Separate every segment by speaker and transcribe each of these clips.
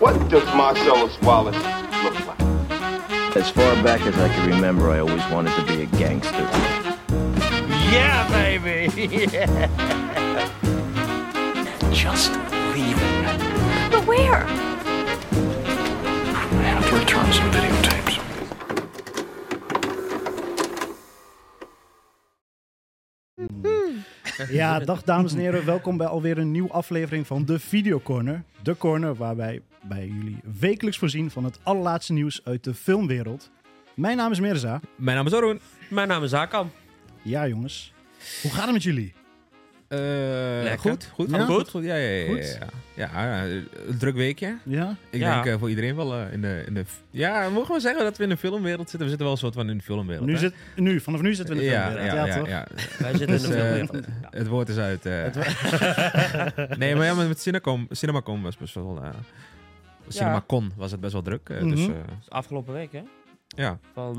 Speaker 1: What does Marcellus Wallace look like?
Speaker 2: As far back as I can remember, I always wanted to be a gangster.
Speaker 3: Yeah, baby.
Speaker 4: Just leaving.
Speaker 5: But where?
Speaker 4: I have to return some videotapes.
Speaker 6: Ja, dag dames en heren. Welkom bij alweer een nieuwe aflevering van de Videocorner. De corner waar wij bij jullie wekelijks voorzien van het allerlaatste nieuws uit de filmwereld. Mijn naam is Mirza.
Speaker 7: Mijn naam is Arun. Mijn naam is Hakan.
Speaker 6: Ja, jongens. Hoe gaat het met jullie?
Speaker 7: Eh, goed, goed,
Speaker 6: Ja?
Speaker 7: alles goed, goed. Ja, ja, ja, ja,
Speaker 6: Goed.
Speaker 7: ja. ja eh, een druk weekje.
Speaker 6: Ja?
Speaker 7: Ik
Speaker 3: Ja.
Speaker 7: denk eh, voor iedereen wel eh, in de, in de... f- Ja, mogen we zeggen dat we in de filmwereld zitten? We zitten wel een soort van in de filmwereld,
Speaker 6: Nu
Speaker 7: hè?
Speaker 6: zit, nu, vanaf nu zitten we in de
Speaker 7: ja,
Speaker 6: filmwereld.
Speaker 7: ja, ja,
Speaker 6: toch?
Speaker 7: ja.
Speaker 3: Wij zitten in de
Speaker 7: Dus, eh,
Speaker 3: filmwereld. Ja.
Speaker 7: Het woord is uit. eh. nee, maar ja, maar met Cinecom, Cinemacom was best wel... eh, Cinemacon was het best wel druk. eh, Dus
Speaker 6: Mhm.
Speaker 7: eh,
Speaker 3: Dus afgelopen week, hè?
Speaker 7: ja,
Speaker 3: Van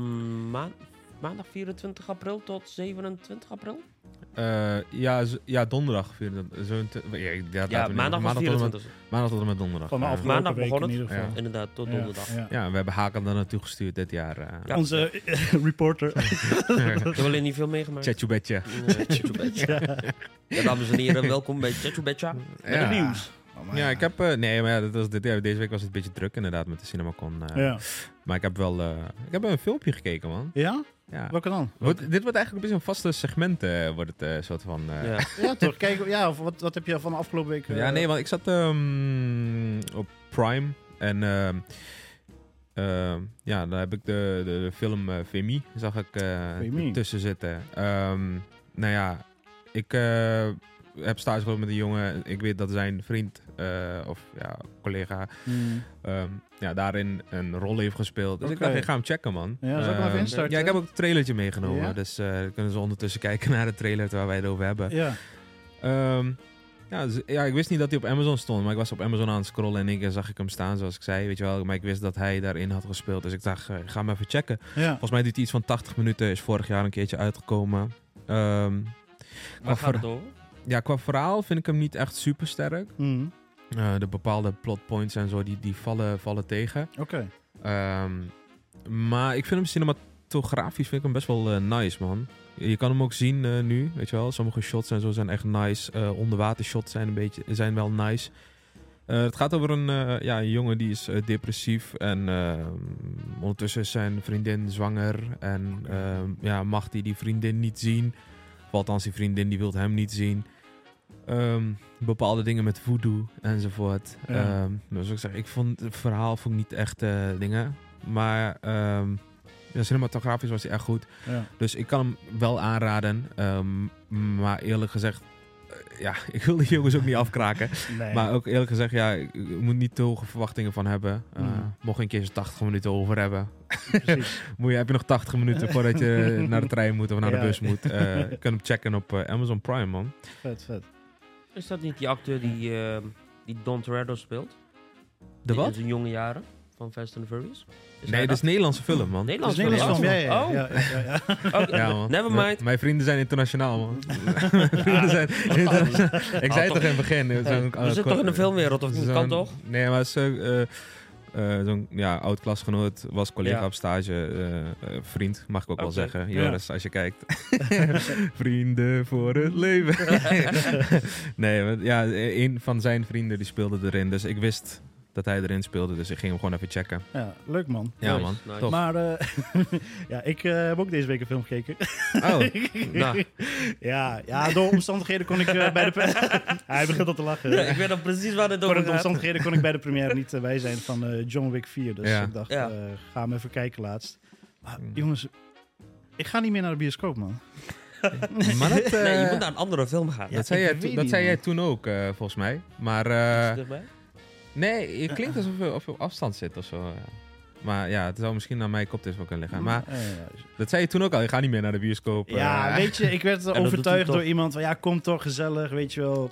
Speaker 3: maan- maandag 24 april tot 27 april?
Speaker 7: Eh, ja, z- ja, donderdag. vierde- Zo'n te- ja, ik- ja,
Speaker 3: Ja,
Speaker 7: laten we niet-
Speaker 3: maandag was
Speaker 7: maandag tot en met-
Speaker 3: 24.
Speaker 7: maandag tot en met donderdag.
Speaker 6: Van de
Speaker 7: Ja.
Speaker 6: afgelopen
Speaker 3: maandag
Speaker 6: week
Speaker 3: begon
Speaker 6: in
Speaker 3: het.
Speaker 6: ieder geval.
Speaker 3: Dus Inderdaad, tot
Speaker 6: Ja,
Speaker 3: donderdag.
Speaker 6: ja.
Speaker 7: Ja, we hebben Hakan daar naartoe gestuurd dit jaar. eh.
Speaker 3: Ja.
Speaker 6: Onze eh, reporter.
Speaker 3: Ik heb alleen niet veel meegemaakt.
Speaker 7: Tjetje betje.
Speaker 3: Nee, Tjatjoebetje. Ja, dames en heren, welkom bij Tjatjoebetje.
Speaker 7: Ja.
Speaker 6: nieuws.
Speaker 7: Ja, ik heb... eh, nee, maar ja, dat was dit, ja, deze week was het een beetje druk inderdaad met de Cinemacon. eh.
Speaker 6: Ja.
Speaker 7: Maar ik heb wel... eh, ik heb een filmpje gekeken, man.
Speaker 6: ja?
Speaker 7: Ja.
Speaker 6: Welke dan?
Speaker 7: Wordt- dit wordt eigenlijk een beetje een vaste segment, eh, wordt het eh, soort van... eh. ja.
Speaker 3: Ja.
Speaker 6: Ja, toch? Kijk, ja, of wat, wat heb je van de afgelopen week? eh,
Speaker 7: nee, want ik zat ehm, op Prime en... ehm, ehm, ja, daar heb ik de, de, de film eh Femi, zag ik eh
Speaker 6: Femi.
Speaker 7: tussen zitten. Ehm, nou ja, ik eh, heb stage gelopen met een jongen. Ik weet dat zijn vriend eh, of ja, collega
Speaker 6: hmm.
Speaker 7: ehm, ja, daarin een rol heeft gespeeld. Dus ik
Speaker 6: Oké.
Speaker 7: dacht, ik ga hem checken, man.
Speaker 6: Ja, zal ik hem
Speaker 7: Ehm,
Speaker 6: even instarten?
Speaker 7: Ja, ik heb ook een trailertje meegenomen.
Speaker 6: Ja?
Speaker 7: Dus eh, dan kunnen ze ondertussen kijken naar de trailer waar wij het over hebben.
Speaker 6: Ja.
Speaker 7: Ehm, ja, dus- ja, ik wist niet dat hij op Amazon stond. Maar ik was op Amazon aan het scrollen en ik eh, zag ik hem staan, zoals ik zei. Weet je wel, maar ik wist dat hij daarin had gespeeld. Dus ik dacht, eh, ik ga hem even checken.
Speaker 6: ja.
Speaker 7: Volgens mij duurt hij iets van 80 minuten. Is vorig jaar een keertje uitgekomen. Ehm, qua,
Speaker 3: Waar gaat
Speaker 7: ver-
Speaker 3: het over?
Speaker 7: ja, qua verhaal vind ik hem niet echt super sterk.
Speaker 6: Hmm.
Speaker 7: de bepaalde plotpoints en zo, die, die vallen, vallen tegen.
Speaker 6: Oké.
Speaker 7: Ehm, maar ik vind hem cinematografisch vind ik hem best wel eh, nice, man. Je kan hem ook zien eh, nu, weet je wel. Sommige shots en zo zijn echt nice. Eh onderwatershots zijn, een beetje, zijn wel nice. Eh, het gaat over een, eh, ja, een jongen die is eh, depressief en ehm, ondertussen is zijn vriendin zwanger. En ehm, ja, mag hij die vriendin niet zien. Of althans, die vriendin die wil hem niet zien. Ehm, bepaalde dingen met voodoo enzovoort.
Speaker 6: Ja.
Speaker 7: Ehm, dus ik zeg, ik vond het verhaal vond ik niet echt eh, dingen. Maar ehm, ja, cinematografisch was hij echt goed.
Speaker 6: Ja.
Speaker 7: Dus ik kan hem wel aanraden. ehm, maar eerlijk gezegd, eh, ja, ik wil die jongens ook niet afkraken.
Speaker 6: Nee.
Speaker 7: Maar ook eerlijk gezegd, ja, ik ik moet niet te hoge verwachtingen van hebben. Eh,
Speaker 6: Mhm.
Speaker 7: Mocht je een keer zo'n 80 minuten over hebben,
Speaker 6: precies.
Speaker 7: moet je, heb je nog 80 minuten voordat je naar de trein moet of naar
Speaker 6: Ja.
Speaker 7: de bus moet. Eh je kan hem checken op eh, Amazon Prime, man.
Speaker 6: Vet, vet.
Speaker 3: Is dat niet die acteur die, eh, die Don Toretto speelt?
Speaker 7: De
Speaker 3: In
Speaker 7: wat?
Speaker 3: zijn jonge jaren van Fast and the Furious? hij
Speaker 7: Nee, dat is Nederlandse film, man.
Speaker 6: Dat is
Speaker 3: Nederlands
Speaker 6: Nederlands film. Ja,
Speaker 3: film.
Speaker 6: ja,
Speaker 3: Oh,
Speaker 6: ja, ja, ja, ja.
Speaker 3: oké.
Speaker 7: Ja, man.
Speaker 3: Never
Speaker 7: Mijn-
Speaker 3: mind. Oh,
Speaker 7: Mijn vrienden zijn internationaal, man. Mijn vrienden zijn internationaal. Ik zei het toch in het begin. eh, zo'n-
Speaker 3: We zitten toch in de filmwereld, of niet?
Speaker 7: Zo'n-
Speaker 3: Kan toch?
Speaker 7: Nee, maar ze, eh, eh, zo'n ja, oud-klasgenoot was collega
Speaker 3: Ja.
Speaker 7: op stage. eh, eh, vriend, mag ik ook wel
Speaker 3: Oké.
Speaker 7: zeggen.
Speaker 6: Ja.
Speaker 7: Joris, als je kijkt. Vrienden voor het leven. nee, maar, ja, een van zijn vrienden die speelde erin. Dus ik wist dat hij erin speelde. Dus ik ging hem gewoon even checken.
Speaker 6: Ja, leuk man.
Speaker 7: Ja,
Speaker 3: Nice,
Speaker 7: man.
Speaker 3: nice.
Speaker 7: Tof.
Speaker 6: Maar eh, ja, ik eh, heb ook deze week een film gekeken.
Speaker 7: Oh,
Speaker 3: Nou,
Speaker 6: ja, ja, door omstandigheden kon ik eh, bij de... pre- Ja, Hij begint al te lachen.
Speaker 3: ja, ik weet nog precies waar het
Speaker 6: Door
Speaker 3: over
Speaker 6: de
Speaker 3: gaat.
Speaker 6: omstandigheden kon ik bij de première niet eh, bij zijn van eh, John Wick 4. Dus
Speaker 7: Ja. Hmm.
Speaker 6: ik dacht,
Speaker 3: Ja.
Speaker 6: eh, ga hem even kijken laatst. Maar jongens, ik ga niet meer naar de bioscoop man.
Speaker 7: maar dat... eh,
Speaker 3: Nee, je moet naar een andere film gaan.
Speaker 6: Ja,
Speaker 7: dat zei,
Speaker 6: ik
Speaker 7: jij,
Speaker 6: weet
Speaker 7: toen-
Speaker 6: niet,
Speaker 7: dat zei
Speaker 6: man.
Speaker 7: jij toen ook, eh, volgens mij. Maar
Speaker 3: Is
Speaker 7: eh,
Speaker 3: het erbij?
Speaker 7: nee, het klinkt alsof je, of je op afstand zit of zo. ja. Maar ja, het zou misschien aan mijn koptelefoon kunnen liggen. Maar
Speaker 6: Eh, ja.
Speaker 7: Dat zei je toen ook al, je gaat niet meer naar de bioscoop.
Speaker 6: ja,
Speaker 7: eh.
Speaker 6: weet je, ik werd
Speaker 3: hij
Speaker 6: overtuigd
Speaker 3: toch.
Speaker 6: door iemand van ja, kom toch gezellig, weet je wel.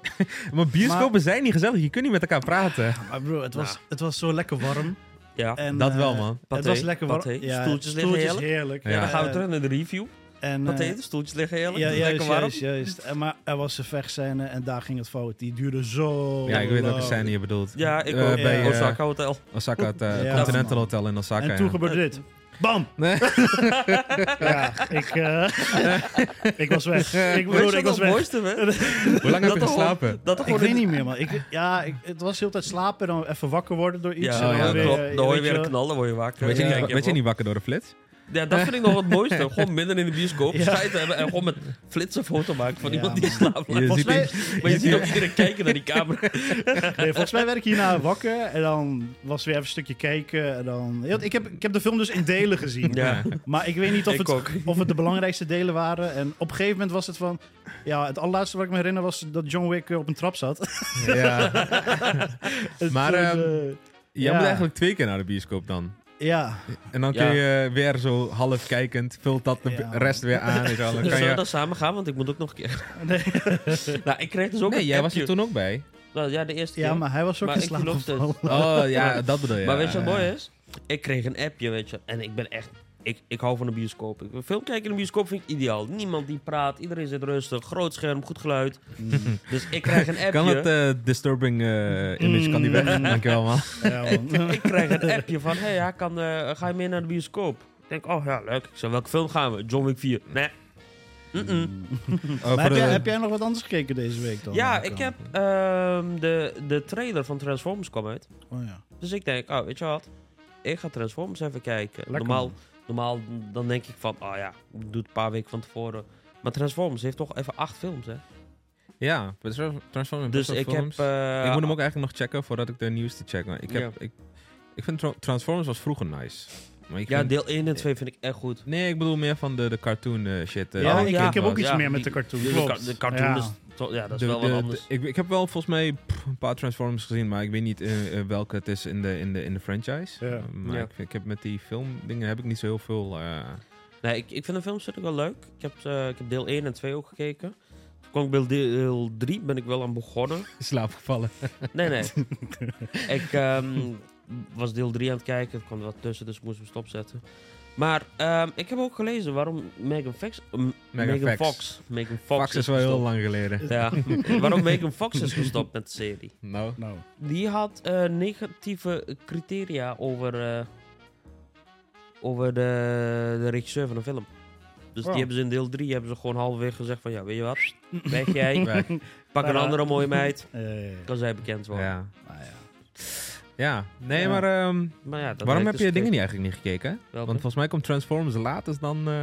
Speaker 7: Maar bioscopen zijn niet gezellig, je kunt niet met elkaar praten.
Speaker 6: Maar bro, het was, het was zo lekker warm.
Speaker 3: Ja.
Speaker 6: En,
Speaker 7: dat
Speaker 6: eh,
Speaker 7: wel, man.
Speaker 3: Pathé,
Speaker 6: het was lekker warm.
Speaker 3: pathé. Stoeltjes liggen heerlijk.
Speaker 6: heerlijk.
Speaker 7: Ja.
Speaker 3: Dan gaan we
Speaker 6: Eh,
Speaker 3: terug naar de review.
Speaker 6: En, eh,
Speaker 3: Potatenstoeltjes liggen eerlijk.
Speaker 6: ja,
Speaker 3: dat is lekker
Speaker 6: juist,
Speaker 3: warm.
Speaker 6: juist, juist. En, maar er was een vechtscène en daar ging het fout. Die duurde zo
Speaker 7: Ja, ik weet welke
Speaker 6: lang.
Speaker 7: scène je bedoelt.
Speaker 3: Ja, ik
Speaker 7: Eh,
Speaker 3: ook.
Speaker 7: bij eh,
Speaker 3: Osaka Hotel.
Speaker 7: Osaka, het eh,
Speaker 6: Ja,
Speaker 7: Continental
Speaker 6: man.
Speaker 7: Hotel in Osaka.
Speaker 6: En toen
Speaker 7: ja.
Speaker 6: gebeurde dit. Bam!
Speaker 7: Nee.
Speaker 6: Ja, ik, eh, ik was weg. Ik
Speaker 3: Weet je
Speaker 6: bedoel,
Speaker 3: wat
Speaker 6: ik was
Speaker 3: het
Speaker 6: weg.
Speaker 3: mooiste werd?
Speaker 7: Hoe lang heb je
Speaker 3: Dat er gewoon-
Speaker 7: geslapen?
Speaker 3: Dat er
Speaker 6: Ik
Speaker 3: gewoon
Speaker 6: weet
Speaker 3: in-
Speaker 6: niet meer, man. Ik, ja, ik, het was heel de tijd slapen, dan even wakker worden door iets.
Speaker 3: Ja,
Speaker 6: en dan
Speaker 7: Oh, ja,
Speaker 3: dat
Speaker 6: weer,
Speaker 3: klopt.
Speaker 6: eh,
Speaker 3: Dan hoor je
Speaker 6: weet
Speaker 3: weer een
Speaker 6: wel.
Speaker 3: knallen, word je wakker.
Speaker 7: Weet je,
Speaker 3: Dan
Speaker 7: niet,
Speaker 3: denk
Speaker 7: werd je
Speaker 3: van,
Speaker 7: niet wakker door de flits?
Speaker 3: Ja, dat vind ik nog het mooiste. Gewoon midden in de bioscoop
Speaker 6: Ja.
Speaker 3: schijten hebben en gewoon met flits een foto maken van
Speaker 6: Ja,
Speaker 3: iemand die
Speaker 6: man.
Speaker 3: slaapt.
Speaker 7: Je
Speaker 3: Volgens
Speaker 7: ziet
Speaker 3: mij, maar je
Speaker 6: je
Speaker 3: ziet
Speaker 6: ziet-
Speaker 3: ook iedereen kijken naar die camera.
Speaker 6: Nee, volgens mij werd ik hierna wakker en dan was weer even een stukje kijken. En dan... Ja, Ik, heb, ik heb de film dus in delen gezien.
Speaker 3: Ja.
Speaker 6: Maar ik weet niet of
Speaker 3: Ik
Speaker 6: het,
Speaker 3: ook.
Speaker 6: of het de belangrijkste delen waren. En op een gegeven moment was het van... Ja, het allerlaatste wat ik me herinner was dat John Wick eh, op een trap zat.
Speaker 7: Ja. Maar,
Speaker 6: Toen,
Speaker 7: ehm,
Speaker 6: eh,
Speaker 7: Jij
Speaker 6: Ja.
Speaker 7: moet eigenlijk twee keer naar de bioscoop dan.
Speaker 6: ja,
Speaker 7: En dan
Speaker 3: Ja.
Speaker 7: kun je weer zo half kijkend, vult dat de
Speaker 6: Ja.
Speaker 7: rest weer aan. en zo. Dan kan
Speaker 3: Zullen we
Speaker 7: je...
Speaker 3: dan samen gaan? Want ik moet ook nog een keer.
Speaker 6: Nee.
Speaker 3: nou, ik kreeg dus ook
Speaker 7: Nee,
Speaker 3: een
Speaker 7: jij was er
Speaker 3: appje.
Speaker 7: toen ook bij.
Speaker 3: Nou, ja, de eerste
Speaker 6: ja,
Speaker 3: keer.
Speaker 6: maar hij was ook
Speaker 3: Maar
Speaker 6: in
Speaker 3: ik dus.
Speaker 6: slaap
Speaker 3: geloof het.
Speaker 6: gevallen.
Speaker 7: Oh ja,
Speaker 3: Ja.
Speaker 7: dat bedoel je.
Speaker 3: Maar weet je wat
Speaker 7: Ja,
Speaker 3: mooi
Speaker 7: ja.
Speaker 3: is? Ik kreeg een appje, weet je. En ik ben echt... Ik, ik hou van de bioscoop. Ik, film kijken in de bioscoop vind ik ideaal. Niemand die praat. Iedereen zit rustig. Groot scherm, goed geluid. Dus ik krijg een appje. Mm.
Speaker 7: Kan dat eh, disturbing eh, image, kan die weg? Dankjewel man. Oh,
Speaker 6: Ja,
Speaker 7: eh?
Speaker 6: man.
Speaker 3: ik krijg een appje van... Hé, hey, kan, eh, ga je mee naar de bioscoop? Ik denk, oh ja, leuk. Ik zei, welke film gaan we? John Wick 4. Nee. Mm-mm.
Speaker 7: Oh,
Speaker 6: Maar
Speaker 7: voor
Speaker 6: heb,
Speaker 7: de-
Speaker 6: jij, heb jij nog wat anders gekeken deze week dan? eh,
Speaker 3: Ja,
Speaker 6: Dan?
Speaker 3: ik heb... ehm, de, de trailer van Transformers kwam uit.
Speaker 6: Oh, ja.
Speaker 3: Dus ik denk, oh, weet je wat? Ik ga Transformers even kijken.
Speaker 6: Lekker,
Speaker 3: normaal,
Speaker 6: man.
Speaker 3: normaal dan denk ik van, oh ja, ik doe het een paar weken van tevoren. Maar Transformers heeft toch even acht films, hè?
Speaker 7: Ja, het is wel- Transformers
Speaker 3: dus
Speaker 7: best
Speaker 3: ik
Speaker 7: wel films.
Speaker 3: heb... eh,
Speaker 7: ik moet hem ook eigenlijk nog checken voordat ik de nieuwste check. maar Ik, heb, ik, ik vind Tra- Transformers was vroeger nice. Maar ik
Speaker 3: Ja,
Speaker 7: vind-
Speaker 3: deel 1 en 2 vind ik echt goed.
Speaker 7: Nee, ik bedoel meer van de, de cartoon eh, shit. eh,
Speaker 6: Ja,
Speaker 7: die
Speaker 6: ik-
Speaker 7: kind
Speaker 6: ik heb
Speaker 7: was.
Speaker 6: ook iets
Speaker 3: Oh, Ja,
Speaker 6: meer met
Speaker 3: die-
Speaker 6: de cartoon,
Speaker 3: De,
Speaker 6: klopt.
Speaker 3: ka- de cartoon
Speaker 6: Ja.
Speaker 3: is... toch- ja, dat is
Speaker 7: De-
Speaker 3: wel
Speaker 7: de-
Speaker 3: wat
Speaker 7: de-
Speaker 3: anders.
Speaker 7: ik, ik heb wel volgens mij pff, een paar Transformers gezien, maar ik weet niet eh, eh, welke het is in de, in de, in de franchise.
Speaker 6: Ja.
Speaker 7: Eh, maar
Speaker 3: Ja.
Speaker 7: ik, ik heb met die filmdingen heb ik niet zo heel veel. eh,
Speaker 3: Nee, ik, ik vind de films natuurlijk wel leuk. Ik heb, eh, ik heb deel 1 en 2 ook gekeken. Toen kwam ik bij deel 3, ben ik wel aan begonnen.
Speaker 7: slaapgevallen.
Speaker 3: Nee, nee. ik ehm, was deel 3 aan het kijken. Er kwam er wat tussen, dus ik moest hem stopzetten. Maar ehm, ik heb ook gelezen waarom Megan Fox... eh, Megan,
Speaker 7: Fox.
Speaker 3: Fox. Megan Fox,
Speaker 7: Fox is wel heel
Speaker 3: gestopt.
Speaker 7: lang geleden.
Speaker 3: Ja, waarom Megan Fox is gestopt met de serie.
Speaker 7: Nou,
Speaker 6: Nou,
Speaker 3: Die had eh, negatieve criteria over, eh, over de, de regisseur van de film. Dus
Speaker 6: Oh.
Speaker 3: die hebben ze in deel 3 hebben ze gewoon halverwege gezegd van ja, weet je wat, weg jij,
Speaker 7: ja.
Speaker 3: pak een
Speaker 6: Ja.
Speaker 3: andere mooie meid,
Speaker 6: eh,
Speaker 3: kan zij bekend worden.
Speaker 7: ja.
Speaker 6: nou ja.
Speaker 7: Ja, nee,
Speaker 6: Ja.
Speaker 7: maar ehm,
Speaker 3: Maar ja, dat
Speaker 7: waarom
Speaker 3: ik
Speaker 7: heb
Speaker 3: dus
Speaker 7: je dingen
Speaker 3: gekeken.
Speaker 7: niet eigenlijk niet gekeken? hè?
Speaker 3: Welke?
Speaker 7: Want volgens mij komt Transformers later dan eh,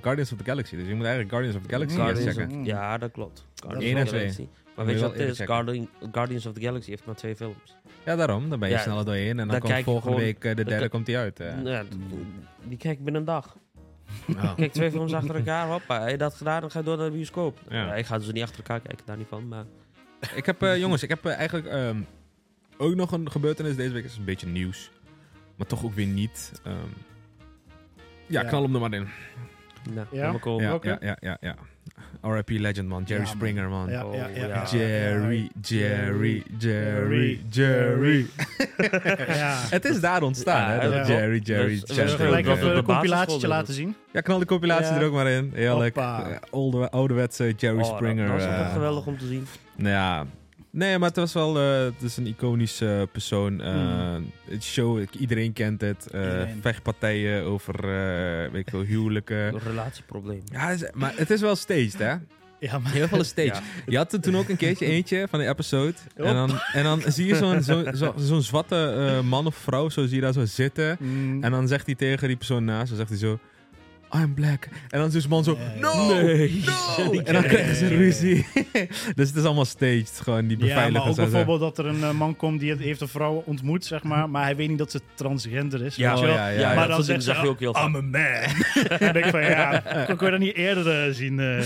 Speaker 7: Guardians of the Galaxy. Dus je moet eigenlijk Guardians of the Galaxy
Speaker 6: Guardians
Speaker 7: eerst
Speaker 6: of-
Speaker 7: checken.
Speaker 6: Mm.
Speaker 3: Ja, dat klopt.
Speaker 7: Eén
Speaker 3: of
Speaker 7: en
Speaker 3: the
Speaker 7: twee.
Speaker 3: Galaxy. Maar
Speaker 7: Moet
Speaker 3: weet
Speaker 7: je
Speaker 3: je
Speaker 7: wel
Speaker 3: wat het
Speaker 7: eerder
Speaker 3: is?
Speaker 7: checken.
Speaker 3: Guardian- Guardians of the Galaxy heeft maar twee films.
Speaker 7: Ja, daarom. Dan ben je
Speaker 3: Ja,
Speaker 7: sneller doorheen. En dan,
Speaker 3: dan
Speaker 7: komt
Speaker 3: kijk je
Speaker 7: volgende
Speaker 3: gewoon-
Speaker 7: week eh, de
Speaker 3: dan
Speaker 7: derde
Speaker 3: kan-
Speaker 7: komt die uit. eh.
Speaker 3: Ja, d- die kijk ik binnen een dag.
Speaker 7: Oh.
Speaker 3: Kijk, twee films achter elkaar, hoppa, heb je dat gedaan, dan ga je door naar de bioscoop.
Speaker 7: Ja.
Speaker 3: Ja, ik ga dus niet achter elkaar kijken, daar niet van, maar...
Speaker 7: Ik heb, eh, jongens, ik heb eh, eigenlijk ehm, ook nog een gebeurtenis deze week. Het is een beetje nieuws. Maar toch ook weer niet. Ehm, ja,
Speaker 6: Ja.
Speaker 7: knal hem er maar in.
Speaker 3: Nou,
Speaker 6: Ja?
Speaker 3: helemaal cool.
Speaker 7: Ja,
Speaker 6: welke?
Speaker 7: ja, ja, ja, ja. R.I.P. Legend, man. Jerry
Speaker 6: Ja, man.
Speaker 7: Springer, man.
Speaker 6: Ja,
Speaker 3: Oh,
Speaker 6: ja, ja,
Speaker 3: ja.
Speaker 6: ja.
Speaker 7: Jerry, Jerry, Jerry,
Speaker 6: Jerry,
Speaker 7: Jerry.
Speaker 6: Ja.
Speaker 7: Het is daar ontstaan,
Speaker 3: Ja,
Speaker 7: hè? dat
Speaker 6: ja.
Speaker 7: Jerry, Jerry,
Speaker 3: Dus-
Speaker 6: Zullen we
Speaker 3: Ja,
Speaker 6: gelijk
Speaker 7: Jerry.
Speaker 3: dat we
Speaker 6: even
Speaker 3: de
Speaker 6: een compilatie
Speaker 3: basisschool
Speaker 6: laten zien?
Speaker 7: Ja, knal de compilatie
Speaker 6: Ja.
Speaker 7: er ook maar in. Heerlijk.
Speaker 6: Hoppa.
Speaker 7: Eh, Oude, ouderwetse Jerry
Speaker 3: Oh, dat-
Speaker 7: Springer.
Speaker 3: Dat was
Speaker 7: eh,
Speaker 3: toch geweldig om te zien.
Speaker 7: Nou ja. Nee, maar het was wel... eh, het is een iconische persoon. eh, Het show, iedereen kent het. eh,
Speaker 6: Hmm. Iedereen.
Speaker 7: Vechtpartijen over, eh, weet ik veel, huwelijken.
Speaker 3: Een relatieprobleem.
Speaker 7: Ja, het is- maar het is wel staged, hè?
Speaker 6: Ja, maar...
Speaker 7: Heel veel staged.
Speaker 3: Ja.
Speaker 7: Je had er toen ook een keertje eentje van de episode. En dan, en dan zie je zo'n zo, zo, zo'n zwarte eh, man of vrouw, zo zie je daar zo zitten.
Speaker 6: Mm.
Speaker 7: En dan zegt hij tegen die persoon naast, dan zegt hij zo... I'm black. En dan is die man zo...
Speaker 6: Nee.
Speaker 7: No!
Speaker 3: Nee.
Speaker 7: No! En dan krijgen ze
Speaker 6: Nee.
Speaker 7: ruzie. dus het is allemaal staged. Gewoon die
Speaker 6: Ja, maar
Speaker 7: beveiligers.
Speaker 6: ook
Speaker 7: en zo.
Speaker 6: bijvoorbeeld dat er een eh, man komt die het- heeft een vrouw ontmoet, zeg maar, maar hij weet niet dat ze transgender is.
Speaker 3: Ja,
Speaker 6: weet je
Speaker 7: oh,
Speaker 6: wel.
Speaker 7: ja, ja,
Speaker 3: ja,
Speaker 6: maar
Speaker 3: dat
Speaker 6: dan
Speaker 3: soort
Speaker 6: zegt ze, "Ah,
Speaker 3: dingen zag je ook heel vaak.
Speaker 6: I'm a man. dan denk ik van, ja, kon ik dat niet eerder eh, zien? eh.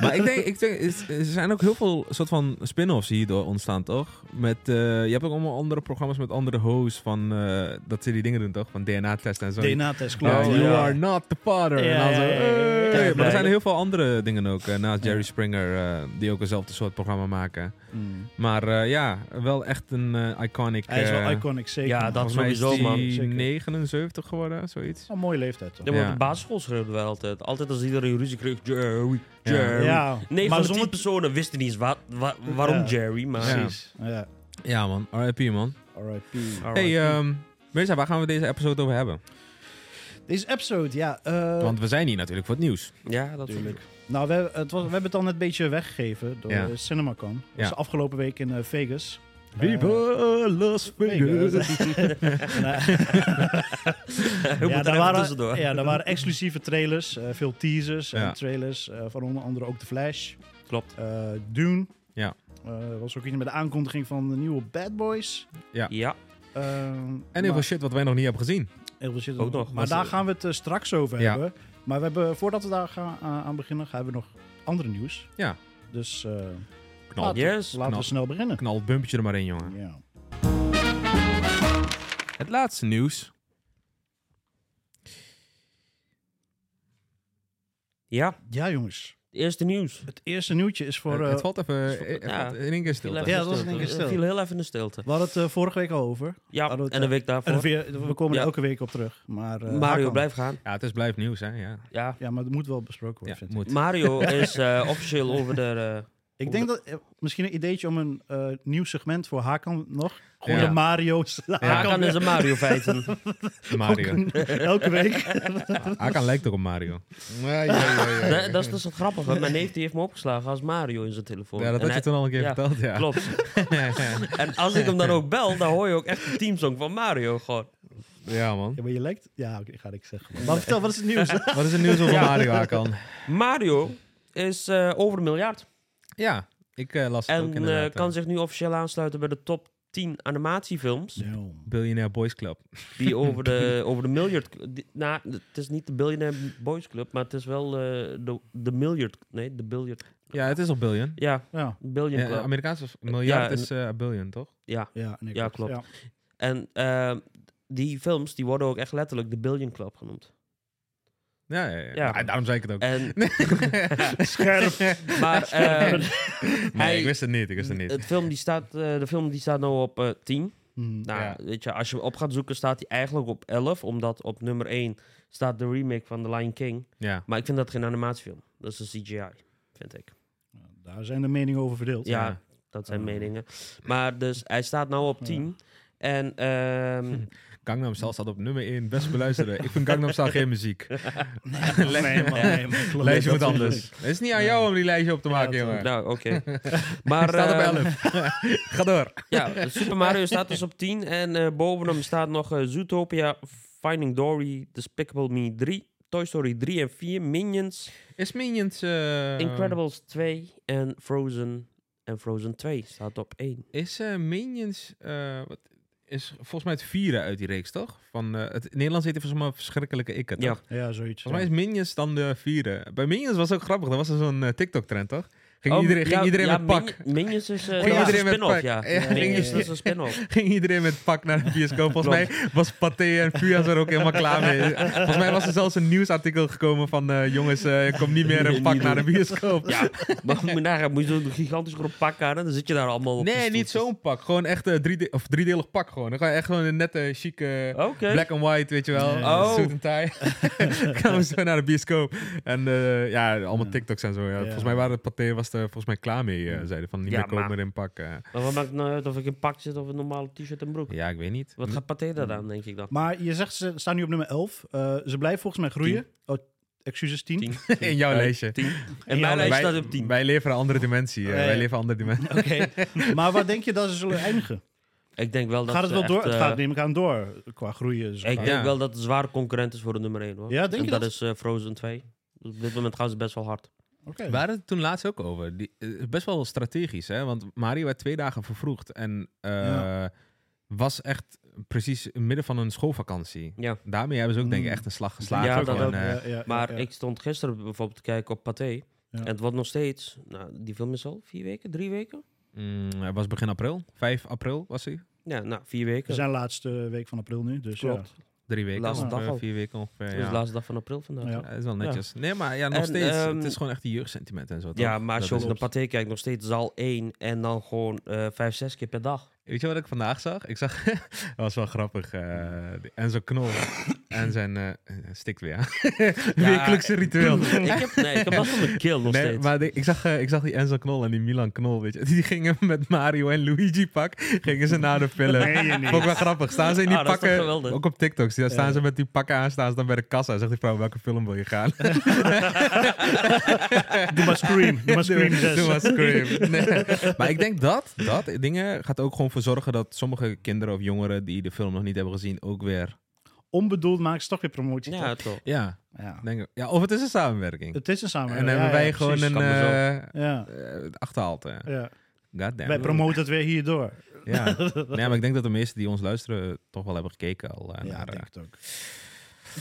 Speaker 7: Maar ik denk, ik denk, is- er zijn ook heel veel soort van spin-offs hierdoor ontstaan, toch? Met, eh, je hebt ook allemaal andere programma's met andere hosts van, eh, dat ze die dingen doen, toch? Van DNA-testen en zo.
Speaker 6: DNA-test,
Speaker 7: Ja,
Speaker 6: klopt.
Speaker 7: you are not the water.
Speaker 6: Ja,
Speaker 7: en dan
Speaker 6: ja,
Speaker 7: zo,
Speaker 6: ja, ja, ja.
Speaker 7: hey.
Speaker 3: Kijk,
Speaker 7: Maar
Speaker 3: blij.
Speaker 7: er zijn heel veel andere dingen ook. eh, naast Jerry Springer, eh, die ook eenzelfde soort programma maken.
Speaker 6: Mm.
Speaker 7: Maar eh, ja, wel echt een eh, iconic.
Speaker 6: Hij is wel
Speaker 7: eh,
Speaker 6: iconic, zeker.
Speaker 3: Ja, dat
Speaker 7: Volgens mij is
Speaker 3: sowieso, man.
Speaker 7: die
Speaker 6: Zeker.
Speaker 7: 79 geworden, zoiets.
Speaker 6: Een mooie leeftijd toch?
Speaker 3: Ja, maar
Speaker 7: Ja.
Speaker 3: op de basisschool schreeuwden wij altijd. Altijd als iedereen ruzie kreeg, Jerry,
Speaker 7: Ja.
Speaker 3: Jerry.
Speaker 6: Ja,
Speaker 3: Nee,
Speaker 6: maar
Speaker 3: van de tien
Speaker 6: zonder...
Speaker 3: personen wisten niet eens wa- wa- waarom
Speaker 6: Ja.
Speaker 3: Jerry, maar...
Speaker 7: Ja.
Speaker 6: Precies. Ja.
Speaker 7: Ja, man. RIP, man.
Speaker 6: R.I.P.
Speaker 7: Hey,
Speaker 6: eh,
Speaker 7: ehm Mirza, waar gaan we deze episode over hebben?
Speaker 6: Deze episode, ja. eh,
Speaker 7: Want we zijn hier natuurlijk voor het nieuws.
Speaker 3: ja, dat vind ik.
Speaker 6: Tuurlijk. Nou, we, het was, we hebben het al net een beetje weggegeven door
Speaker 7: Ja.
Speaker 6: eh, CinemaCon. Dat was
Speaker 7: Ja.
Speaker 6: afgelopen week in eh, Vegas. Eh,
Speaker 7: Las
Speaker 6: En, eh,
Speaker 3: Heel ja,
Speaker 6: ja,
Speaker 3: daar
Speaker 6: daar
Speaker 3: tussendoor.
Speaker 6: waren, ja, daar waren exclusieve trailers, eh, veel teasers
Speaker 7: Ja.
Speaker 6: en trailers eh, van onder andere ook The Flash,
Speaker 3: Klopt.
Speaker 6: eh, Dune.
Speaker 7: Ja.
Speaker 6: Eh, was ook iets met de aankondiging van de nieuwe Bad Boys.
Speaker 3: Ja,
Speaker 6: Ehm,
Speaker 7: En heel
Speaker 6: maar-
Speaker 7: veel shit wat wij nog niet hebben gezien.
Speaker 6: heel veel shit
Speaker 3: Ook nog,
Speaker 6: Maar
Speaker 3: was-
Speaker 6: daar gaan we het eh, straks over
Speaker 7: Ja.
Speaker 6: hebben. Maar we hebben, voordat we daar gaan, eh, aan- aan beginnen, gaan we nog andere nieuws.
Speaker 7: Ja.
Speaker 6: Dus eh,
Speaker 7: Knal,
Speaker 3: yes.
Speaker 6: laten
Speaker 7: knap.
Speaker 6: we snel beginnen.
Speaker 7: knal het bumpetje er maar in, jongen.
Speaker 6: Ja.
Speaker 7: Het laatste nieuws.
Speaker 3: Ja,
Speaker 6: ja, jongens.
Speaker 3: het eerste nieuws.
Speaker 6: Het eerste nieuwtje is voor.
Speaker 7: het,
Speaker 6: eh
Speaker 7: het valt even
Speaker 3: is voor-
Speaker 7: eh, het
Speaker 3: ja.
Speaker 7: valt in één keer
Speaker 3: Viel
Speaker 7: stil.
Speaker 3: even
Speaker 6: Ja,
Speaker 3: in
Speaker 6: dat was
Speaker 3: stilte.
Speaker 6: in één keer
Speaker 3: Eh,
Speaker 6: stil.
Speaker 3: viel heel even in de stilte.
Speaker 6: we hadden het eh, vorige week al over.
Speaker 3: Ja,
Speaker 6: Hadden we het,
Speaker 3: en de
Speaker 6: eh,
Speaker 3: week daarvoor.
Speaker 6: En weer, we komen
Speaker 3: Ja.
Speaker 6: er elke week op terug. Maar, eh,
Speaker 3: Mario
Speaker 6: Hakan.
Speaker 3: blijft gaan.
Speaker 7: Ja, het is blijft nieuws, hè. Ja,
Speaker 3: Ja.
Speaker 6: Ja, maar het moet wel besproken worden.
Speaker 7: ja
Speaker 6: vind ik.
Speaker 7: moet.
Speaker 3: Mario is eh, officieel over de... eh,
Speaker 6: Ik denk dat eh, misschien een ideetje om een eh, nieuw segment voor Hakan nog. Gewoon
Speaker 7: Ja.
Speaker 6: de Mario's.
Speaker 3: Hakan is een Mario-feiten.
Speaker 7: Mario.
Speaker 6: elke week.
Speaker 7: Akan lijkt ook op Mario. Ja,
Speaker 3: dat, dat is dus het grappige. Mijn neef die heeft me opgeslagen als Mario in zijn telefoon.
Speaker 7: dat
Speaker 3: En
Speaker 7: had je
Speaker 3: hij-
Speaker 7: toen al een keer
Speaker 3: ja,
Speaker 7: verteld, ja.
Speaker 3: Klopt. En als ik hem dan ook bel, dan hoor je ook echt de teamsong van Mario gewoon.
Speaker 7: ja, man.
Speaker 6: Ja, maar je lijkt... Ja, oké, ga ik zeggen. Maar vertel, wat is het nieuws?
Speaker 7: Wat is het nieuws over Mario, Akan?
Speaker 3: Mario is eh, over een miljard.
Speaker 7: Ja, ik eh, las het ook
Speaker 3: En eh,
Speaker 7: inderdaad.
Speaker 3: kan
Speaker 7: eh.
Speaker 3: zich nu officieel aansluiten bij de top 10 animatiefilms.
Speaker 6: Damn.
Speaker 7: Billionaire Boys Club.
Speaker 3: Die over de, over de miljard... die- Nou, het is niet de Billionaire Boys Club, maar het is wel eh, de, de miljard... Nee, de biljard...
Speaker 7: Ja, het is al billion.
Speaker 3: Ja,
Speaker 6: Ja,
Speaker 3: billion
Speaker 7: Ja,
Speaker 3: club.
Speaker 7: Amerikaanse v- miljard
Speaker 3: en-
Speaker 7: is eh billion, toch?
Speaker 3: ja.
Speaker 6: ja, nee,
Speaker 3: Ja, klopt. En eh, die films die worden ook echt letterlijk de Billion Club genoemd.
Speaker 7: Ja, ja,
Speaker 3: Ja.
Speaker 7: ja.
Speaker 3: Eh.
Speaker 7: Ah, daarom zei ik het ook.
Speaker 3: En,
Speaker 6: Scherp.
Speaker 3: maar eh,
Speaker 7: nee,
Speaker 3: hij-
Speaker 7: ik wist het niet, ik wist het niet.
Speaker 3: het film die staat, eh, de film die staat nu op eh 10.
Speaker 6: Hmm.
Speaker 3: Nou,
Speaker 7: Ja.
Speaker 3: weet je, als je hem op gaat zoeken, staat hij eigenlijk op 11. Omdat op nummer 1 staat de remake van The Lion King.
Speaker 7: Ja.
Speaker 3: Maar ik vind dat geen animatiefilm. Dat is een CGI, vind ik.
Speaker 6: Daar zijn de meningen over verdeeld.
Speaker 3: Ja,
Speaker 7: Ja. Oh.
Speaker 3: dat zijn
Speaker 6: Ah.
Speaker 3: meningen. Maar dus, hij staat nu op 10. En ehm,
Speaker 7: Gangnam Style staat op nummer 1. Best beluisteren. ik vind Gangnam Style geen muziek.
Speaker 6: Nee, man, nee, man, klopt.
Speaker 7: Lijstje
Speaker 6: Dat
Speaker 7: moet
Speaker 6: is-
Speaker 7: anders. Het is niet aan jou om die lijstje op te maken,
Speaker 6: Ja, dat-
Speaker 7: jongen.
Speaker 3: nou, oké. Maar
Speaker 7: staat
Speaker 3: ehm,
Speaker 7: op 11. Ga door.
Speaker 3: Ja, Super Mario staat dus op 10. En eh, boven hem staat nog eh, Zootopia, Finding Dory, Despicable Me 3, Toy Story 3 en 4, Minions,
Speaker 7: Is Minions... eh,
Speaker 3: Incredibles 2 en Frozen. En Frozen 2 staat op 1.
Speaker 7: Is eh, Minions... eh, wat, is volgens mij het vieren uit die reeks, toch? Van, eh, het, in Nederlands heet het volgens mij verschrikkelijke ikken,
Speaker 3: Ja.
Speaker 7: toch?
Speaker 6: Ja, zoiets.
Speaker 7: Volgens mij is Minions dan de vieren. Bij Minions was het ook grappig. Dat was er zo'n eh, TikTok-trend, toch? Ging
Speaker 3: Oh,
Speaker 7: iedereen, ging
Speaker 3: ja,
Speaker 7: iedereen
Speaker 3: ja,
Speaker 7: met pak...
Speaker 3: Mini- Minions is eh, dat
Speaker 7: Ging
Speaker 3: is
Speaker 7: iedereen
Speaker 3: een
Speaker 7: met
Speaker 3: spin-off,
Speaker 7: pak?
Speaker 3: ja.
Speaker 7: Ja, ging
Speaker 3: Minions
Speaker 7: iedereen-
Speaker 3: is een spin-off.
Speaker 7: ging iedereen met pak naar de bioscoop. Volgens mij was Pathé en Fuyas er ook helemaal klaar mee. Volgens mij was er zelfs een nieuwsartikel gekomen van... eh, jongens, eh kom niet meer een pak naar de bioscoop.
Speaker 3: Ja, maar hoe moet je nagaan, moet je zo'n gigantisch groot pak aan en dan zit je daar allemaal op die
Speaker 7: Nee, niet
Speaker 3: stoeltjes.
Speaker 7: zo'n pak. Gewoon echt eh, driede- of driedelig pak gewoon. Dan ga je echt gewoon een nette, chique...
Speaker 3: Oké.
Speaker 7: Black and white, weet je wel.
Speaker 3: Oh.
Speaker 7: Suit en tie. Gaan we zo naar de bioscoop. En eh, ja, allemaal TikToks en zo. Ja. Volgens mij waren de Pathé was er volgens mij klaar mee. eh, zeiden van niet
Speaker 3: Ja,
Speaker 7: meer komen
Speaker 3: maar-
Speaker 7: in pak. eh.
Speaker 3: Maar wat maakt het nou uit of ik in pak zit of een normale t-shirt en broek?
Speaker 7: Ja, ik weet niet.
Speaker 3: Wat gaat Pathé daar aan, denk ik dan?
Speaker 6: Maar je zegt, ze staan nu op nummer 11. Eh, ze blijven volgens mij groeien. Oh, excuses, 10.
Speaker 3: Tien.
Speaker 7: in jouw lijstje.
Speaker 3: En mijn lijst
Speaker 7: wij,
Speaker 3: staat op 10.
Speaker 7: wij leveren een andere dimensie. eh,
Speaker 6: Ja, ja.
Speaker 7: Wij leveren een andere dimensie.
Speaker 6: Oké. maar wat denk je dat ze zullen eindigen?
Speaker 3: Ik denk wel dat
Speaker 6: gaat het
Speaker 3: ze
Speaker 6: wel
Speaker 3: echt,
Speaker 6: door? Het
Speaker 3: eh,
Speaker 6: gaat neem ik aan door qua groeien. Dus
Speaker 3: Ik
Speaker 6: qua-
Speaker 3: denk
Speaker 7: Ja.
Speaker 3: wel dat het een zware concurrent is voor de nummer 1 hoor.
Speaker 6: Ja, denk
Speaker 3: en
Speaker 6: je
Speaker 3: dat,
Speaker 6: dat?
Speaker 3: is eh, Frozen 2. Dus Op dit moment gaan ze best wel hard.
Speaker 6: Oké.
Speaker 7: We hadden het toen laatst ook over. Die, eh, best wel strategisch, hè? Want Mario werd twee dagen vervroegd. En eh,
Speaker 6: Ja.
Speaker 7: was echt precies in het midden van een schoolvakantie.
Speaker 3: Ja.
Speaker 7: Daarmee hebben ze ook denk ik
Speaker 6: Mm.
Speaker 7: echt een slag geslagen.
Speaker 3: Ja, dat
Speaker 7: Gewoon,
Speaker 3: ook,
Speaker 7: eh,
Speaker 6: Ja, ja,
Speaker 3: Maar
Speaker 6: ja, ja.
Speaker 3: ik stond gisteren bijvoorbeeld te kijken op Pathé. En het wordt nog steeds... Nou, die film is al vier weken? Drie weken?
Speaker 7: mm, het was begin april. 5 april was hij.
Speaker 3: Ja, nou, vier
Speaker 6: We
Speaker 3: weken.
Speaker 6: zijn laatste week van april nu, dus
Speaker 3: Klopt.
Speaker 6: ja.
Speaker 7: Drie weken,
Speaker 3: Laatste
Speaker 7: ongeveer,
Speaker 3: dag al.
Speaker 7: vier weken ongeveer.
Speaker 3: Het is
Speaker 7: Ja.
Speaker 3: de laatste dag van april vandaag.
Speaker 6: Ja.
Speaker 3: Ja,
Speaker 7: Ja, dat is wel netjes. Nee, maar ja, nog
Speaker 3: En,
Speaker 7: steeds.
Speaker 3: ehm,
Speaker 7: het is gewoon echt die jeugdsentiment en zo. toch?
Speaker 3: maar als je
Speaker 7: Dat
Speaker 3: ook
Speaker 7: is-
Speaker 3: naar Pathé kijkt, nog steeds zaal 1 en dan gewoon eh 5, 6 keer per dag.
Speaker 7: Weet je wat ik vandaag zag? Ik zag, dat was wel grappig. eh, die Enzo Knol en zijn eh, stikt weer. aan. Wekelijkse ritueel.
Speaker 3: ik heb, nee, ik heb last van mijn keel nog
Speaker 7: Nee,
Speaker 3: steeds.
Speaker 7: maar die- ik, zag, eh, ik zag die Enzo Knol en die Milan Knol, weet je. Die gingen met Mario en Luigi pak, gingen ze naar de film.
Speaker 6: Meen je niet.
Speaker 7: Vond ik wel grappig. Staan ze in die
Speaker 3: Ah, dat is toch
Speaker 7: pakken,
Speaker 3: geweldig?
Speaker 7: ook op TikToks, daar staan ze met die pakken aan, staan ze dan bij de kassa. Zegt die vrouw, welke film wil je gaan?
Speaker 6: Doe maar Scream. Doe maar Scream
Speaker 7: Doe-
Speaker 6: 6.
Speaker 7: doe maar Scream. Nee. Maar ik denk dat, dat dingen gaat ook gewoon voor zorgen dat sommige kinderen of jongeren die de film nog niet hebben gezien ook weer...
Speaker 6: Onbedoeld maken ze toch weer promotie.
Speaker 3: ja,
Speaker 6: toch?
Speaker 3: toch.
Speaker 7: Ja,
Speaker 6: ja.
Speaker 7: denk, ik- ja of het is een samenwerking.
Speaker 6: Het is een
Speaker 7: en
Speaker 6: samenwerking.
Speaker 7: hebben
Speaker 6: ja,
Speaker 7: wij
Speaker 6: ja,
Speaker 7: gewoon
Speaker 6: precies.
Speaker 7: een
Speaker 3: Kan dus me
Speaker 7: eh
Speaker 6: Ja,
Speaker 7: eh, achterhaald. eh.
Speaker 6: ja.
Speaker 7: Goddamn.
Speaker 6: Wij promoten het weer hierdoor.
Speaker 7: Ja. nee, maar ik denk dat de meesten die ons luisteren eh, toch wel hebben gekeken al eh,
Speaker 6: Ja,
Speaker 7: naar...
Speaker 6: ik
Speaker 7: eh,
Speaker 6: denk het ook.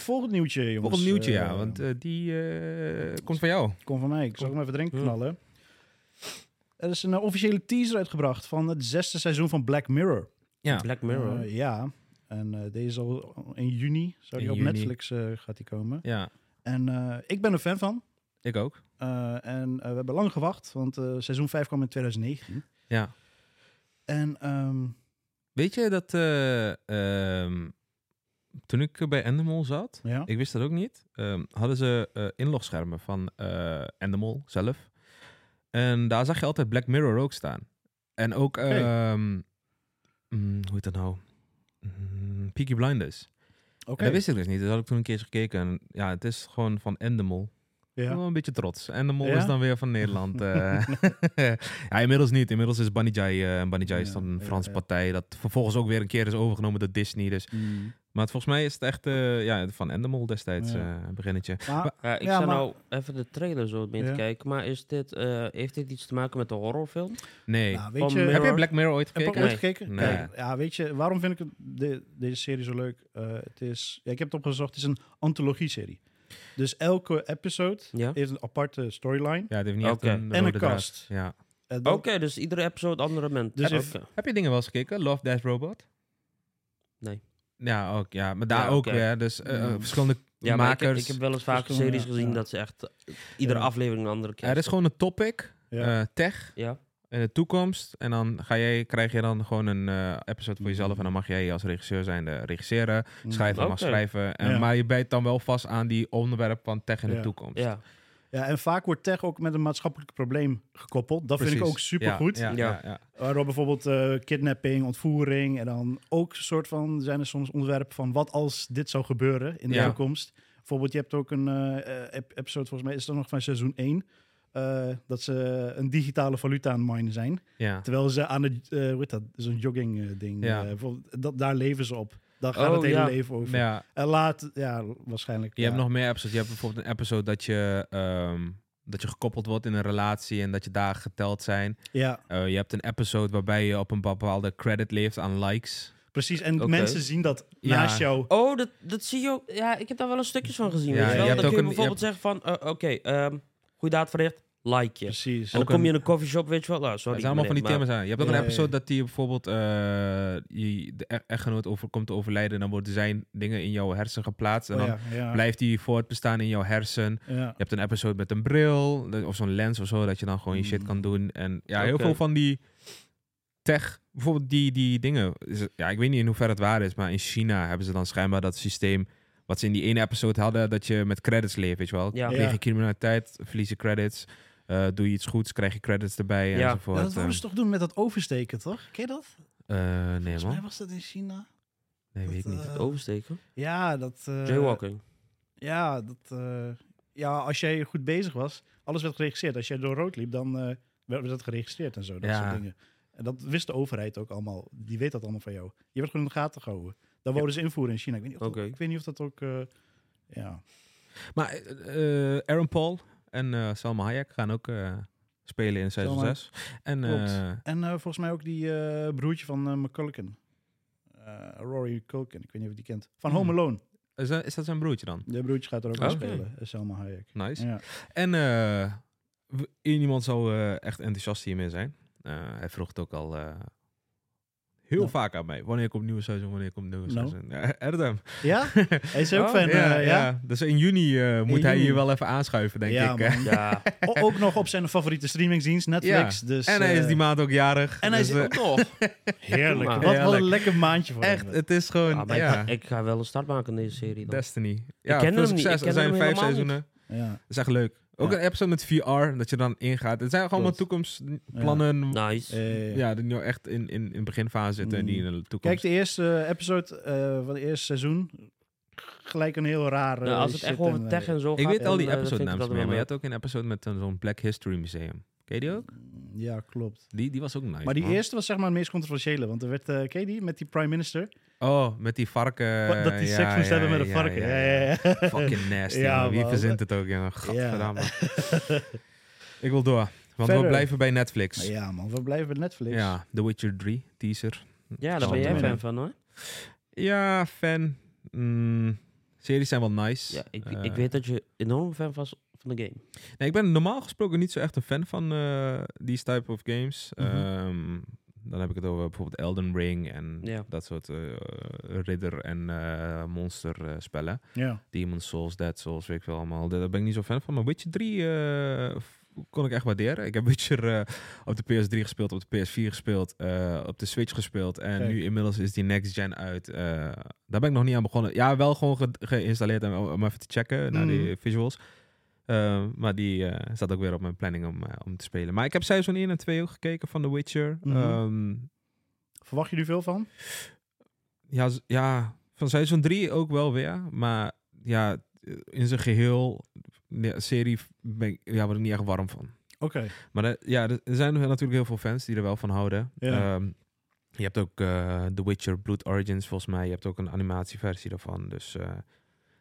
Speaker 6: Volgend nieuwtje, jongens.
Speaker 7: Volgend nieuwtje,
Speaker 6: Eh,
Speaker 7: ja, want eh, die eh, komt van jou.
Speaker 6: Kom van mij, ik zal hem even
Speaker 7: Hm.
Speaker 6: drinken knallen. Er is een eh, officiële teaser uitgebracht van het zesde seizoen van Black Mirror.
Speaker 7: Ja.
Speaker 3: Black Mirror.
Speaker 6: Eh, ja, en eh, deze is al in juni, zou die op
Speaker 7: In juni.
Speaker 6: Netflix eh, gaat die komen.
Speaker 7: Ja,
Speaker 6: En eh, ik ben er fan van.
Speaker 7: ik ook.
Speaker 6: Eh, en eh, we hebben lang gewacht, want eh, seizoen 5 kwam in 2019.
Speaker 7: Ja.
Speaker 6: En ehm,
Speaker 7: Weet je dat eh, ehm, toen ik bij Endemol zat,
Speaker 6: ja,
Speaker 7: ik wist dat ook niet, ehm, hadden ze eh, inlogschermen van eh Endemol zelf. En daar zag je altijd Black Mirror ook staan. En ook,
Speaker 6: Oké.
Speaker 7: ehm, mm, hoe heet dat nou? Mm, Peaky Blinders.
Speaker 6: oké.
Speaker 7: En dat wist ik dus niet. Dus had ik toen een keer eens gekeken. En ja, het is gewoon van Endemol. Ik ben
Speaker 6: Ja.
Speaker 7: wel een beetje trots. En de mol
Speaker 6: Ja?
Speaker 7: is dan weer van Nederland. eh. ja, inmiddels niet. Inmiddels is Bunny Jai. eh, en Bunny Jai is
Speaker 6: Ja,
Speaker 7: dan een
Speaker 6: ja,
Speaker 7: Franse
Speaker 6: ja.
Speaker 7: partij. Dat vervolgens ook weer een keer is overgenomen door Disney. Dus.
Speaker 6: Mm.
Speaker 7: Maar het, volgens mij is het echt eh, ja, van Endemol destijds eh
Speaker 6: Ja.
Speaker 7: beginnetje.
Speaker 6: Maar,
Speaker 3: Ja, ik
Speaker 6: Ja,
Speaker 3: zou
Speaker 6: maar-
Speaker 3: nou even de trailer zo mee
Speaker 6: Ja.
Speaker 3: te kijken. Maar is dit, eh, heeft dit iets te maken met de horrorfilm?
Speaker 7: Nee.
Speaker 6: nou, weet
Speaker 3: Van
Speaker 6: je,
Speaker 3: Mirror.
Speaker 7: eh, Heb je Black Mirror ooit
Speaker 6: Heb je
Speaker 7: gekeken?
Speaker 6: ook ooit
Speaker 3: Nee.
Speaker 6: gekeken?
Speaker 7: Nee.
Speaker 6: Kijk, ja, weet je, waarom vind ik het, de, deze serie zo leuk? Eh, het is, ja, ik heb het opgezocht, het is een antologie-serie. Dus elke episode
Speaker 3: Ja.
Speaker 6: heeft een aparte storyline.
Speaker 7: Ja, dat heeft niet echt
Speaker 3: Oké.
Speaker 7: een
Speaker 6: En
Speaker 7: rode
Speaker 6: een
Speaker 7: draad.
Speaker 6: cast.
Speaker 7: Ja.
Speaker 6: Eh,
Speaker 3: Oké,
Speaker 6: dat-
Speaker 3: dus iedere episode andere mensen.
Speaker 6: Dus
Speaker 3: Oké.
Speaker 6: if-
Speaker 7: Heb je dingen wel eens gekeken? Love, Death, Robot?
Speaker 3: Nee.
Speaker 7: Ja, ook. Ja, maar daar
Speaker 3: Ja,
Speaker 7: ook
Speaker 3: oké.
Speaker 7: weer. Dus eh, eh,
Speaker 6: Mm.
Speaker 7: verschillende
Speaker 3: Ja, maar ik, heb,
Speaker 7: makers.
Speaker 3: ik heb wel eens vaker
Speaker 6: verschillende-
Speaker 3: series gezien
Speaker 6: ja.
Speaker 3: dat ze echt eh, iedere
Speaker 6: Ja.
Speaker 3: aflevering een andere keer.
Speaker 7: Er is gewoon een topic.
Speaker 6: Ja.
Speaker 7: eh, tech.
Speaker 3: Ja,
Speaker 7: in de toekomst. En dan ga jij, krijg je dan gewoon een eh, episode voor jezelf. En dan mag jij als regisseur zijn regisseren. Schrijver mag
Speaker 3: Oké.
Speaker 7: schrijven. En,
Speaker 6: Mm. Ja.
Speaker 7: Maar je bijt dan wel vast aan die onderwerp van tech in
Speaker 6: Ja.
Speaker 7: de toekomst.
Speaker 3: ja.
Speaker 6: ja, en vaak wordt tech ook met een maatschappelijk probleem gekoppeld. Dat vind ik
Speaker 7: Precies.
Speaker 6: ook supergoed.
Speaker 7: Ja, ja,
Speaker 3: Ja.
Speaker 7: ja, ja.
Speaker 6: Waarop bijvoorbeeld eh, kidnapping, ontvoering en dan ook een soort van zijn er soms onderwerpen van wat als dit zou gebeuren in de
Speaker 7: Ja.
Speaker 6: toekomst. Bijvoorbeeld, je hebt ook een eh, eh, ep- episode, volgens mij is dat nog van seizoen 1, eh, dat ze een digitale valuta aan het minen zijn.
Speaker 7: Ja.
Speaker 6: Terwijl ze aan het, eh, hoe heet dat, zo'n jogging eh, ding,
Speaker 7: Ja.
Speaker 6: eh, bijvoorbeeld, dat, daar leven ze op. Daar gaat
Speaker 3: Oh,
Speaker 6: het hele
Speaker 3: ja.
Speaker 6: leven over.
Speaker 7: Maar ja,
Speaker 6: En laat, ja, waarschijnlijk.
Speaker 7: je
Speaker 6: ja.
Speaker 7: hebt nog meer episodes. Je hebt bijvoorbeeld een episode dat je, ehm, dat je gekoppeld wordt in een relatie. En dat je dagen geteld zijn.
Speaker 6: Ja,
Speaker 7: Eh, je hebt een episode waarbij je op een bepaalde credit leeft aan likes.
Speaker 6: precies. En
Speaker 3: Oké.
Speaker 6: mensen zien dat
Speaker 7: eh, Ja.
Speaker 6: naast jou.
Speaker 3: Oh, dat, dat zie je ook. Ja, ik heb daar wel een stukjes van gezien.
Speaker 7: Ja,
Speaker 3: weet je
Speaker 7: je
Speaker 3: wel?
Speaker 7: hebt
Speaker 3: Dan
Speaker 7: ook
Speaker 3: kun je
Speaker 7: een- je
Speaker 3: bijvoorbeeld zeggen van, eh, oké, ehm, goede daad verricht, like je.
Speaker 6: Precies.
Speaker 3: En dan
Speaker 7: Ook
Speaker 3: kom je
Speaker 7: een-
Speaker 3: in een coffeeshop, weet je wel. Nou, sorry,
Speaker 7: het zijn allemaal van die
Speaker 3: meneer,
Speaker 7: thema's aan. Je hebt ook
Speaker 6: Ja,
Speaker 7: een
Speaker 6: ja,
Speaker 7: episode
Speaker 6: ja.
Speaker 7: dat die bijvoorbeeld eh, je, de e- echtgenoot over, komt te overlijden. Dan worden zijn dingen in jouw hersen geplaatst. En
Speaker 6: Oh,
Speaker 7: dan
Speaker 6: ja, ja,
Speaker 7: blijft die voortbestaan in jouw hersen.
Speaker 6: ja.
Speaker 7: Je hebt een episode met een bril de- of zo'n lens of zo, dat je dan gewoon je shit kan doen. En ja, heel
Speaker 3: Mm. Oké.
Speaker 7: veel van die tech, bijvoorbeeld die, die dingen. is- Ja, ik weet niet in hoeverre het waar is, maar in China hebben ze dan schijnbaar dat systeem wat ze in die ene episode hadden, dat je met credits leeft, weet je wel.
Speaker 3: Ja.
Speaker 7: Tegen
Speaker 6: Ja.
Speaker 7: je criminaliteit, verlies je credits. Eh, doe je iets goeds, krijg je credits erbij
Speaker 3: Ja.
Speaker 7: enzovoort.
Speaker 6: Ja, dat
Speaker 7: Ehm,
Speaker 6: wouden ze toch doen met dat oversteken, toch? Ken je dat?
Speaker 7: eh, nee,
Speaker 6: Volgens mij
Speaker 7: man.
Speaker 6: was dat in China.
Speaker 7: Nee, weet ik
Speaker 6: dat,
Speaker 7: niet. Oh.
Speaker 6: eh,
Speaker 3: maar Oversteken.
Speaker 6: Ja, dat... eh,
Speaker 3: Jaywalking.
Speaker 6: Ja, dat... eh, ja, als jij goed bezig was, alles werd geregistreerd. Als jij door rood liep, dan eh, werd dat geregistreerd en zo. Dat
Speaker 7: Ja.
Speaker 6: soort dingen. En dat wist de overheid ook allemaal. Die weet dat allemaal van jou. Je werd gewoon in de gaten gehouden. Dat wouden ze invoeren in China. Ik weet niet of,
Speaker 3: Oké.
Speaker 6: dat, ik weet niet of dat ook... eh, ja.
Speaker 7: Maar eh, eh, Aaron Paul en eh, Salma Hayek gaan ook eh, spelen in seizoen
Speaker 6: Salma.
Speaker 7: 6. En
Speaker 6: Klopt.
Speaker 7: eh,
Speaker 6: En eh, volgens mij ook die eh, broertje van eh McCulkin. Eh, Rory Culkin. Ik weet niet of je die kent. Van Home
Speaker 7: Hmm.
Speaker 6: Alone.
Speaker 7: is, dat, is dat zijn broertje dan?
Speaker 6: De broertje gaat er ook
Speaker 7: Oké.
Speaker 6: aan spelen. eh, Selma Hayek.
Speaker 7: Nice.
Speaker 6: Ja.
Speaker 7: En eh, w- iemand zou eh, echt enthousiast hiermee zijn. Eh, hij vroeg het ook al eh, heel
Speaker 6: Nou.
Speaker 7: vaak aan mij. Wanneer komt het nieuwe seizoen? Wanneer komt het nieuwe
Speaker 6: Nou.
Speaker 7: seizoen? Ja, Erdem.
Speaker 6: Ja? Hij is ook
Speaker 3: Oh,
Speaker 6: fan,
Speaker 7: ja,
Speaker 6: eh,
Speaker 7: ja.
Speaker 6: ja?
Speaker 7: Dus in juni eh, moet
Speaker 6: In
Speaker 7: hij
Speaker 6: juni.
Speaker 7: hier wel even aanschuiven, denk
Speaker 6: Ja,
Speaker 7: ik. eh.
Speaker 6: man.
Speaker 3: Ja.
Speaker 6: O- ook nog op zijn favoriete streamingsdienst, Netflix. Dus,
Speaker 7: en hij
Speaker 6: eh,
Speaker 7: is die maand ook jarig.
Speaker 6: en hij
Speaker 7: dus,
Speaker 6: is
Speaker 7: eh,
Speaker 6: ook nog. Heerlijk. Wat, wat
Speaker 7: Heerlijk.
Speaker 6: een lekker maandje voor
Speaker 7: echt,
Speaker 6: hem.
Speaker 7: het is gewoon
Speaker 3: Ah, maar ik,
Speaker 7: ja,
Speaker 3: ga, ik ga wel een start maken in deze serie dan.
Speaker 7: Destiny. Ja,
Speaker 3: ken
Speaker 7: veel
Speaker 3: hem niet,
Speaker 7: succes.
Speaker 3: ik ken
Speaker 7: er zijn
Speaker 3: hem
Speaker 7: vijf
Speaker 3: helemaal
Speaker 7: seizoenen.
Speaker 6: Ja.
Speaker 7: Dat is echt leuk. Ook
Speaker 6: Ja.
Speaker 7: een episode met VR, dat je dan ingaat. Het zijn gewoon allemaal
Speaker 3: Klopt.
Speaker 7: toekomstplannen. Ja.
Speaker 3: Nice.
Speaker 6: Eh,
Speaker 7: die nu echt in, in, in beginfase zitten en die in de
Speaker 6: Mm. Kijk,
Speaker 7: toekomst.
Speaker 6: de eerste eh, episode eh, van het eerste seizoen. Gelijk een heel raar.
Speaker 3: Nou,
Speaker 6: eh,
Speaker 3: als het echt
Speaker 6: shit
Speaker 3: wel
Speaker 6: en,
Speaker 3: over
Speaker 6: eh,
Speaker 3: tech en zo gaat...
Speaker 7: ik weet al
Speaker 3: dan,
Speaker 7: die
Speaker 3: eh,
Speaker 7: episode
Speaker 3: vind ik
Speaker 7: namen
Speaker 3: dat
Speaker 7: meer,
Speaker 3: wel
Speaker 7: maar je
Speaker 3: leuk.
Speaker 7: had ook een episode met een- zo'n Black History Museum. Ken je die ook?
Speaker 6: eh, Ja, klopt.
Speaker 7: Die, die was ook nice.
Speaker 6: Maar die
Speaker 7: man.
Speaker 6: eerste was zeg maar het meest controversiële. Want er werd, eh ken je die? Met die prime minister.
Speaker 7: Oh, met die varken.
Speaker 6: Wat- dat die
Speaker 7: ja,
Speaker 6: seks moest
Speaker 7: ja,
Speaker 6: hebben met een
Speaker 7: ja,
Speaker 6: varken.
Speaker 7: ja,
Speaker 6: Ja,
Speaker 7: ja.
Speaker 6: ja, ja.
Speaker 7: Fucking nasty.
Speaker 6: Ja,
Speaker 7: man. Wie
Speaker 6: man.
Speaker 7: verzint het ook, jongen? Gadverdamme. ik wil door. Want we
Speaker 6: Verder.
Speaker 7: blijven bij Netflix.
Speaker 6: Maar ja, man. We blijven bij Netflix.
Speaker 7: Ja, The Witcher 3 teaser.
Speaker 3: Ja, daar ben jij fan van, hoor.
Speaker 7: Ja, fan. Mm, series zijn wel nice.
Speaker 3: Ja, ik,
Speaker 7: Eh,
Speaker 3: ik weet dat je enorm fan was van de game.
Speaker 7: nee, ik ben normaal gesproken niet zo echt een fan van eh die type of games.
Speaker 6: Mhm.
Speaker 7: Ehm, dan heb ik het over bijvoorbeeld Elden Ring en
Speaker 3: Ja.
Speaker 7: dat soort eh, ridder- en eh, monster eh, spellen.
Speaker 6: Ja.
Speaker 7: Demon Souls, Dead Souls, weet ik veel allemaal. Daar daar ben ik niet zo fan van. Maar Witcher 3 eh, f- kon ik echt waarderen. Ik heb Witcher eh, op de PS3 gespeeld, op de PS4 gespeeld, eh, op de Switch gespeeld. En
Speaker 6: Kijk.
Speaker 7: nu inmiddels is die next gen uit. Eh, daar ben ik nog niet aan begonnen. Ja, wel gewoon ge- geïnstalleerd en, om even te checken naar die
Speaker 6: Mhm.
Speaker 7: visuals. Eh, maar die eh, staat ook weer op mijn planning om, eh, om te spelen. Maar ik heb seizoen 1 en 2 ook gekeken van The Witcher.
Speaker 6: Mhm.
Speaker 7: Ehm,
Speaker 6: Verwacht je er veel van?
Speaker 7: ja, z- ja, van seizoen 3 ook wel weer. Maar ja, eh, in zijn geheel, de serie, ben ik, ja, word ik niet echt warm van.
Speaker 6: Oké.
Speaker 7: Maar eh, ja, er er zijn natuurlijk heel veel fans die er wel van houden.
Speaker 6: Ja.
Speaker 7: Ehm, je hebt ook eh, The Witcher Blood Origins, volgens mij. Je hebt ook een animatieversie daarvan. Dus eh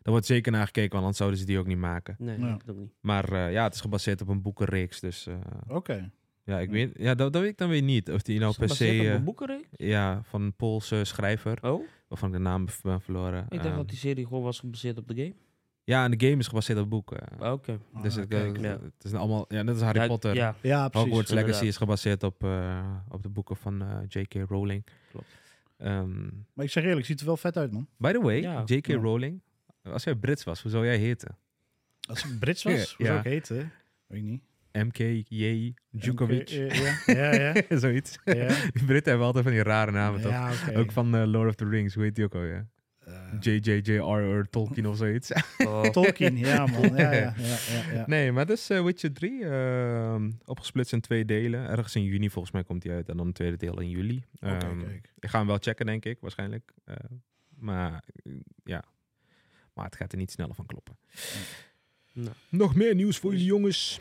Speaker 7: daar wordt zeker naar gekeken, want anders zouden ze die ook niet maken.
Speaker 3: Nee,
Speaker 6: Ja.
Speaker 3: ik dat niet.
Speaker 7: Maar eh, ja, het is gebaseerd op een boekenreeks. Dus eh,
Speaker 6: Oké.
Speaker 7: ja, ik
Speaker 6: Ja.
Speaker 7: weet, ja, dat, dat weet ik dan weer niet. Of die nou
Speaker 3: Is het
Speaker 7: per se...
Speaker 3: gebaseerd op
Speaker 7: eh,
Speaker 3: een boekenreeks?
Speaker 7: ja, van een Poolse schrijver,
Speaker 3: Oh,
Speaker 7: waarvan ik de naam v- ben verloren.
Speaker 3: ik dacht
Speaker 7: Ehm,
Speaker 3: dat die serie gewoon was gebaseerd op de game.
Speaker 7: Ja, en de game is gebaseerd op boeken.
Speaker 3: Ah, Oké.
Speaker 6: Ah,
Speaker 7: dus het,
Speaker 6: kijk.
Speaker 7: het-
Speaker 3: ja.
Speaker 7: het is allemaal, ja, net als Harry
Speaker 3: Ja,
Speaker 7: Potter.
Speaker 3: Ja,
Speaker 6: Ja, precies.
Speaker 7: Hogwarts Legacy
Speaker 3: inderdaad.
Speaker 7: is gebaseerd op, eh, op de boeken van eh, J.K. Rowling.
Speaker 3: Klopt.
Speaker 7: Ehm,
Speaker 6: Maar ik zeg eerlijk, ziet er wel vet uit, man.
Speaker 7: by the way,
Speaker 3: Ja.
Speaker 7: J.K.
Speaker 6: Ja.
Speaker 7: Rowling, als jij Brits was, hoe zou jij heten?
Speaker 6: Als het Brits was,
Speaker 7: Ja,
Speaker 6: hoe
Speaker 7: ja.
Speaker 6: zou ik heten? Weet ik niet.
Speaker 7: M.K.J. Djokovic.
Speaker 6: MK, eh, ja, ja. ja,
Speaker 7: Zoiets.
Speaker 6: ja.
Speaker 7: Die Britten hebben altijd van die rare namen, toch?
Speaker 6: Ja, oké.
Speaker 7: Ook van eh, Lord of the Rings, hoe heet die ook alweer?
Speaker 6: Eh,
Speaker 7: J.J.J.R.R. Tolkien of zoiets.
Speaker 3: Oh.
Speaker 6: Tolkien, ja, man. Ja, ja, ja, ja, ja.
Speaker 7: Nee, maar dus is eh, Witcher 3 ehm, opgesplitst in twee delen. Ergens in juni volgens mij komt die uit en dan het tweede deel in juli.
Speaker 6: Oké,
Speaker 7: Ehm,
Speaker 6: kijk.
Speaker 7: Ik ga hem wel checken, denk ik, waarschijnlijk. Eh, maar eh, ja, maar het gaat er niet sneller van kloppen.
Speaker 3: Nou.
Speaker 7: Nog meer nieuws voor jullie jongens.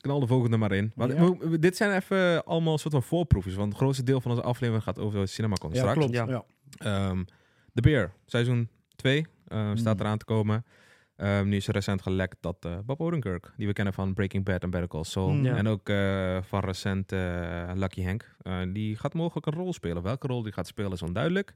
Speaker 7: Knal de volgende maar in. Want
Speaker 6: Ja.
Speaker 7: we- we- dit zijn even allemaal soort van voorproefjes, want het grootste deel van onze aflevering gaat over de CinemaCon
Speaker 6: Ja,
Speaker 7: straks.
Speaker 6: klopt.
Speaker 3: Ja.
Speaker 6: Ja.
Speaker 7: Ehm de Beer, seizoen 2, staat eraan te komen. Ehm, nu is er recent gelekt dat eh, Bob Odenkirk, die we kennen van Breaking Bad en Better Call Saul,
Speaker 6: Mm.
Speaker 3: Ja.
Speaker 7: en ook eh, van recent eh, Lucky Hank, eh, die gaat mogelijk een rol spelen. Welke rol die gaat spelen is onduidelijk.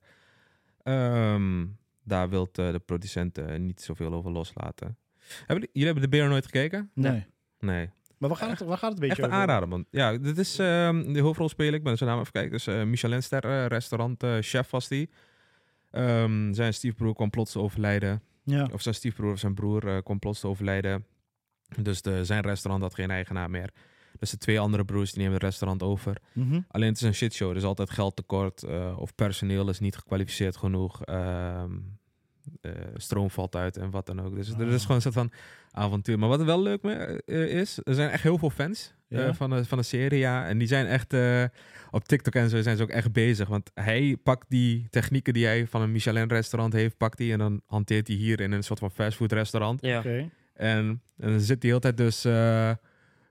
Speaker 7: Ehm, daar wil de producent eh, niet zoveel over loslaten. Hebben, jullie- jullie hebben de Beer nooit gekeken?
Speaker 6: Nee.
Speaker 7: Nee.
Speaker 6: Maar waar gaat het, waar gaat het een
Speaker 7: Echt
Speaker 6: beetje
Speaker 7: een
Speaker 6: over?
Speaker 7: aanrader, man. Ja, dit is ehm, de hoofdrolspeler. Ik ben zijn naam even kijken. Dus eh Michelinster eh, restaurant eh, chef was die. Ehm, zijn stiefbroer kwam plots te overlijden.
Speaker 6: Ja.
Speaker 7: Of zijn stiefbroer of zijn broer eh, kwam plots te overlijden. Dus de, zijn restaurant had geen eigenaar meer. Dus de twee andere broers die nemen het restaurant over.
Speaker 6: Mhm.
Speaker 7: Alleen het is een shitshow. Er is altijd geldtekort. eh, of personeel is niet gekwalificeerd genoeg. ehm, eh, stroom valt uit en wat dan ook. Dus er is
Speaker 6: Ah.
Speaker 7: gewoon een soort van avontuur. Maar wat er wel leuk mee eh, is, er zijn echt heel veel fans eh,
Speaker 6: Ja.
Speaker 7: van, de, van de serie. Ja. En die zijn echt eh, op TikTok en zo zijn ze ook echt bezig. Want hij pakt die technieken die hij van een Michelin restaurant heeft, pakt die en dan hanteert hij hier in een soort van fastfood restaurant.
Speaker 3: Ja.
Speaker 6: Oké.
Speaker 7: En, en dan zit hij altijd dus... eh,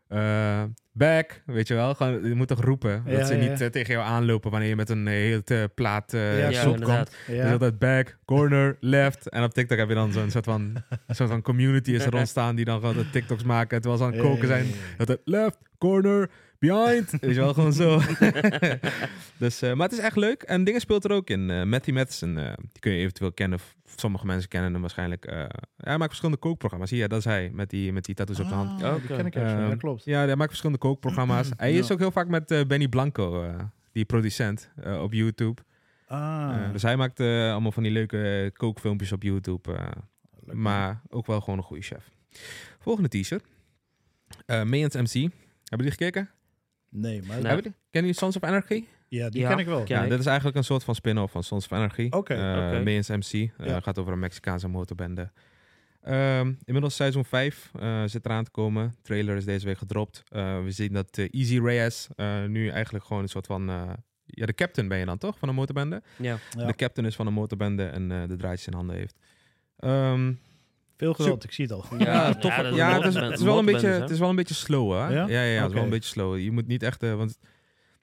Speaker 7: eh, back, weet je wel. Gewoon, je moet toch roepen.
Speaker 6: Ja,
Speaker 7: dat ze
Speaker 6: ja,
Speaker 7: niet
Speaker 6: ja.
Speaker 7: eh, tegen jou aanlopen wanneer je met een hele eh, plaat eh
Speaker 6: Ja,
Speaker 7: ja,
Speaker 3: Ja,
Speaker 6: klopt.
Speaker 3: inderdaad.
Speaker 7: Dus
Speaker 6: Ja.
Speaker 7: altijd back, corner, left. En op TikTok heb je dan zo'n soort van, een soort van community is er ontstaan die dan gewoon de TikToks maken terwijl ze aan het koken zijn. Dat het left, corner, behind. Weet je wel, gewoon zo. dus, eh, maar het is echt leuk. En dingen speelt er ook in. eh Matthew Madsen, eh, die kun je eventueel kennen. F- Sommige mensen kennen hem waarschijnlijk. eh, hij maakt verschillende kookprogramma's. Hier, dat is hij, met die, met die tattoos op de hand.
Speaker 6: Ah, die
Speaker 3: Oké.
Speaker 6: ken ik ergens van. Ja,
Speaker 7: Ehm,
Speaker 6: klopt.
Speaker 7: Ja, hij maakt verschillende kookprogramma's. Hij
Speaker 6: Ja.
Speaker 7: is ook heel vaak met eh, Benny Blanco, eh, die producent, eh, op YouTube.
Speaker 6: Ah,
Speaker 7: Eh, dus hij maakt eh, allemaal van die leuke eh, kookfilmpjes op YouTube. eh, maar ook wel gewoon een goede chef. Volgende teaser. Eh Mayans MC. Hebben jullie gekeken?
Speaker 6: nee, maar...
Speaker 3: Nee.
Speaker 7: Hebben jullie? Kennen jullie Sons of Anarchy?
Speaker 6: Ja, die
Speaker 3: Ja.
Speaker 6: ken ik wel.
Speaker 3: Ja.
Speaker 7: Ja, dit is eigenlijk een soort van spin-off van Sons of Anarchy.
Speaker 6: Oké,
Speaker 7: Eh,
Speaker 3: oké.
Speaker 7: Mayans MC. eh,
Speaker 6: Ja.
Speaker 7: Gaat over een Mexicaanse motorbende. Ehm, inmiddels seizoen 5 eh, zit eraan te komen. Trailer is deze week gedropt. Eh, we zien dat eh, Easy Reyes eh, nu eigenlijk gewoon een soort van... eh, ja, de captain ben je dan toch van een motorbende?
Speaker 3: Ja.
Speaker 6: Ja.
Speaker 7: de captain is van een motorbende en eh, de draadjes in handen heeft. Ehm,
Speaker 6: Veel geweld, ik zie het al.
Speaker 3: Ja,
Speaker 7: tof.
Speaker 3: ja, dat is
Speaker 7: Ja,
Speaker 3: een
Speaker 7: het is,
Speaker 3: motorbende-
Speaker 7: het is wel een beetje,
Speaker 3: motorbende, hè?
Speaker 7: het is wel een beetje slow, hè?
Speaker 6: Ja?
Speaker 7: Ja, ja, ja, het is wel
Speaker 6: Oké.
Speaker 7: een beetje slow. Je moet niet echt, eh, want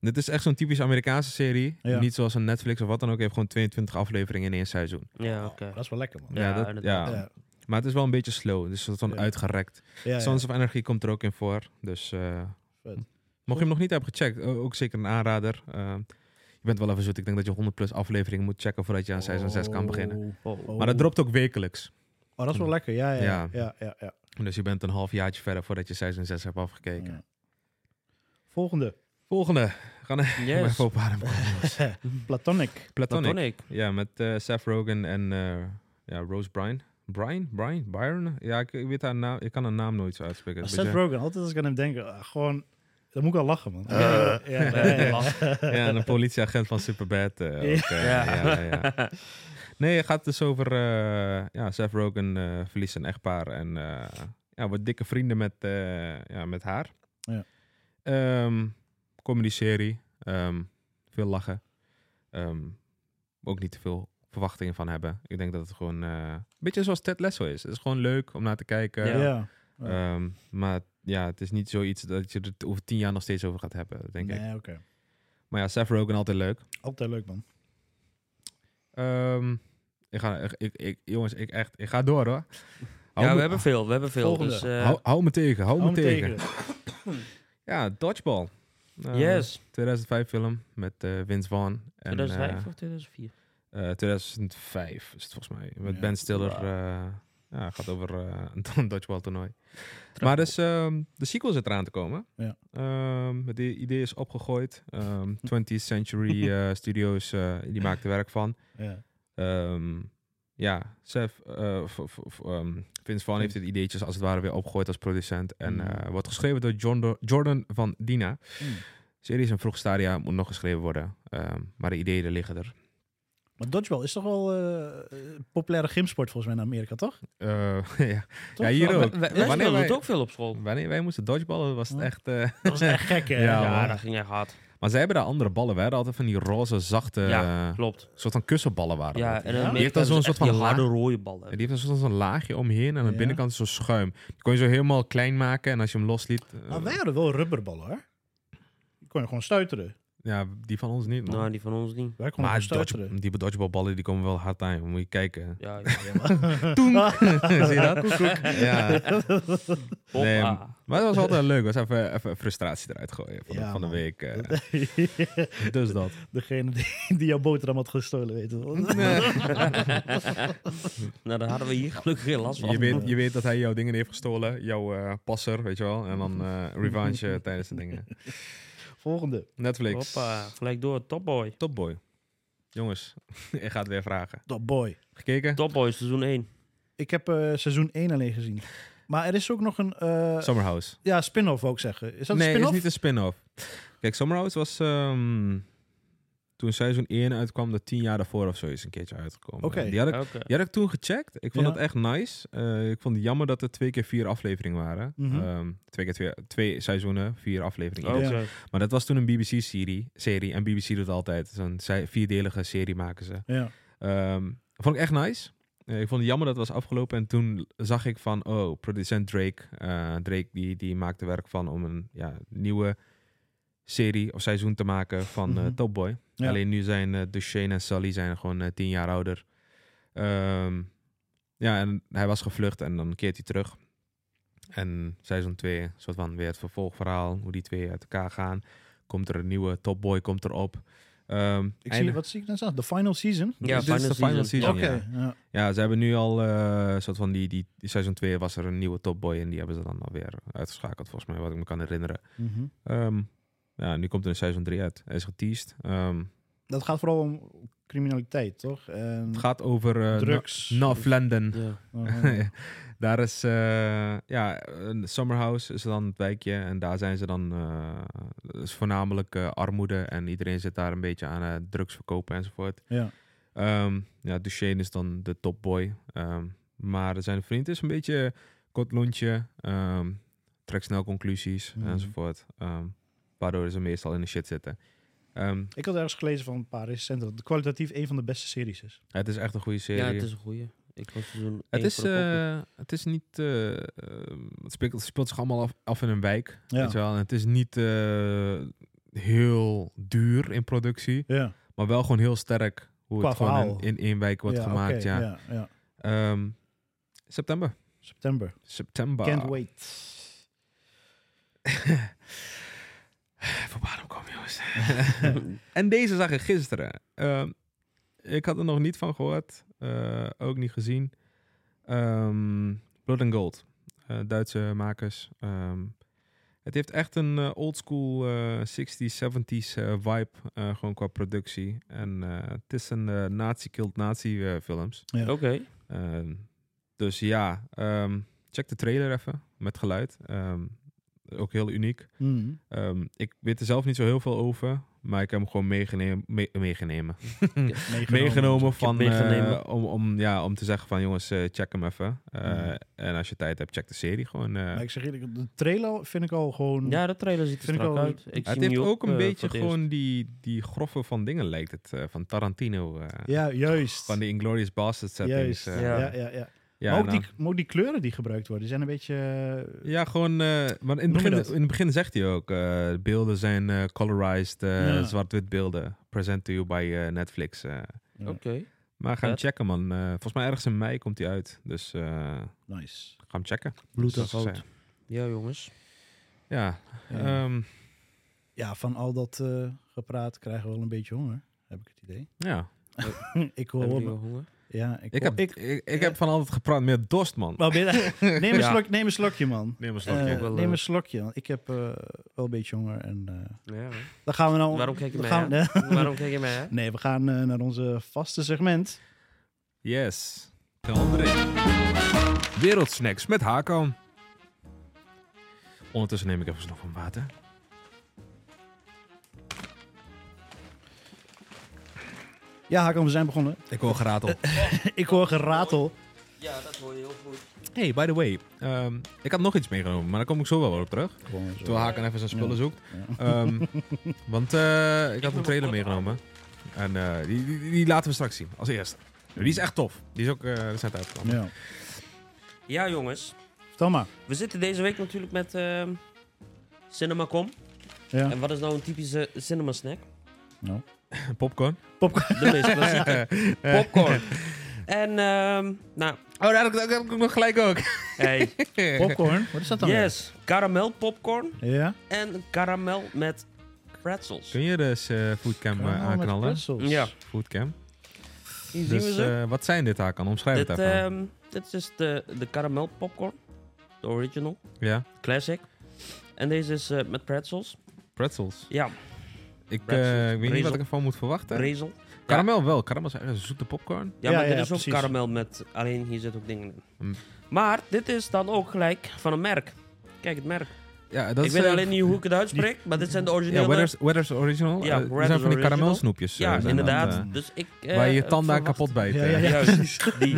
Speaker 7: dit is echt zo'n typisch Amerikaanse serie.
Speaker 6: Ja.
Speaker 7: Niet zoals een Netflix of wat dan ook. Heeft gewoon 22 afleveringen in één seizoen.
Speaker 3: Ja, oké.
Speaker 6: Dat is wel lekker, man.
Speaker 3: Ja,
Speaker 7: Ja, dat,
Speaker 3: inderdaad.
Speaker 7: ja.
Speaker 6: Ja.
Speaker 7: maar het is wel een beetje slow. Het is een soort van
Speaker 6: Ja.
Speaker 7: uitgerekt.
Speaker 6: Ja, ja.
Speaker 7: Sons of Energy komt er ook in voor. Dus eh,
Speaker 6: Vet.
Speaker 7: mocht je hem nog niet hebben gecheckt, o- ook zeker een aanrader. Eh, je bent wel even zoet. Ik denk dat je 100 plus afleveringen moet checken voordat je aan seizoen 6 kan beginnen.
Speaker 3: Oh.
Speaker 7: Maar dat dropt ook wekelijks.
Speaker 6: Oh, dat is wel lekker. Ja, ja, ja.
Speaker 7: Ja.
Speaker 6: ja, ja, ja.
Speaker 7: Dus je bent een half jaartje verder voordat je seizoen 6 hebt afgekeken.
Speaker 6: Ja. Volgende.
Speaker 7: Volgende. Gaan we maar
Speaker 3: Yes.
Speaker 7: even op adem komen.
Speaker 6: Platonic.
Speaker 7: Platonic.
Speaker 3: Platonic.
Speaker 7: Ja, met eh, Seth Rogen en eh, ja, Rose Bryan. Brian? Brian? Byron? Ja, ik, ik weet haar naam. Ik kan haar naam nooit zo uitspreken. Een
Speaker 6: Seth
Speaker 7: beetje-
Speaker 6: Rogen, altijd als ik aan hem denk, ah, gewoon... Dan moet ik al lachen, man.
Speaker 3: Ja,
Speaker 6: Ja, ja, ja,
Speaker 3: Eh,
Speaker 6: ja.
Speaker 3: lach.
Speaker 7: Ja, en een politieagent van Superbad. eh, ook, eh,
Speaker 3: Ja.
Speaker 7: ja. Ja, ja. Nee, het gaat dus over... eh, ja, Seth Rogen eh, verliest zijn echtpaar en eh, ja, wordt dikke vrienden met, eh, ja, met haar.
Speaker 6: Ja.
Speaker 7: Ehm, comedy serie. ehm, veel lachen. Ehm, ook niet te veel verwachtingen van hebben. Ik denk dat het gewoon... eh, een beetje zoals Ted Lasso is. Het is gewoon leuk om naar te kijken.
Speaker 3: Ja.
Speaker 6: Ja.
Speaker 7: Ehm, maar ja, het is niet zoiets dat je er over tien jaar nog steeds over gaat hebben, denk ik.
Speaker 6: Nee, oké.
Speaker 7: Maar ja, Seth Rogen altijd leuk.
Speaker 6: Altijd leuk, man.
Speaker 7: Ehm, ik ga, ik, ik, ik- jongens, ik, echt, ik ga door hoor. Hou
Speaker 3: Ja,
Speaker 7: me-
Speaker 3: we hebben veel. We hebben veel.
Speaker 6: Volgende.
Speaker 3: Dus, eh,
Speaker 7: hou, hou me tegen, hou,
Speaker 6: Hou
Speaker 7: me tegen. Ja, Dodgeball. Eh,
Speaker 3: yes.
Speaker 7: 2005 film met eh, Vince Vaughn. En,
Speaker 3: 2005 of 2004?
Speaker 7: eh, eh, 2005 is het volgens mij. Met
Speaker 6: Ja.
Speaker 7: Ben Stiller.
Speaker 3: Wow.
Speaker 7: eh, ja, het gaat over eh, een dodgeball toernooi. Maar dus, ehm, de sequel zit eraan te komen.
Speaker 6: Ja.
Speaker 7: Ehm, het i- idee is opgegooid. Ehm 20th Century eh, Studios, eh, die maakt er werk van.
Speaker 6: Ja.
Speaker 7: Ehm, ja, Seth, eh, of- of- of, ehm, Vince Vaughn heeft het ideetjes als het ware weer opgegooid als producent. En
Speaker 6: Mm.
Speaker 7: eh, wordt geschreven door John Do- Jordan van Dina.
Speaker 6: Mm.
Speaker 7: De serie is een vroeg stadia, moet nog geschreven worden. Ehm, maar de ideeën liggen er.
Speaker 6: Maar dodgeball is toch wel eh, een populaire gymsport volgens mij in Amerika, toch?
Speaker 7: Eh, ja.
Speaker 6: Toch?
Speaker 7: Ja, hier
Speaker 6: Oh,
Speaker 7: ook.
Speaker 3: Wij, wij
Speaker 7: Wanneer
Speaker 3: speelden
Speaker 7: wij-
Speaker 3: het ook veel op school.
Speaker 7: Wanneer wij moesten dodgeballen was het
Speaker 6: Oh.
Speaker 7: echt... eh,
Speaker 6: Dat is echt gek, hè?
Speaker 7: Ja,
Speaker 3: Ja,
Speaker 7: man.
Speaker 3: dat ging echt hard.
Speaker 7: Maar zij hebben daar andere ballen. Wij hadden altijd van die roze, zachte...
Speaker 3: Ja,
Speaker 7: eh,
Speaker 3: klopt.
Speaker 7: soort van kussenballen waren dat.
Speaker 3: Ja, en
Speaker 6: Die
Speaker 3: dan
Speaker 7: heeft dan zo'n soort van
Speaker 3: harde
Speaker 7: laag.
Speaker 3: rode
Speaker 7: En
Speaker 3: ballen.
Speaker 7: die heeft dan soort van zo'n laagje omheen en aan de
Speaker 6: Ja.
Speaker 7: binnenkant zo schuim. Die kon je zo helemaal klein maken en als je hem losliet... eh,
Speaker 6: Maar wij hadden Ah, wel rubberballen, hoor. Die kon je gewoon stuiteren.
Speaker 7: Ja, die van ons niet, man.
Speaker 3: Nou, die van ons niet.
Speaker 6: Wij konden
Speaker 7: maar
Speaker 6: gewoon
Speaker 7: dodge,
Speaker 6: stuiteren.
Speaker 7: die dodgebalballen die komen wel hard aan. Moet je kijken.
Speaker 3: Ja,
Speaker 7: Zie je dat? Ja. Nee,
Speaker 3: Hoppa.
Speaker 7: maar dat was altijd leuk. was even, even frustratie eruit gooien van, de-
Speaker 6: Ja,
Speaker 7: van de
Speaker 6: man.
Speaker 7: week. eh. dus dat.
Speaker 6: Degene die, die jouw boterham had gestolen, weet je wel.
Speaker 3: Nou, daar hadden we hier gelukkig geen last van.
Speaker 7: Je weet, je weet dat hij jouw dingen heeft gestolen. Jouw eh, passer, weet je wel. En dan eh, revanche eh, tijdens de dingen.
Speaker 6: Volgende.
Speaker 7: Netflix.
Speaker 3: Hoppa, gelijk door. Topboy.
Speaker 7: Topboy. Jongens, ik ga het weer vragen.
Speaker 6: Dat boy.
Speaker 7: Gekeken?
Speaker 3: Topboy seizoen 1.
Speaker 6: Ik heb eh, seizoen 1 alleen gezien. Maar er is ook nog een eh,
Speaker 7: Summer House.
Speaker 6: ja, spin-off, wou ik zeggen. Is dat
Speaker 7: nee,
Speaker 6: een
Speaker 7: is
Speaker 6: spin-off?
Speaker 7: niet een spin-off. Kijk, Summer House was... ehm, toen seizoen 1 uitkwam, dat tien jaar daarvoor of zo is een keertje uitgekomen.
Speaker 6: Oké.
Speaker 7: Die, had ik,
Speaker 3: Oké.
Speaker 7: die had ik toen gecheckt. Ik vond
Speaker 6: Ja.
Speaker 7: het echt nice. Eh, ik vond het jammer dat er twee keer vier afleveringen waren.
Speaker 6: Mhm. Oh.
Speaker 7: Ehm, twee keer twee, twee seizoenen, vier afleveringen.
Speaker 3: Oh, Oké.
Speaker 6: Ja.
Speaker 7: Maar dat was toen een BBC-serie. Serie, en BBC doet altijd. Zo'n zij- vierdelige serie maken ze.
Speaker 6: Ja.
Speaker 7: Ehm, vond ik echt nice. Eh, ik vond het jammer dat het was afgelopen. En toen zag ik van, oh, producent Drake. eh, Drake die, die maakte werk van om een ja, nieuwe serie of seizoen te maken van eh,
Speaker 6: Mhm.
Speaker 7: Top Boy.
Speaker 6: Ja.
Speaker 7: Alleen nu zijn eh Duchesne en Sally zijn gewoon eh, tien jaar ouder. Ehm, ja, en hij was gevlucht en dan keert hij terug. En seizoen 2, soort van weer het vervolgverhaal, hoe die twee uit elkaar gaan. Komt er een nieuwe Top Boy, komt erop. Ehm,
Speaker 6: Ik zie,
Speaker 7: einde-
Speaker 6: wat zie ik dan staan? De final season?
Speaker 3: Ja,
Speaker 7: Dit is de final season.
Speaker 6: Oké.
Speaker 7: Ja.
Speaker 6: Ja.
Speaker 7: Ja, ze hebben nu al eh, een soort van die, die, die seizoen 2 was er een nieuwe topboy en die hebben ze dan alweer uitgeschakeld, volgens mij, wat ik me kan herinneren.
Speaker 6: Mhm.
Speaker 7: Ehm, ja, nu komt er een seizoen 3 uit. Hij is geteased. Ehm,
Speaker 6: dat gaat vooral om criminaliteit, toch? En,
Speaker 7: Het gaat over eh,
Speaker 6: Drugs.
Speaker 7: Na- North London.
Speaker 3: Ja.
Speaker 6: uh-huh.
Speaker 7: daar is, eh, ja, een Summerhouse is dan het wijkje. En daar zijn ze dan, eh, is voornamelijk eh, armoede. En iedereen zit daar een beetje aan eh, drugs verkopen enzovoort.
Speaker 6: ja.
Speaker 7: Ehm, ja, Duchesne is dan de topboy. Ehm, maar zijn vriend is een beetje kort lontje. ehm, trekt snel conclusies
Speaker 6: Mhm.
Speaker 7: enzovoort. Ehm, waardoor ze meestal in de shit zitten. Ehm,
Speaker 6: Ik had ergens gelezen van een paar recenten dat het kwalitatief een van de beste series is.
Speaker 7: het is echt een goede serie.
Speaker 3: ja, het is een goeie. Ik was seizoen
Speaker 7: Het
Speaker 3: één
Speaker 7: is,
Speaker 3: voor de poppen.
Speaker 7: eh, het is niet. eh, eh, het speelt, speelt zich allemaal af, af in een wijk.
Speaker 6: Ja.
Speaker 7: Weet je wel? En het is niet eh, heel duur in productie,
Speaker 6: Ja,
Speaker 7: maar wel gewoon heel sterk hoe
Speaker 6: Qua
Speaker 7: het gewoon
Speaker 6: verhaal.
Speaker 7: in- in één wijk wordt
Speaker 6: ja,
Speaker 7: gemaakt.
Speaker 6: oké,
Speaker 7: ja.
Speaker 6: ja, ja.
Speaker 7: Ehm, september.
Speaker 6: September.
Speaker 7: September.
Speaker 6: Can't wait.
Speaker 7: Voor Barum kom, jongens. en deze zag ik gisteren. Ehm, ik had er nog niet van gehoord. eh, ook niet gezien. Ehm, Blood and Gold. Eh, Duitse makers. Ehm, het heeft echt een eh, oldschool eh 60s, 70s eh, vibe. eh, gewoon qua productie. En eh, het is een eh, nazi-killed nazi-films.
Speaker 6: eh,
Speaker 3: Oké.
Speaker 7: Ehm, dus ja, ehm, check de trailer even. Met geluid. Ehm, ook heel uniek.
Speaker 6: Mhm.
Speaker 7: Ehm, ik weet er zelf niet zo heel veel over, maar ik heb hem gewoon meegenemen, me- meegenomen. meegenomen van,
Speaker 3: Ik heb meegenomen.
Speaker 7: eh, om, om, ja, om te zeggen van jongens, eh, check hem even. Eh,
Speaker 6: Mhm.
Speaker 7: En als je tijd hebt, check de serie gewoon. eh.
Speaker 6: Maar ik zeg eerlijk, de trailer vind ik al gewoon...
Speaker 3: Ja, de trailer ziet er
Speaker 6: mm. Vind ik
Speaker 3: strak
Speaker 6: wel-
Speaker 3: uit. Ik zie
Speaker 7: het
Speaker 3: hem
Speaker 7: heeft
Speaker 3: nu
Speaker 7: ook een
Speaker 3: eh,
Speaker 7: beetje
Speaker 3: voor het eerst.
Speaker 7: gewoon die, die groffe van dingen lijkt het, eh, van Tarantino. eh,
Speaker 6: Ja, juist.
Speaker 7: Van die Inglorious Bastards settings.
Speaker 6: juist.
Speaker 7: eh.
Speaker 3: Ja.
Speaker 6: ja. Ja, ja,
Speaker 7: ja,
Speaker 6: maar, ook
Speaker 7: nou.
Speaker 6: die, maar ook die kleuren die gebruikt worden, die zijn een beetje... eh,
Speaker 7: Ja, gewoon. eh, maar in
Speaker 6: Noem
Speaker 7: het,
Speaker 6: je
Speaker 7: begin,
Speaker 6: dat?
Speaker 7: in het begin zegt hij ook: eh, beelden zijn eh, colorized, eh,
Speaker 6: Ja.
Speaker 7: zwart-wit beelden. Present to you by eh, Netflix. eh.
Speaker 6: Ja.
Speaker 3: Oké.
Speaker 7: Maar ga hem
Speaker 3: Vet.
Speaker 7: checken, man. Eh, volgens mij ergens in mei komt hij uit. Dus eh,
Speaker 6: nice.
Speaker 7: ga hem checken.
Speaker 3: Bloed en
Speaker 7: Zoals ze
Speaker 3: goud. Ja, jongens.
Speaker 7: zijn. Ja.
Speaker 3: Eh,
Speaker 6: Ja.
Speaker 7: ehm,
Speaker 6: Ja, van al dat eh, gepraat krijgen we wel een beetje honger, heb ik het idee.
Speaker 7: ja.
Speaker 6: ik
Speaker 3: Heb
Speaker 6: hoor...
Speaker 3: je wel honger?
Speaker 6: Ja, ik,
Speaker 7: Ik,
Speaker 6: hoor-
Speaker 7: heb, ik, ik, heb van altijd gepraat met dorst, man.
Speaker 6: Wel binnen. neem, een
Speaker 3: Ja.
Speaker 6: slok, neem een slokje, man.
Speaker 7: Nee, maar
Speaker 6: Eh,
Speaker 3: wel,
Speaker 6: neem
Speaker 3: eh,
Speaker 6: een slokje, want ik heb eh, wel een beetje honger. En, eh,
Speaker 3: Ja. hoor.
Speaker 6: dan gaan we nou...
Speaker 3: Waarom kijk je
Speaker 6: dan
Speaker 3: mij
Speaker 6: gaan we-
Speaker 3: aan? Waarom kijk je mij aan?
Speaker 6: Nee, we gaan eh, naar onze vaste segment.
Speaker 7: Yes. De andere. Wereldsnacks met Hakan. Ondertussen neem ik even een slok van water.
Speaker 6: Ja, Hakan, we zijn begonnen.
Speaker 7: Ik hoor geratel.
Speaker 6: Ik hoor geratel.
Speaker 3: Ja, dat hoor je heel goed.
Speaker 7: Hey, by the way. ehm, ik had nog iets meegenomen, maar daar kom ik zo wel weer op terug.
Speaker 6: Gewoon zo.
Speaker 7: Terwijl Hakan even zijn spullen zoekt.
Speaker 6: Ja.
Speaker 7: Ehm, want eh, ik had een trailer meegenomen. En eh, die, die, die laten we straks zien, als eerste. Die is echt tof. Die is ook eh recent uitgekomen.
Speaker 6: Ja.
Speaker 3: Ja, jongens.
Speaker 6: Vertel maar.
Speaker 3: We zitten deze week natuurlijk met ehm CinemaCom.
Speaker 6: Ja.
Speaker 3: En wat is nou een typische cinema snack?
Speaker 6: Nou.
Speaker 7: Popcorn. Oh,
Speaker 3: De meest klassieke. Popcorn. En, ehm nou,
Speaker 7: Oh, daar heb ik, daar heb ik ook nog gelijk ook.
Speaker 3: hey,
Speaker 6: Popcorn? Wat is dat dan?
Speaker 3: yes. Karamel popcorn
Speaker 6: weer? Ja?
Speaker 3: en karamel met pretzels.
Speaker 7: Kun je dus eh, foodcam eh,
Speaker 6: Karamel met
Speaker 7: aanknallen?
Speaker 6: pretzels.
Speaker 3: Ja,
Speaker 7: Foodcam.
Speaker 3: hier zien we
Speaker 7: Dus
Speaker 3: ze.
Speaker 7: eh, wat zijn dit, Hakan? Omschrijf
Speaker 3: dit,
Speaker 7: het even.
Speaker 3: ehm, dit is dus de, de karamel popcorn. De original,
Speaker 7: ja,
Speaker 3: classic. En deze is eh, met pretzels.
Speaker 7: pretzels.
Speaker 3: Ja,
Speaker 7: Ik, eh,
Speaker 3: pretzels.
Speaker 7: ik weet niet
Speaker 3: Rezel.
Speaker 7: wat ik ervan moet verwachten.
Speaker 3: brezel.
Speaker 7: Karamel wel. Karamel is echt een zoete popcorn.
Speaker 3: Ja,
Speaker 6: Ja,
Speaker 3: maar
Speaker 6: ja,
Speaker 3: dit is
Speaker 6: ja,
Speaker 3: ook
Speaker 6: precies.
Speaker 3: karamel met... Alleen hier zit ook dingen in.
Speaker 7: Mm.
Speaker 3: Maar dit is dan ook gelijk van een merk. Kijk, het merk.
Speaker 7: Ja, dat
Speaker 3: ik
Speaker 7: is,
Speaker 3: weet
Speaker 7: eh,
Speaker 3: alleen niet hoe ik het uitspreek, maar dit zijn de originele...
Speaker 7: Ja, Weathers, Weathers Original.
Speaker 3: Ja,
Speaker 7: Ja,
Speaker 3: Weathers
Speaker 7: zijn van die
Speaker 3: Original.
Speaker 7: karamelsnoepjes. eh,
Speaker 3: Ja,
Speaker 7: zijn dat,
Speaker 3: inderdaad.
Speaker 7: eh.
Speaker 3: dus ik, eh,
Speaker 7: Waar je je tanden aan
Speaker 3: verwacht-
Speaker 7: kapot bijt.
Speaker 6: Ja,
Speaker 7: eh.
Speaker 6: ja, ja.
Speaker 3: Juist, die.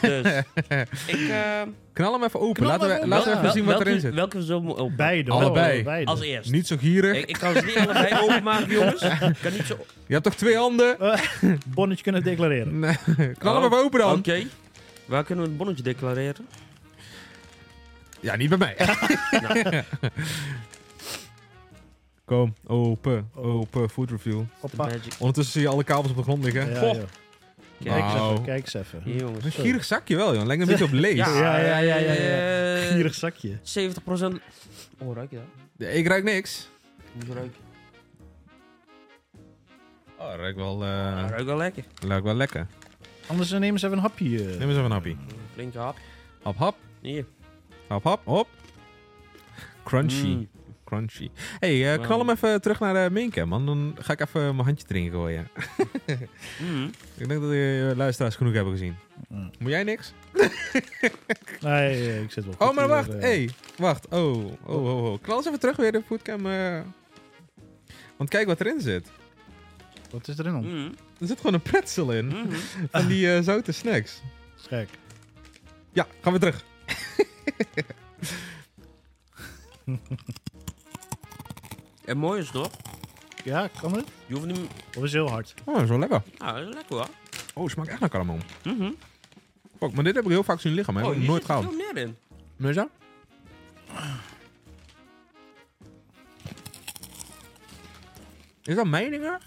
Speaker 3: dus, ik... eh,
Speaker 7: Knal hem even open.
Speaker 6: Knal
Speaker 7: Laten
Speaker 6: hem
Speaker 7: we,
Speaker 6: open.
Speaker 7: laten we
Speaker 3: wel-
Speaker 7: even zien
Speaker 3: wel-
Speaker 7: wat erin
Speaker 3: welke-
Speaker 7: zit.
Speaker 3: Welke zo moet open?
Speaker 6: Beide.
Speaker 7: Allebei.
Speaker 6: Oh, beide.
Speaker 3: Als eerst.
Speaker 7: Niet zo gierig.
Speaker 3: Ik, ik kan ze niet allebei openmaken, jongens. Ik kan niet zo...
Speaker 7: Je hebt toch twee handen?
Speaker 6: Bonnetje kunnen declareren.
Speaker 7: Nee. Knal
Speaker 3: Oh,
Speaker 7: hem even open dan.
Speaker 3: Oké. Waar kunnen we het bonnetje declareren?
Speaker 7: Ja, niet bij mij. Kom, open, open, food review.
Speaker 3: De
Speaker 6: Hoppa.
Speaker 3: magic.
Speaker 7: Ondertussen zie je alle kabels op de grond liggen.
Speaker 6: Ja,
Speaker 7: Goh,
Speaker 6: joh. Kijk
Speaker 3: Kijk
Speaker 6: eens
Speaker 7: Nou.
Speaker 6: even. Kijk eens even.
Speaker 3: Hier, jongens.
Speaker 7: Een gierig zakje wel, joh. Lijkt een beetje op lees.
Speaker 6: Ja, ja, ja, ja,
Speaker 3: eh,
Speaker 6: Gierig zakje.
Speaker 3: 70%. Oh, ruik je dat?
Speaker 7: Ik ruik niks.
Speaker 3: Moet je ruiken.
Speaker 7: Oh, ruikt wel, eh,
Speaker 3: Ja, ruikt wel lekker.
Speaker 7: ruikt wel lekker.
Speaker 6: Anders eh, neem eens even een hapje. eh.
Speaker 7: Neem eens even een happy.
Speaker 3: Flinke hap.
Speaker 7: Hap, hap,
Speaker 3: Hier.
Speaker 7: hap, hap, hop. Crunchy.
Speaker 3: Mm.
Speaker 7: Crunchy. hey, eh,
Speaker 3: Wow.
Speaker 7: knal hem even terug naar de maincam, man. Dan ga ik even mijn handje erin gooien.
Speaker 3: Mhm.
Speaker 7: Ik denk dat de luisteraars genoeg hebben gezien. Moet jij niks?
Speaker 6: Nee, ik zit wel
Speaker 7: Oh,
Speaker 6: goed
Speaker 7: maar
Speaker 6: hier,
Speaker 7: wacht.
Speaker 6: eh.
Speaker 7: hey, wacht. Oh, oh, oh, oh. Knal eens even terug weer de foodcam. eh. Want kijk wat erin zit.
Speaker 6: Wat is er in ons?
Speaker 3: Mhm.
Speaker 7: Er zit gewoon een pretzel in.
Speaker 3: Mhm.
Speaker 7: Van die eh, zoute snacks.
Speaker 6: Gek.
Speaker 7: Ja, gaan we terug.
Speaker 3: En mooi is toch?
Speaker 6: Ja, kan het?
Speaker 3: Je hoeft niet...
Speaker 6: Of is het heel hard?
Speaker 7: Oh, dat is wel lekker.
Speaker 3: Nou, dat is lekker hoor.
Speaker 7: Oh, het smaakt echt naar karamel.
Speaker 3: Mhm.
Speaker 7: Fuck, maar dit heb ik heel vaak zien liggen, maar
Speaker 3: Oh,
Speaker 7: heb ik
Speaker 3: hier
Speaker 7: nooit
Speaker 3: zit er
Speaker 7: gehaald.
Speaker 3: veel meer in.
Speaker 7: Nee, zo? Is dat mijn dingen?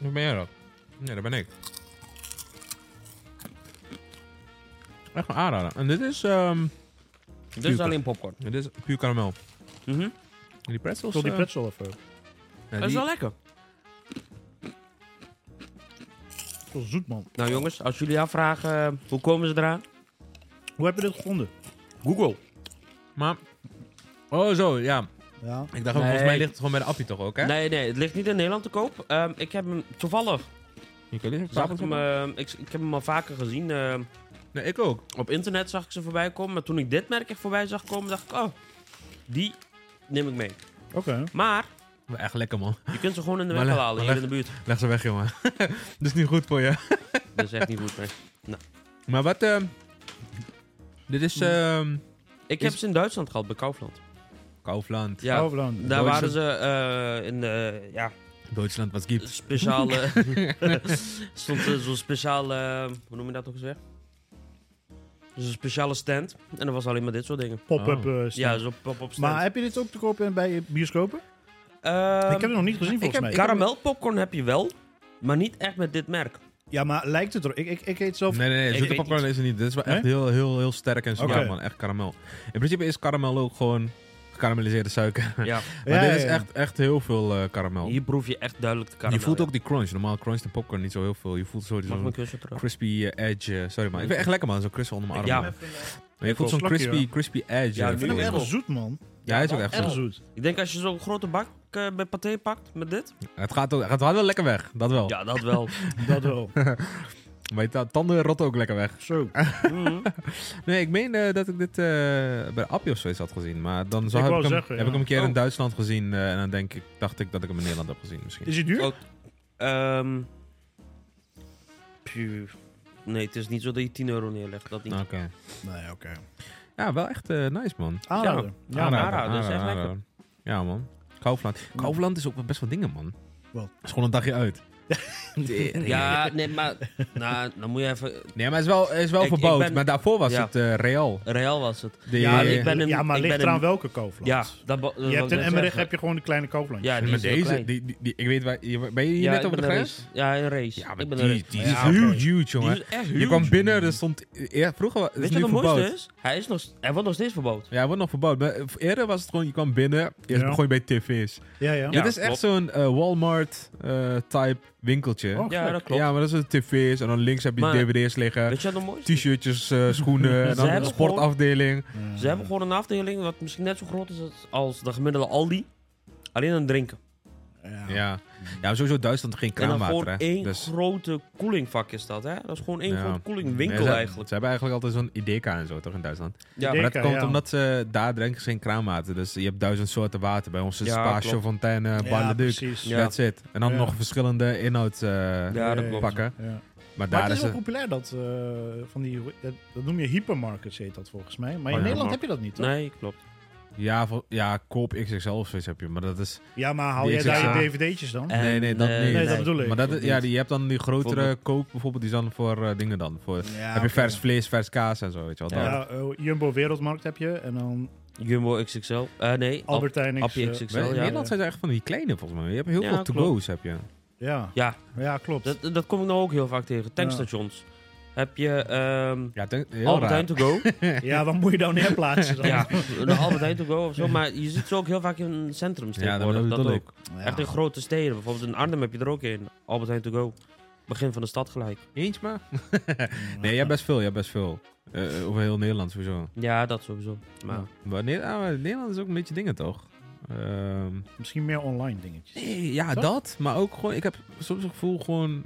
Speaker 7: Of ben jij dat? Nee, dat ben ik. Echt een aanrader. En dit is, ehm,
Speaker 3: Dit is
Speaker 7: Super.
Speaker 3: Dus alleen popcorn.
Speaker 7: dit is puur karamel.
Speaker 3: Mhm.
Speaker 7: En die pretzels...
Speaker 6: Tot die
Speaker 7: eh,
Speaker 6: pretzel even.
Speaker 7: ja,
Speaker 3: Dat is
Speaker 7: die-
Speaker 3: wel lekker.
Speaker 6: Wel zoet, man.
Speaker 3: Nou jongens, als jullie afvragen eh, hoe komen ze eraan?
Speaker 6: Hoe heb je dit gevonden?
Speaker 3: Google.
Speaker 7: Maar... Oh, zo, ja.
Speaker 6: Ja.
Speaker 7: Ik dacht, ook,
Speaker 3: Nee.
Speaker 7: volgens mij ligt het gewoon bij de appie toch ook, hè?
Speaker 3: Nee, nee, het ligt niet in Nederland te koop. Ehm, ik heb hem toevallig.
Speaker 7: Je kunt dit
Speaker 3: Zag ik,
Speaker 7: ook
Speaker 3: hem, ehm, ik, ik heb hem al vaker gezien. ehm,
Speaker 7: Nee, ik ook.
Speaker 3: op internet zag ik ze voorbij komen. Maar toen ik dit merk echt voorbij zag komen, dacht ik, oh, die neem ik mee.
Speaker 6: Oké.
Speaker 3: Maar
Speaker 7: Maar Echt lekker, man.
Speaker 3: je kunt ze gewoon in de
Speaker 7: Maar
Speaker 3: winkel
Speaker 7: leg-
Speaker 3: halen,
Speaker 7: maar
Speaker 3: hier in de buurt.
Speaker 7: Leg ze weg, jongen. dat is niet goed voor je.
Speaker 3: Dat is echt niet goed, nee.
Speaker 7: Maar wat... ehm, dit is... ehm
Speaker 3: Ik
Speaker 7: Is-
Speaker 3: heb ze in Duitsland gehad, bij Kaufland.
Speaker 7: Kaufland.
Speaker 3: Ja,
Speaker 6: Oh, bedankt.
Speaker 3: daar
Speaker 7: Duitsland.
Speaker 3: waren ze eh, in de, ja,
Speaker 7: Duitsland was gibt.
Speaker 3: speciale... stond eh, zo'n speciale, hoe noem je dat ook eens weer? Zo'n speciale stand. En dat was alleen maar dit soort dingen.
Speaker 6: Pop-up
Speaker 7: Oh.
Speaker 6: eh, stand.
Speaker 3: Ja, zo'n pop-up stand.
Speaker 6: maar heb je dit ook te koop in- bij bioscopen?
Speaker 3: Ehm,
Speaker 6: ik heb het nog niet gezien,
Speaker 3: ik
Speaker 6: volgens
Speaker 3: heb
Speaker 6: mij.
Speaker 3: karamelpopcorn heb je wel, maar niet echt met dit merk.
Speaker 6: Ja, maar lijkt het er... Ik, ik, ik eet zelf...
Speaker 7: Nee, nee, nee.
Speaker 3: Ik
Speaker 7: Zoete
Speaker 3: weet
Speaker 7: popcorn is het niet. Dit is wel
Speaker 6: Nee?
Speaker 7: echt heel, heel, heel sterk en zwaar,
Speaker 6: Oké.
Speaker 7: man. Echt karamel. In principe is karamel ook gewoon gekarameliseerde suiker.
Speaker 3: Ja,
Speaker 6: Ja,
Speaker 7: maar dit
Speaker 6: ja,
Speaker 7: is
Speaker 6: ja.
Speaker 7: echt, echt heel veel eh karamel.
Speaker 3: hier proef je echt duidelijk de karamel.
Speaker 7: je voelt
Speaker 3: ja.
Speaker 7: ook die crunch. Normaal cruncht de popcorn niet zo heel veel. Je voelt zo die
Speaker 3: Mag ik mijn
Speaker 7: zo'n
Speaker 3: kussen terug?
Speaker 7: crispy eh, edge. eh, sorry, man. Ik vind het echt lekker, man. Zo'n crust onder mijn arm.
Speaker 3: Ja.
Speaker 7: man. Maar je voelt
Speaker 6: wil
Speaker 7: zo'n
Speaker 6: slokje,
Speaker 7: crispy, crispy edge.
Speaker 3: Ja,
Speaker 7: eh,
Speaker 3: nu
Speaker 6: Ik vind
Speaker 7: feeling.
Speaker 6: hem
Speaker 3: wel.
Speaker 6: echt zoet, man.
Speaker 7: Ja, hij is ook echt
Speaker 6: Echt
Speaker 7: zo.
Speaker 6: zoet.
Speaker 3: Ik denk als je zo'n grote bak eh, bij paté pakt met dit.
Speaker 7: Het gaat, ook, het gaat wel lekker weg. Dat wel.
Speaker 3: Ja, dat wel.
Speaker 6: Dat wel.
Speaker 7: Maar je ta- tanden rotten ook lekker weg.
Speaker 6: Zo.
Speaker 3: Mhm.
Speaker 7: Nee, ik meen eh, dat ik dit eh, bij Appie of zoiets had gezien. Maar dan zag,
Speaker 6: Ik
Speaker 7: heb,
Speaker 6: wou
Speaker 7: ik hem,
Speaker 6: zeggen,
Speaker 7: heb
Speaker 6: ja.
Speaker 7: ik hem een keer in
Speaker 3: Oh.
Speaker 7: Duitsland gezien. eh, en dan denk ik, dacht ik dat ik hem in Nederland heb gezien misschien.
Speaker 6: Is hij duur?
Speaker 3: Oh. Ehm, puh. Nee, het is niet zo dat je 10 euro neerlegt. Dat niet.
Speaker 7: Nou, Oké.
Speaker 6: Nee, oké.
Speaker 7: Ja, wel echt eh, nice man.
Speaker 6: Aanrader.
Speaker 3: Ja,
Speaker 6: Ja,
Speaker 3: maar- aanrader, dat is echt lekker.
Speaker 7: Ja man. Kaufland. Kaufland is ook wel best wel dingen man.
Speaker 6: Wat?
Speaker 7: Het is gewoon een dagje uit. Tering.
Speaker 3: Ja, nee, maar nou, dan moet je even...
Speaker 7: Nee, maar het is wel, het is wel
Speaker 3: Ik- ik
Speaker 7: verbouwd.
Speaker 3: ben-
Speaker 7: Maar daarvoor was
Speaker 3: Ja.
Speaker 7: het eh, Real.
Speaker 3: Real was het.
Speaker 7: De,
Speaker 6: Ja,
Speaker 3: ik ben een-
Speaker 6: ja, maar
Speaker 3: ik
Speaker 6: ligt
Speaker 3: ben
Speaker 6: eraan
Speaker 3: een-
Speaker 6: welke Koofland.
Speaker 3: Ja, dat, dat
Speaker 6: Je hebt in Emmerich heb je gewoon een kleine Koofland.
Speaker 3: Ja, die
Speaker 7: maar
Speaker 3: is heel
Speaker 7: deze,
Speaker 3: klein.
Speaker 7: die, die, die- ik weet waar, je- ben je hier
Speaker 3: Ja,
Speaker 7: net
Speaker 3: ik
Speaker 7: over de
Speaker 3: ben een
Speaker 7: grens?
Speaker 3: race. Ja, een race.
Speaker 7: Ja, maar
Speaker 3: ik ben
Speaker 7: die,
Speaker 3: een
Speaker 7: die,
Speaker 3: race.
Speaker 7: is
Speaker 6: Ja, oké.
Speaker 7: huge, huge
Speaker 3: Die
Speaker 7: jongen.
Speaker 3: is echt
Speaker 7: Je
Speaker 3: huge.
Speaker 7: kwam binnen, er stond... e-, Ja, vroeger was het
Speaker 3: Weet je
Speaker 7: nu
Speaker 3: wat het mooiste
Speaker 7: verbouwd.
Speaker 3: is? Hij is nog... Hij wordt nog steeds verbouwd.
Speaker 7: Ja, hij wordt nog verbouwd. Maar eerder was het gewoon, je kwam binnen, eerst
Speaker 6: Ja.
Speaker 7: begon je bij tv's.
Speaker 6: ja. ja.
Speaker 3: Ja.
Speaker 7: Dit is echt
Speaker 3: klopt.
Speaker 7: zo'n eh, Walmart-type winkeltje.
Speaker 6: Oh,
Speaker 3: Ja,
Speaker 6: gek.
Speaker 3: dat klopt.
Speaker 7: Ja, maar dat is een tv's en dan links heb je
Speaker 3: Maar-
Speaker 7: dvd's liggen,
Speaker 3: Weet je wat het mooiste is?
Speaker 7: t-shirtjes, eh, schoenen, en dan een
Speaker 3: hebben gewoon-
Speaker 7: sportafdeling.
Speaker 3: Ze hebben gewoon een afdeling wat misschien net zo groot is als- als de gemiddelde Aldi. Alleen aan het drinken.
Speaker 6: Ja.
Speaker 7: Ja. ja, maar sowieso Duitsland geen
Speaker 3: en dan
Speaker 7: kraanwater,
Speaker 3: gewoon
Speaker 7: hè.
Speaker 3: één
Speaker 7: Dus,
Speaker 3: grote koelingvak is dat, hè? Dat is gewoon één
Speaker 7: ja.
Speaker 3: grote
Speaker 7: Nee,
Speaker 3: koelingwinkel
Speaker 7: ze,
Speaker 3: eigenlijk.
Speaker 7: Ze hebben eigenlijk altijd zo'n Ideka en zo, toch, in Duitsland?
Speaker 3: Ja,
Speaker 6: Idee-
Speaker 7: maar
Speaker 6: Ideka,
Speaker 7: dat komt
Speaker 6: ja.
Speaker 7: omdat ze, daar drinken ze geen kraanwater. Dus je hebt duizend soorten water. Bij ons Dus is
Speaker 3: Ja,
Speaker 7: Spa,
Speaker 3: klopt.
Speaker 7: Chaufontaine,
Speaker 6: Ja,
Speaker 7: Barleduc.
Speaker 6: precies.
Speaker 3: Ja.
Speaker 7: That's it. En dan
Speaker 6: Ja.
Speaker 7: nog verschillende inhoud eh,
Speaker 3: Ja, dat klopt.
Speaker 7: pakken.
Speaker 6: Ja.
Speaker 7: Maar
Speaker 6: Maar
Speaker 7: daar
Speaker 6: het is
Speaker 7: is
Speaker 6: wel
Speaker 7: het.
Speaker 6: populair, dat, eh, van die, dat, dat noem je hypermarkets, heet dat volgens mij. Maar in
Speaker 7: Oh, ja,
Speaker 6: Nederland
Speaker 3: maar-
Speaker 6: heb je dat niet, toch?
Speaker 3: Nee, klopt.
Speaker 7: Ja, vol- ja, koop XXL of zoiets heb je. Maar dat is.
Speaker 6: Ja, maar haal
Speaker 7: Die
Speaker 6: jij daar
Speaker 7: XXL.
Speaker 6: je dvd'tjes dan?
Speaker 3: En,
Speaker 7: Nee, nee, dat
Speaker 3: eh,
Speaker 7: niet.
Speaker 6: nee, dat bedoel ik.
Speaker 7: Maar dat, is- ja,
Speaker 3: niet.
Speaker 7: die, je hebt dan die grotere
Speaker 3: Bijvoorbeeld-
Speaker 7: koop bijvoorbeeld. Die is dan voor eh, dingen dan. Voor,
Speaker 6: Ja,
Speaker 7: heb je
Speaker 6: oké.
Speaker 7: vers vlees, vers kaas en zo. Weet je wel.
Speaker 3: Ja.
Speaker 7: Dan-
Speaker 6: Ja, eh, Jumbo Wereldmarkt heb je en dan
Speaker 3: Jumbo XXL. Eh, nee, Al-
Speaker 6: Albert Heijn.
Speaker 3: Appie
Speaker 6: eh,
Speaker 3: XXL,
Speaker 7: Maar in
Speaker 3: ja.
Speaker 7: Nederland zijn ze echt van die kleine volgens mij. Je hebt heel
Speaker 3: Ja,
Speaker 7: veel to-go's. Heb je.
Speaker 6: ja.
Speaker 3: Ja,
Speaker 6: ja, klopt.
Speaker 3: dat, dat kom ik nou ook heel vaak tegen. Tankstations. Heb je ehm
Speaker 7: Ja, ten- heel
Speaker 3: Albert
Speaker 7: raar.
Speaker 3: Heijn To Go.
Speaker 6: Ja, wat moet je dan neerplaatsen dan?
Speaker 3: ja, een Albert Heijn To Go of zo. Maar je ziet ze ook heel vaak in een centrum
Speaker 7: Ja, dat
Speaker 3: tegenwoordig.
Speaker 7: bedoel
Speaker 3: dat
Speaker 7: ik.
Speaker 3: ook. Echt in grote steden. Bijvoorbeeld in Arnhem heb je er ook een. Albert Heijn To Go. Begin van de stad gelijk.
Speaker 7: Eentje maar. nee, je hebt best veel. Je hebt best veel. Eh, over heel Nederland sowieso.
Speaker 3: Ja, dat sowieso. Maar
Speaker 7: Maar, Ne- ah, maar Nederland is ook een beetje dingen toch? Ehm,
Speaker 6: Misschien meer online dingetjes.
Speaker 7: nee, ja,
Speaker 6: Toch?
Speaker 7: dat. Maar ook gewoon, ik heb soms het gevoel gewoon...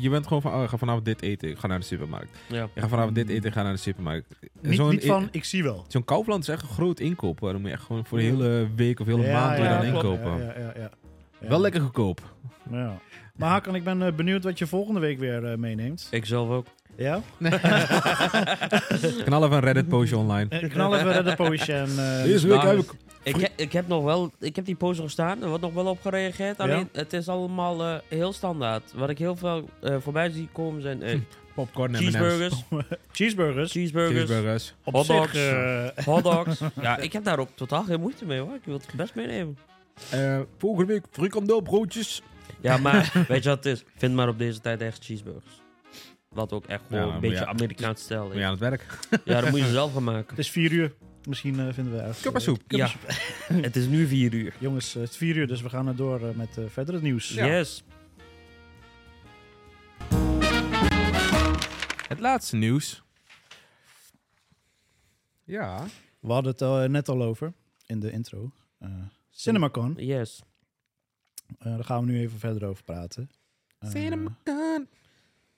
Speaker 7: Je bent gewoon van, oh, ik ga vanavond dit eten, ik ga naar de supermarkt.
Speaker 3: Ja.
Speaker 7: Ik ga vanavond dit eten, ik ga naar de supermarkt.
Speaker 6: Hmm. Niet,
Speaker 7: Zo'n-
Speaker 6: niet van, ik zie wel.
Speaker 7: Zo'n Kaufland is echt een groot inkoop. Daar moet je echt gewoon voor de hele week of hele
Speaker 6: Ja,
Speaker 7: maand weer
Speaker 6: ja,
Speaker 7: aan
Speaker 3: klopt.
Speaker 6: Ja,
Speaker 7: inkopen.
Speaker 6: ja, ja, ja. Ja.
Speaker 7: Wel lekker goedkoop.
Speaker 6: Ja. Maar Hakan, ik ben eh, benieuwd wat je volgende week weer eh, meeneemt.
Speaker 3: Ik zelf ook.
Speaker 6: Ja?
Speaker 7: Knal even een reddit postje online.
Speaker 6: Eh, Knal even de poosje en... eh,
Speaker 7: Deze week heb ik...
Speaker 3: Ik, he- ik heb nog wel, ik heb die post gestaan, er wordt nog wel op gereageerd. Alleen het is allemaal eh, heel standaard. Wat ik heel veel eh, voorbij zie komen zijn eh,
Speaker 7: Popcorn en
Speaker 3: cheeseburgers,
Speaker 6: cheeseburgers.
Speaker 3: cheeseburgers,
Speaker 7: Cheeseburgers.
Speaker 6: Op
Speaker 3: hotdogs.
Speaker 6: zich, eh,
Speaker 3: hotdogs. ja, ik heb daar ook totaal geen moeite mee hoor. Ik wil het best meenemen.
Speaker 7: Eh, volgende week frikandelbroodjes.
Speaker 3: Ja, maar weet je wat het is? Ik vind maar op deze tijd echt cheeseburgers. Wat ook echt gewoon
Speaker 7: Ja, maar
Speaker 3: een beetje
Speaker 7: ja.
Speaker 3: Amerikaans stijl
Speaker 7: Moet
Speaker 3: is.
Speaker 7: je aan
Speaker 3: Ja.
Speaker 7: het werk.
Speaker 3: dat moet je zelf gaan maken.
Speaker 6: het is vier uur. Misschien eh, vinden we uit.
Speaker 7: Kuppasoep.
Speaker 3: Ja, het is nu vier uur.
Speaker 6: Jongens, eh, het is vier uur, dus we gaan er door eh, met eh, verder het nieuws.
Speaker 3: Yes.
Speaker 7: Het laatste nieuws. Ja.
Speaker 6: We hadden het eh, net al over in de intro. Eh, CinemaCon.
Speaker 3: Yes.
Speaker 6: Eh, daar gaan we nu even verder over praten. Eh,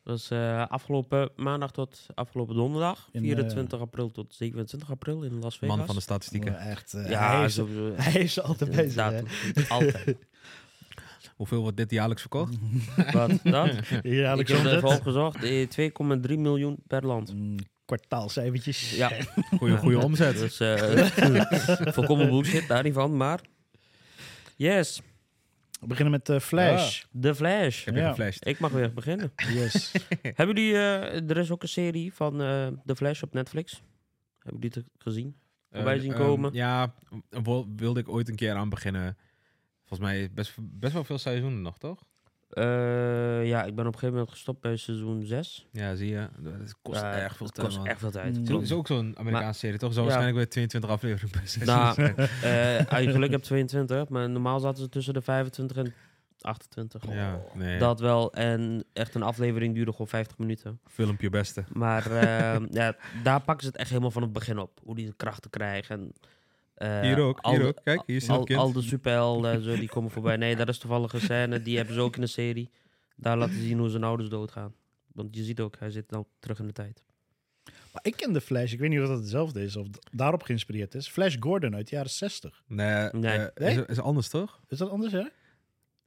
Speaker 3: Dat is eh, afgelopen maandag tot afgelopen donderdag.
Speaker 6: In,
Speaker 3: 24 april tot 27 april in Las Vegas.
Speaker 7: Man van de statistieken.
Speaker 6: echt, eh, hij,
Speaker 3: Ja,
Speaker 6: is,
Speaker 3: zo,
Speaker 6: hij is altijd bezig. hè.
Speaker 3: inderdaad. Altijd.
Speaker 7: Hoeveel wordt dit jaarlijks verkocht?
Speaker 3: Wat
Speaker 6: Ja,
Speaker 3: dat? Ik heb het
Speaker 6: Alexander.
Speaker 3: even opgezocht. Eh, 2,3 miljoen per land.
Speaker 6: Mm, Kwartaalcijfertjes.
Speaker 3: Ja,
Speaker 7: Goeie, goeie omzet.
Speaker 3: dus eh volkomen bullshit daar niet van, maar... Yes,
Speaker 6: We beginnen met eh, Flash.
Speaker 3: The Flash.
Speaker 7: Ik heb weer
Speaker 6: Ja.
Speaker 7: geflasht.
Speaker 3: Ik mag weer beginnen.
Speaker 6: Yes.
Speaker 3: Hebben jullie... eh, er is ook een serie van eh The Flash op Netflix. Hebben jullie het gezien? Voorbij
Speaker 7: Eh,
Speaker 3: zien
Speaker 7: ehm,
Speaker 3: komen.
Speaker 7: ja, wil- wilde ik ooit een keer aan beginnen. Volgens mij best, best wel veel seizoenen nog, toch?
Speaker 3: Eh, ja, ik ben op een gegeven moment gestopt bij seizoen 6.
Speaker 7: Ja, zie je. Het kost
Speaker 3: Ja,
Speaker 7: erg veel
Speaker 3: het
Speaker 7: tijd.
Speaker 3: kost
Speaker 7: man.
Speaker 3: echt veel tijd.
Speaker 6: Mm.
Speaker 7: Het
Speaker 3: klopt.
Speaker 7: is ook zo'n Amerikaanse
Speaker 3: Maar-
Speaker 7: serie, toch? Zo
Speaker 3: Ja.
Speaker 7: waarschijnlijk weer 22 afleveringen per seizoen.
Speaker 3: Nou, eh, als je geluk hebt 22, maar normaal zaten ze tussen de 25 en 28.
Speaker 7: ja, nee.
Speaker 3: Dat wel, en echt een aflevering duurde gewoon 50 minuten.
Speaker 7: Film je beste.
Speaker 3: Maar ehm, ja, daar pakken ze het echt helemaal van het begin op. Hoe die de krachten krijgen. En, eh,
Speaker 7: Hier ook,
Speaker 3: al
Speaker 7: hier
Speaker 3: de-
Speaker 7: ook. Kijk, hier is
Speaker 3: al,
Speaker 7: een kind.
Speaker 3: al de superhelden, en zo, die komen voorbij. Nee, dat is toevallig een scène, die hebben ze ook in de serie. Daar laten ze zien hoe zijn ouders doodgaan. Want je ziet ook, hij zit dan terug in de tijd.
Speaker 6: Maar ik ken de Flash. Ik weet niet of dat hetzelfde is of d- daarop geïnspireerd is. Flash Gordon uit de jaren 60.
Speaker 7: Nee,
Speaker 3: Nee.
Speaker 7: eh,
Speaker 6: Nee?
Speaker 7: Is, is anders, toch?
Speaker 6: Is dat anders, hè?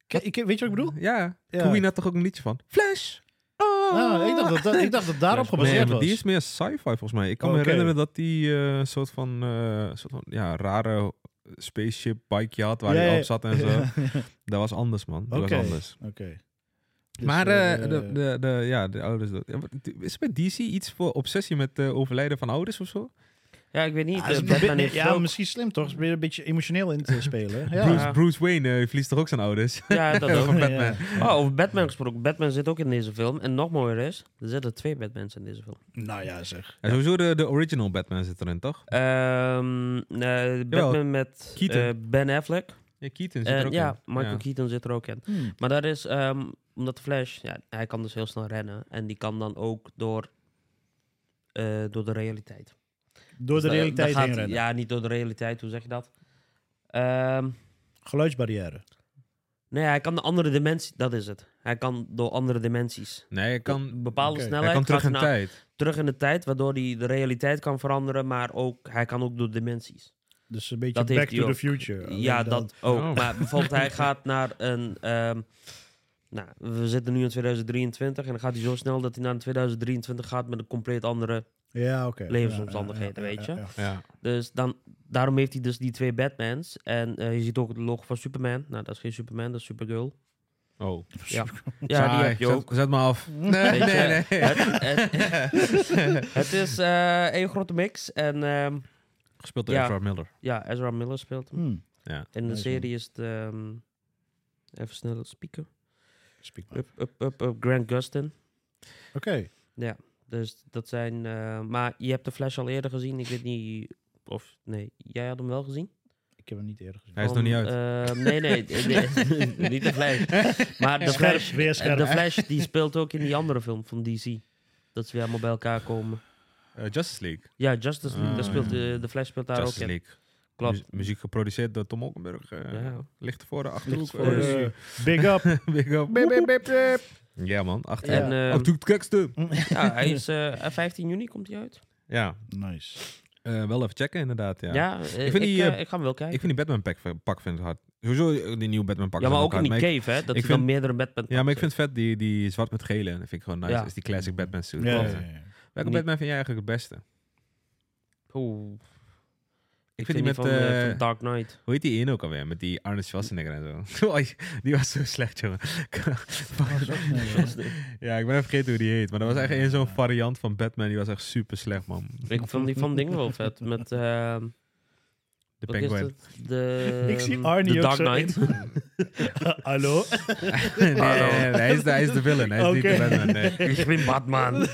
Speaker 6: Ke- ik, weet je wat ik bedoel?
Speaker 7: Ja.
Speaker 6: Ja.
Speaker 7: Queen had toch ook een liedje van? Flash! Oh!
Speaker 6: Ah, ik, dacht dat, dat- ik dacht dat daarop
Speaker 7: Nee,
Speaker 6: gebaseerd
Speaker 7: maar
Speaker 6: was. Oh,
Speaker 7: die is meer sci-fi volgens mij. Ik kan me
Speaker 6: Oké.
Speaker 7: herinneren dat die eh, een soort van, eh, een soort van ja, rare spaceship bikeje had waar
Speaker 6: Ja,
Speaker 7: hij
Speaker 6: ja.
Speaker 7: op zat en zo. Dat was anders, man. Dat
Speaker 6: Oké.
Speaker 7: was anders.
Speaker 6: Oké. Dus,
Speaker 7: maar
Speaker 6: eh,
Speaker 7: eh, de, de, de, ja, de ouders... dood. Ja, maar is er bij DC iets voor obsessie met eh, overlijden van ouders of zo?
Speaker 3: Ja, ik weet niet.
Speaker 6: ah, is
Speaker 3: eh,
Speaker 6: een
Speaker 3: Batman
Speaker 6: beetje-
Speaker 3: heeft het
Speaker 6: ja,
Speaker 3: ook.
Speaker 6: misschien slim toch? Is weer een beetje emotioneel in te spelen. Ja.
Speaker 7: Bruce, Bruce Wayne eh, verliest toch ook zijn ouders?
Speaker 3: Ja, dat ook.
Speaker 7: Van Batman.
Speaker 6: Ja.
Speaker 3: Oh, over Batman gesproken. Batman zit ook in deze film. En nog mooier is, er zitten twee Batmans in deze film.
Speaker 6: Nou ja, zeg.
Speaker 7: En sowieso de, de original Batman zit erin, toch?
Speaker 3: Eh, Ehm, eh, Batman met
Speaker 7: Keaton.
Speaker 3: eh, Ben Affleck.
Speaker 7: Ja, Keaton zit er
Speaker 3: En
Speaker 7: ook
Speaker 3: ja,
Speaker 7: in.
Speaker 3: Michael
Speaker 7: Ja.
Speaker 3: Keaton zit er ook in.
Speaker 6: Hmm.
Speaker 3: Maar daar is, ehm, omdat de Flash, ja, hij kan dus heel snel rennen. En die kan dan ook door, eh, door de realiteit.
Speaker 6: Door de
Speaker 3: Dus daar- daar
Speaker 6: realiteit
Speaker 3: gaat
Speaker 6: heen
Speaker 3: hij-
Speaker 6: rennen.
Speaker 3: Ja, niet door de realiteit, hoe zeg je dat? Ehm
Speaker 6: Geluidsbarrière.
Speaker 3: nee, hij kan de andere dimensie, dat is het. Hij kan door andere dimensies.
Speaker 7: Nee, hij kan,
Speaker 3: bepaalde
Speaker 6: oké. Hij
Speaker 3: snelheid.
Speaker 7: hij kan terug
Speaker 3: gaat
Speaker 7: in
Speaker 3: naar-
Speaker 7: tijd.
Speaker 3: terug in de tijd, waardoor hij de realiteit kan veranderen, maar ook hij kan ook door dimensies.
Speaker 6: Dus een beetje
Speaker 3: Dat heeft
Speaker 6: back
Speaker 3: hij
Speaker 6: to the
Speaker 3: ook.
Speaker 6: future. Alleen
Speaker 3: ja,
Speaker 6: dan-
Speaker 3: dat ook.
Speaker 7: Oh.
Speaker 3: Maar bijvoorbeeld hij gaat naar een. ehm, nou, we zitten nu in 2023 en dan gaat hij zo snel dat hij naar 2023 gaat met een compleet andere.
Speaker 6: Ja, oké.
Speaker 3: Levensomstandigheden, weet je.
Speaker 7: Ja.
Speaker 3: Dus dan, daarom heeft hij dus die twee Batmans. En eh, je ziet ook het logo van Superman. Nou, dat is geen Superman, dat is Supergirl.
Speaker 7: Oh.
Speaker 3: Ja, ja die
Speaker 7: Saai.
Speaker 3: heb je
Speaker 7: Zet-
Speaker 3: ook.
Speaker 7: Zet, me af. Nee,
Speaker 3: Weet je,
Speaker 7: nee, nee.
Speaker 3: Het, het- het is eh één grote mix. En ehm,
Speaker 7: Gespeeld door
Speaker 3: Ja.
Speaker 7: Ezra Miller.
Speaker 3: ja, Ezra Miller speelt hem.
Speaker 6: Hmm.
Speaker 3: In de
Speaker 6: Nice,
Speaker 3: serie is het... ehm, even snel spieken.
Speaker 6: Speak maar.
Speaker 3: Up, up, up, up, Grant Gustin.
Speaker 6: Oké.
Speaker 3: Dus dat zijn... eh, maar je hebt de Flash al eerder gezien. Ik weet niet... Of nee, jij had hem wel gezien?
Speaker 6: Ik heb hem niet eerder gezien.
Speaker 7: Hij is nog niet uit.
Speaker 3: Ehm, nee, nee, nee, niet de Flash. Maar de
Speaker 6: Scherp,
Speaker 3: Flash,
Speaker 6: weer scherp.
Speaker 3: de Flash die speelt ook in die andere film van DC. Dat ze weer allemaal bij elkaar komen.
Speaker 7: Eh, Justice League.
Speaker 3: Ja, Justice League, daar
Speaker 7: Ah,
Speaker 3: speelt, eh, de Flash speelt daar
Speaker 7: Justice
Speaker 3: ook in.
Speaker 7: League.
Speaker 3: Klopt.
Speaker 7: Mu- muziek geproduceerd door Tom Holkenburg. eh,
Speaker 3: Ja.
Speaker 7: Ligt voor de achterhoek.
Speaker 3: Ligt voor de-
Speaker 7: eh,
Speaker 6: Big up.
Speaker 7: Big up.
Speaker 6: Bip, bip, bip, bip.
Speaker 7: Ja, man. Achter,
Speaker 3: En ehm,
Speaker 7: Achterhoek het gekste.
Speaker 3: ja, hij is, eh, 15 juni komt hij uit.
Speaker 7: Ja,
Speaker 6: Nice.
Speaker 7: eh, wel even checken inderdaad. Ja.
Speaker 3: Ja, eh, ik,
Speaker 7: vind die,
Speaker 3: eh,
Speaker 7: eh,
Speaker 3: ik ga hem wel
Speaker 7: Ik
Speaker 3: kijken.
Speaker 7: vind die Batman pack, pak vind ik hard. Sowieso eh, die nieuwe Batman pak.
Speaker 3: ja,
Speaker 7: vind
Speaker 3: maar
Speaker 7: ik
Speaker 3: ook in die
Speaker 7: hard. Maar ik-
Speaker 3: cave, hè? Dat
Speaker 7: ik
Speaker 3: hij dan
Speaker 7: vind-
Speaker 3: meerdere Batman
Speaker 7: Ja, maar ik vind het vet die, die zwart met gele. Dat vind ik gewoon nice.
Speaker 3: Ja.
Speaker 7: is die classic Batman suit.
Speaker 6: Ja,
Speaker 7: Ja.
Speaker 6: ja, ja.
Speaker 7: Welke
Speaker 3: Niet-
Speaker 7: Batman vind jij eigenlijk het beste?
Speaker 3: Oeh. Ik,
Speaker 7: Ik
Speaker 3: vind die met van, eh, van Dark Knight.
Speaker 7: Hoe heet die in ook alweer? Met die Arne Schwarzenegger en zo. Oei, die was zo slecht, jongen.
Speaker 6: Dat is ook nice.
Speaker 7: ja, ik ben even vergeten hoe die heet. Maar dat was echt één zo'n variant van Batman. Die was echt super slecht, man.
Speaker 3: Ik vond die van dingen wel vet. Met ehm
Speaker 7: De
Speaker 3: wat is
Speaker 7: Penguin.
Speaker 3: dat? De,
Speaker 6: Ik zie
Speaker 3: ehm,
Speaker 6: Arnie
Speaker 3: de
Speaker 6: ook
Speaker 3: Dark
Speaker 6: zo
Speaker 3: Knight.
Speaker 6: Hallo?
Speaker 7: nee, nee, nee, hij, is de, hij is de villain. Hij is niet de
Speaker 6: Oké.
Speaker 7: Batman. Nee.
Speaker 3: ik ben Batman.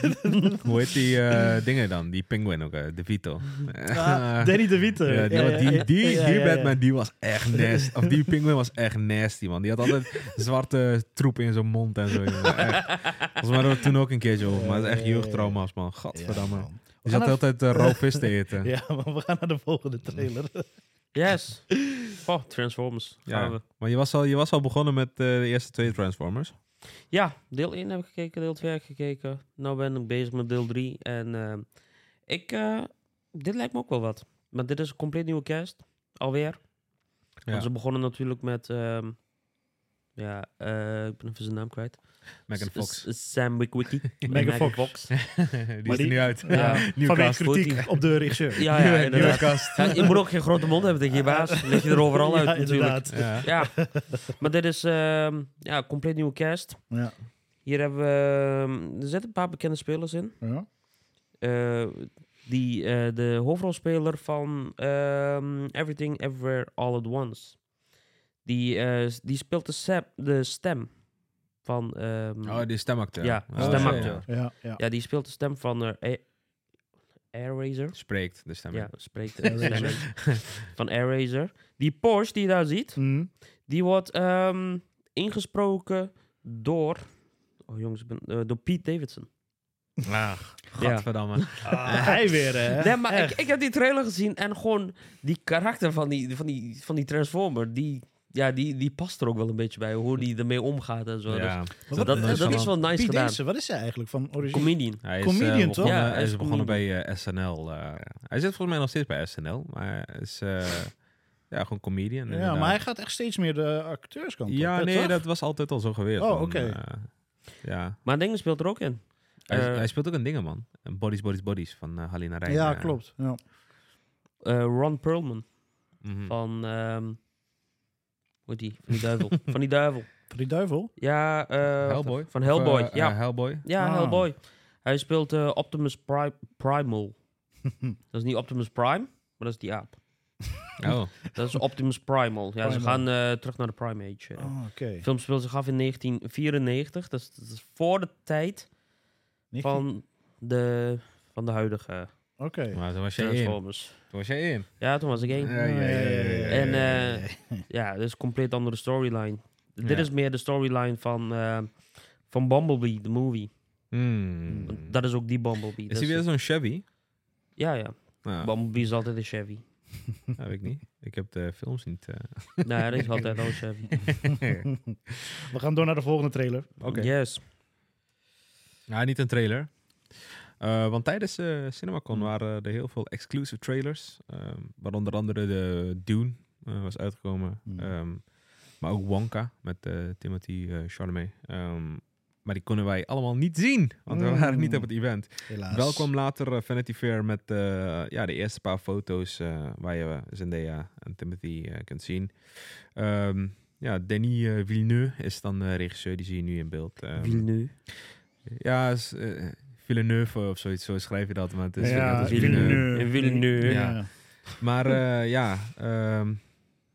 Speaker 7: Hoe heet die eh, dingen dan? Die Penguin ook, eh, de Vito.
Speaker 6: Ah, Danny DeVito.
Speaker 7: Ja, die,
Speaker 6: Ja, ja,
Speaker 7: die, die,
Speaker 6: ja,
Speaker 7: die
Speaker 6: ja, ja.
Speaker 7: Batman die was echt nasty. Of die Penguin was echt nasty, man. Die had altijd zwarte troep in zijn mond en zo. jongen. Echt. Volgens mij hadden we het toen ook een keertje over. Maar het is echt jeugdtrauma's, man. Gadverdamme.
Speaker 6: Ja, man. We
Speaker 7: Die zat de
Speaker 6: gaan
Speaker 7: hele tijd eh, rauw vis te eten.
Speaker 6: Ja, maar we gaan naar de volgende trailer.
Speaker 3: Yes. Oh, Transformers.
Speaker 7: Ja.
Speaker 3: Gaan we.
Speaker 7: Maar je was, al, je was al begonnen met eh, de eerste twee Transformers.
Speaker 3: Ja, deel 1 heb ik gekeken, deel 2 heb ik gekeken. Nou ben ik bezig met deel 3. En ehm, ik, eh, dit lijkt me ook wel wat. Maar dit is een compleet nieuwe cast. Alweer.
Speaker 7: Ja.
Speaker 3: Want ze begonnen natuurlijk met, ehm, ja, eh, ik ben even zijn naam kwijt.
Speaker 7: Megan
Speaker 3: S-
Speaker 7: Fox.
Speaker 3: S- Sam Witwicky.
Speaker 6: Megan Fox.
Speaker 7: die is
Speaker 6: maar
Speaker 7: er
Speaker 6: die-
Speaker 7: nu uit.
Speaker 3: Ja.
Speaker 6: Vanwege
Speaker 7: Nieuwe cast.
Speaker 6: kritiek op de regisseur.
Speaker 3: Ja, ja,
Speaker 7: Nieuwe- nieuwe
Speaker 3: inderdaad.
Speaker 7: cast.
Speaker 3: Ja, je moet ook geen grote mond hebben tegen je baas. Leg je er overal uit
Speaker 6: Ja,
Speaker 3: natuurlijk.
Speaker 6: inderdaad.
Speaker 7: Ja.
Speaker 3: Ja, maar dit is ehm, ja, een compleet nieuwe cast.
Speaker 6: Ja.
Speaker 3: Hier hebben we, ehm, er zitten een paar bekende spelers in.
Speaker 6: Ja.
Speaker 3: Eh, die, eh, de hoofdrolspeler van ehm, Everything Everywhere All at Once. Die, eh, s- die speelt de, sep- de stem van. ehm,
Speaker 7: Oh, die stemacteur.
Speaker 3: Ja,
Speaker 7: Oh,
Speaker 3: stemacteur.
Speaker 7: ja.
Speaker 6: Ja, ja.
Speaker 3: Ja, die speelt de stem van eh, Air Airraiser.
Speaker 7: Spreekt de stem.
Speaker 3: Ja, spreekt de
Speaker 6: Airraiser.
Speaker 3: stem van Airraiser. Die Porsche die je daar ziet,
Speaker 6: Mm.
Speaker 3: die wordt ehm, ingesproken door. Oh jongens, ik ben, eh, door Pete Davidson.
Speaker 7: Ah, gadverdamme.
Speaker 6: Ah, hij weer, hè?
Speaker 3: Nee, maar ik,
Speaker 6: Echt.
Speaker 3: ik heb die trailer gezien en gewoon die karakter van die, van die, van die Transformer, die, ja, die, die past er ook wel een beetje bij, hoe die ermee omgaat en zo. Dus
Speaker 7: Ja.
Speaker 3: dat, dat,
Speaker 6: is
Speaker 3: is wel nice
Speaker 6: Pete
Speaker 3: gedaan.
Speaker 6: Davidson, wat is hij eigenlijk van origine?
Speaker 3: Comedian.
Speaker 7: Hij is,
Speaker 6: Comedian,
Speaker 7: eh,
Speaker 6: toch?
Speaker 7: begonnen-
Speaker 3: Ja, hij
Speaker 7: hij
Speaker 3: is
Speaker 7: is begonnen bij eh, SNL. eh. hij zit volgens mij nog steeds bij SNL, maar hij is eh, ja, gewoon comedian.
Speaker 6: Ja,
Speaker 7: inderdaad.
Speaker 6: maar hij gaat echt steeds meer de acteurskant op.
Speaker 7: Ja,
Speaker 6: hè,
Speaker 7: nee,
Speaker 6: toch?
Speaker 7: dat was altijd al zo geweest.
Speaker 6: Oh,
Speaker 7: man.
Speaker 6: oké.
Speaker 7: Eh, ja,
Speaker 3: Maar Dingen speelt er ook in.
Speaker 7: hij,
Speaker 3: Eh,
Speaker 7: hij speelt ook een dingen, man. Een Bodies, Bodies, Bodies van eh, Halina Rijn.
Speaker 6: Ja,
Speaker 7: eh.
Speaker 6: klopt. Ja.
Speaker 3: Eh, Ron Perlman
Speaker 7: Mhm.
Speaker 3: van, ehm, hoe heet die? Van die duivel. van die duivel.
Speaker 6: Voor die duivel?
Speaker 3: Ja, eh,
Speaker 7: Hellboy.
Speaker 3: Van Hellboy,
Speaker 7: Of, eh,
Speaker 3: ja.
Speaker 7: eh, Hellboy.
Speaker 3: ja,
Speaker 6: Ah.
Speaker 3: Hellboy. Hij speelt eh, Optimus Pri- Primal. dat is niet Optimus Prime, maar dat is die aap.
Speaker 7: Oh,
Speaker 3: Dat is Optimus Primal. Ja, ze
Speaker 6: Primal.
Speaker 3: gaan eh, terug naar de Prime Age. eh.
Speaker 6: Oh, oké.
Speaker 3: De film speelt zich af in 1994. Dat is, dat is voor de tijd
Speaker 6: Nicky?
Speaker 3: van de, van de huidige
Speaker 6: Oké.
Speaker 7: maar toen was jij één.
Speaker 3: Transformers.
Speaker 7: Toen was jij één.
Speaker 3: Ja, toen was ik één.
Speaker 7: Ja, ja, ja, ja, ja,
Speaker 3: En
Speaker 7: ja, ja.
Speaker 3: eh, ja, dat is een compleet andere storyline. Dit
Speaker 7: Ja.
Speaker 3: is meer de storyline van, eh, van Bumblebee, de movie.
Speaker 7: Hmm.
Speaker 3: Want Dat is ook die Bumblebee.
Speaker 7: Is
Speaker 3: Dat
Speaker 7: hij weer zo'n Chevy?
Speaker 3: Ja, ja.
Speaker 7: Nou,
Speaker 3: Bumblebee is altijd een Chevy.
Speaker 7: dat weet ik niet. Ik heb de films niet. eh.
Speaker 3: nou, ja, dat is altijd al een Chevy.
Speaker 6: We gaan door naar de volgende trailer.
Speaker 3: Yes.
Speaker 7: Ja, niet een trailer. Eh, want tijdens eh, CinemaCon waren er heel veel exclusive trailers. ehm, waaronder andere de Dune eh, was uitgekomen.
Speaker 6: Hmm.
Speaker 7: Ehm, maar ook Wonka met eh, Timothy eh Chalamet. Ehm, maar die konden wij allemaal niet zien, want we waren niet op het event.
Speaker 6: Helaas.
Speaker 7: Wel kwam later eh, Vanity Fair met eh, ja, de eerste paar foto's eh, waar je Zendaya en Timothy eh, kunt zien. Ehm, ja, Denis eh, Villeneuve is dan de regisseur, die zie je nu in beeld. Ehm,
Speaker 3: nu?
Speaker 7: ja, is, eh, Villeneuve of zoiets, zo schrijf je dat. Maar het is,
Speaker 6: Ja,
Speaker 7: het is
Speaker 6: Villeneuve.
Speaker 3: Villeneuve.
Speaker 7: Ja. Maar eh, ja, ehm,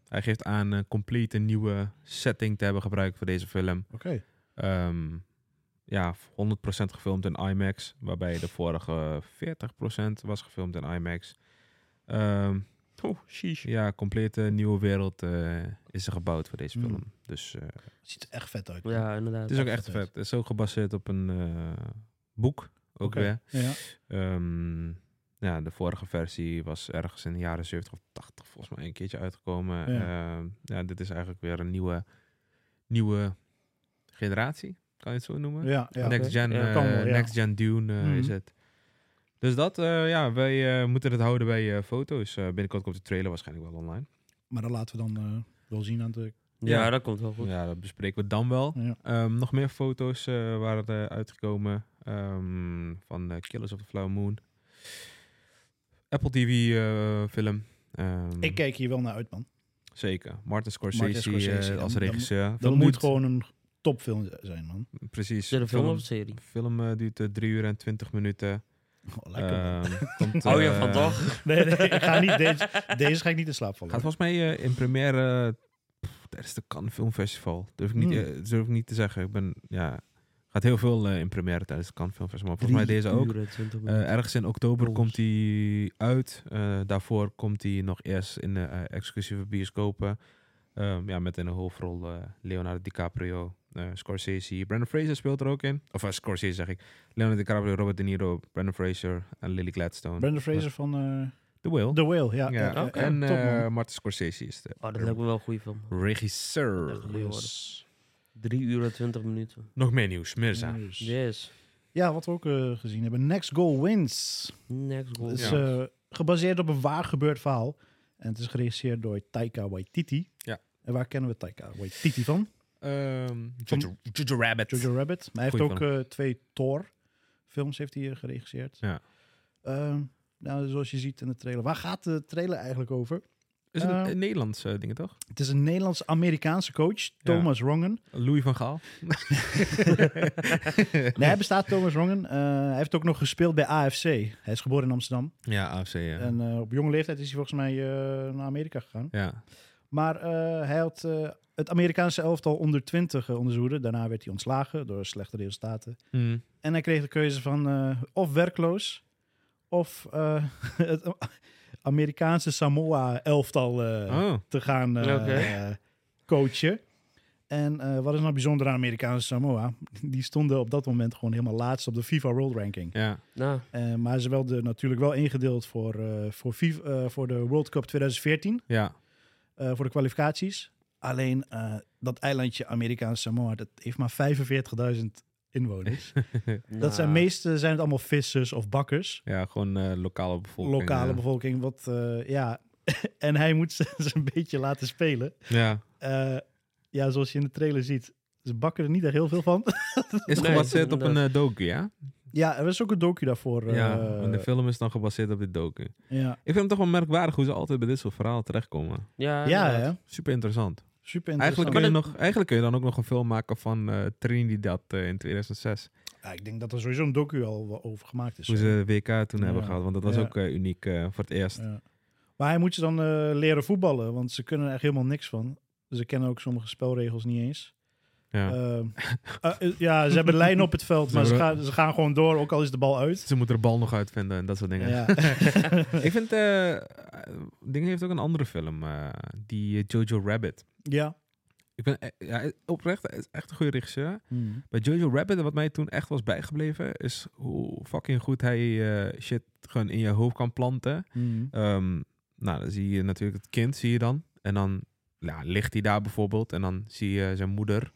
Speaker 7: hij geeft aan eh, een complete nieuwe setting te hebben gebruikt voor deze film.
Speaker 6: Oké.
Speaker 7: Ehm, ja, 100% gefilmd in IMAX, waarbij de vorige 40% was gefilmd in IMAX. Ehm,
Speaker 3: Oh, sheesh.
Speaker 7: ja, complete nieuwe wereld eh, is er gebouwd voor deze
Speaker 6: Hmm.
Speaker 7: film. Dus eh,
Speaker 6: Ziet er echt vet uit.
Speaker 3: Ja, inderdaad.
Speaker 7: het is ook
Speaker 6: vet
Speaker 7: echt
Speaker 6: uit.
Speaker 7: vet. Het is ook gebaseerd op een eh, boek, ook
Speaker 6: Oké.
Speaker 7: weer.
Speaker 6: Ja.
Speaker 7: Ehm, Ja, de vorige versie was ergens in de jaren 70 of 80 volgens mij een keertje uitgekomen.
Speaker 6: Ja.
Speaker 7: Ehm, ja, dit is eigenlijk weer een nieuwe, nieuwe generatie, kan je het zo noemen?
Speaker 6: Ja, ja.
Speaker 3: Nee.
Speaker 7: Next Gen,
Speaker 3: Ja,
Speaker 7: eh,
Speaker 6: kan wel, ja.
Speaker 7: Next Gen Dune eh,
Speaker 6: Mhm.
Speaker 7: is het. Dus dat, eh, ja, wij eh, moeten het houden bij eh, foto's. Eh, binnenkort komt de trailer waarschijnlijk wel online.
Speaker 6: Maar dat laten we dan eh, wel zien aan de...
Speaker 3: Ja,
Speaker 7: Ja.
Speaker 3: dat komt wel goed.
Speaker 7: Ja, dat bespreken we dan wel.
Speaker 6: Ja.
Speaker 7: Ehm, nog meer foto's eh, waren er uitgekomen ehm, van de Killers of the Flower Moon. Apple TV eh, film. Ehm,
Speaker 6: Ik kijk hier wel naar uit, man.
Speaker 7: Zeker. Martin Scorsese,
Speaker 6: Martin Scorsese,
Speaker 7: eh,
Speaker 6: dan-
Speaker 7: als
Speaker 6: dan-
Speaker 7: regisseur.
Speaker 6: Dat
Speaker 7: Film
Speaker 6: moet
Speaker 7: duurt-
Speaker 6: gewoon een topfilm zijn, man.
Speaker 7: Precies.
Speaker 3: Is er een film
Speaker 7: film
Speaker 3: of een serie?
Speaker 7: film eh, duurt eh, 3 uur en 20 minuten.
Speaker 6: Oh, lekker, man.
Speaker 7: Ehm, komt,
Speaker 3: Oh ja,
Speaker 7: eh,
Speaker 3: van toch?
Speaker 6: Nee, nee, ik ga niet deze, deze ga ik niet in slaap vallen.
Speaker 7: Gaat volgens mij eh, in première eh, pff, tijdens de Cannes Film Festival. Durf ik, niet,
Speaker 6: Hmm.
Speaker 7: eh, durf ik niet te zeggen. Ik ben, ja, gaat heel veel eh, in première tijdens de Cannes Film Festival. Maar volgens mij deze ook. Eh, ergens in oktober
Speaker 3: Jongens.
Speaker 7: komt hij uit. Eh, daarvoor komt hij nog eerst in de eh, exclusieve bioscopen. Ehm, ja, met in de hoofdrol eh, Leonardo DiCaprio, eh, Scorsese. Brandon Fraser speelt er ook in. Of eh, Scorsese zeg ik. Leonardo DiCaprio, Robert De Niro, Brandon Fraser en Lily Gladstone.
Speaker 6: Brendan Fraser van eh,
Speaker 7: The Will.
Speaker 6: The Whale, ja.
Speaker 7: Ja,
Speaker 6: ja, ja,
Speaker 3: oké.
Speaker 6: ja,
Speaker 7: En
Speaker 6: top, man.
Speaker 7: eh, Martin Scorsese is de
Speaker 3: oh, dat lijkt me wel een goede film.
Speaker 7: regisseur.
Speaker 3: Echt een goeie worden.
Speaker 6: Yes.
Speaker 3: Drie uur en twintig minuten.
Speaker 7: Nog meer nieuws, Mirza.
Speaker 6: Nice.
Speaker 3: Yes.
Speaker 6: Ja, wat we ook eh, gezien hebben. Next Goal Wins.
Speaker 3: Next goal.
Speaker 6: Het is
Speaker 7: Ja.
Speaker 6: eh, gebaseerd op een waar gebeurd verhaal. En het is geregisseerd door Taika Waititi.
Speaker 7: Ja.
Speaker 6: En waar kennen we Taika Waititi van?
Speaker 7: Ehm, Jojo Jojo Rabbit.
Speaker 6: Jojo Rabbit. Maar hij heeft
Speaker 7: Goeie
Speaker 6: ook eh, twee Thor-films heeft hij, eh, geregisseerd.
Speaker 7: Ja.
Speaker 6: Ehm, nou, zoals je ziet in de trailer. Waar gaat de trailer eigenlijk over?
Speaker 7: Is het een,
Speaker 6: Eh,
Speaker 7: een Nederlands eh, ding, toch?
Speaker 6: Het is een Nederlands-Amerikaanse coach, Thomas Rongen.
Speaker 7: Louis van Gaal.
Speaker 6: Nee, hij bestaat Thomas Rongen. Eh, hij heeft ook nog gespeeld bij AFC. Hij is geboren in Amsterdam.
Speaker 7: Ja, AFC. Ja.
Speaker 6: En eh, op jonge leeftijd is hij volgens mij eh, naar Amerika gegaan.
Speaker 7: ja.
Speaker 6: Maar eh, hij had eh, het Amerikaanse elftal onder 20 eh, onder zijn hoede. Daarna werd hij ontslagen door slechte resultaten.
Speaker 7: Mm.
Speaker 6: En hij kreeg de keuze van eh, of werkloos of eh, het Amerikaanse Samoa elftal eh,
Speaker 7: oh,
Speaker 6: te gaan eh,
Speaker 3: Oké.
Speaker 6: eh, coachen. En eh, wat is nou bijzonder aan Amerikaanse Samoa? Die stonden op dat moment gewoon helemaal laatst op de FIFA World Ranking.
Speaker 7: ja.
Speaker 3: Nou,
Speaker 6: Eh, maar ze wel de, natuurlijk wel ingedeeld voor, eh, voor, FIFA, eh, voor de World Cup 2014
Speaker 7: Ja.
Speaker 6: eh, voor de kwalificaties. Alleen eh, dat eilandje Amerikaanse Samoa, dat heeft maar 45.000 inwoners. dat
Speaker 3: nou.
Speaker 6: zijn meeste zijn het allemaal vissers of bakkers.
Speaker 7: ja, gewoon eh, lokale bevolking.
Speaker 6: Lokale
Speaker 7: eh.
Speaker 6: bevolking, wat eh, ja. en hij moet ze ze een beetje laten spelen.
Speaker 7: Ja.
Speaker 6: Eh, ja, zoals je in de trailer ziet, ze bakken er niet echt heel veel van.
Speaker 7: Is
Speaker 3: Nee,
Speaker 7: gebaseerd op een
Speaker 3: inderdaad.
Speaker 7: eh, docu, ja?
Speaker 6: ja, er is ook een docu daarvoor. eh,
Speaker 7: ja. En de film is dan gebaseerd op dit docu.
Speaker 6: ja.
Speaker 7: Ik vind het toch wel merkwaardig hoe ze altijd bij dit soort verhalen terechtkomen.
Speaker 3: ja,
Speaker 6: ja,
Speaker 3: inderdaad.
Speaker 6: hè?
Speaker 7: Super interessant.
Speaker 6: super interessant.
Speaker 7: Eigenlijk kun, je
Speaker 3: Maar
Speaker 7: nog, eigenlijk kun je dan ook nog een film maken van eh, Trinidad eh, in 2006.
Speaker 6: Ja, ik denk dat er sowieso een docu al wel over gemaakt is.
Speaker 7: Hoe ze WK toen hebben
Speaker 6: Ja.
Speaker 7: gehad. Want dat was
Speaker 6: Ja.
Speaker 7: ook eh, uniek eh, voor het eerst.
Speaker 6: Ja. Maar hij moet ze dan eh, leren voetballen, want ze kunnen er echt helemaal niks van. Ze kennen ook sommige spelregels niet eens.
Speaker 7: Ja.
Speaker 6: Ehm, eh, eh, ja, ze hebben lijnen op het veld,
Speaker 7: Ze
Speaker 6: maar ze
Speaker 7: hebben-
Speaker 6: gaan, ze gaan gewoon door, ook al is de bal uit.
Speaker 7: Ze moeten de bal nog uitvinden en dat soort dingen.
Speaker 6: Ja.
Speaker 7: Ik vind... eh Ding heeft ook een andere film. eh, die eh, Jojo Rabbit.
Speaker 6: ja.
Speaker 7: Ik ben, eh, ja, oprecht, hij is echt een goede regisseur.
Speaker 6: Hmm.
Speaker 7: Bij Jojo Rabbit, en wat mij toen echt was bijgebleven, is hoe fucking goed hij eh, shit gewoon in je hoofd kan planten.
Speaker 6: Hmm.
Speaker 7: Ehm, nou, dan zie je natuurlijk het kind, zie je dan. En dan ja, ligt hij daar bijvoorbeeld. En dan zie je zijn moeder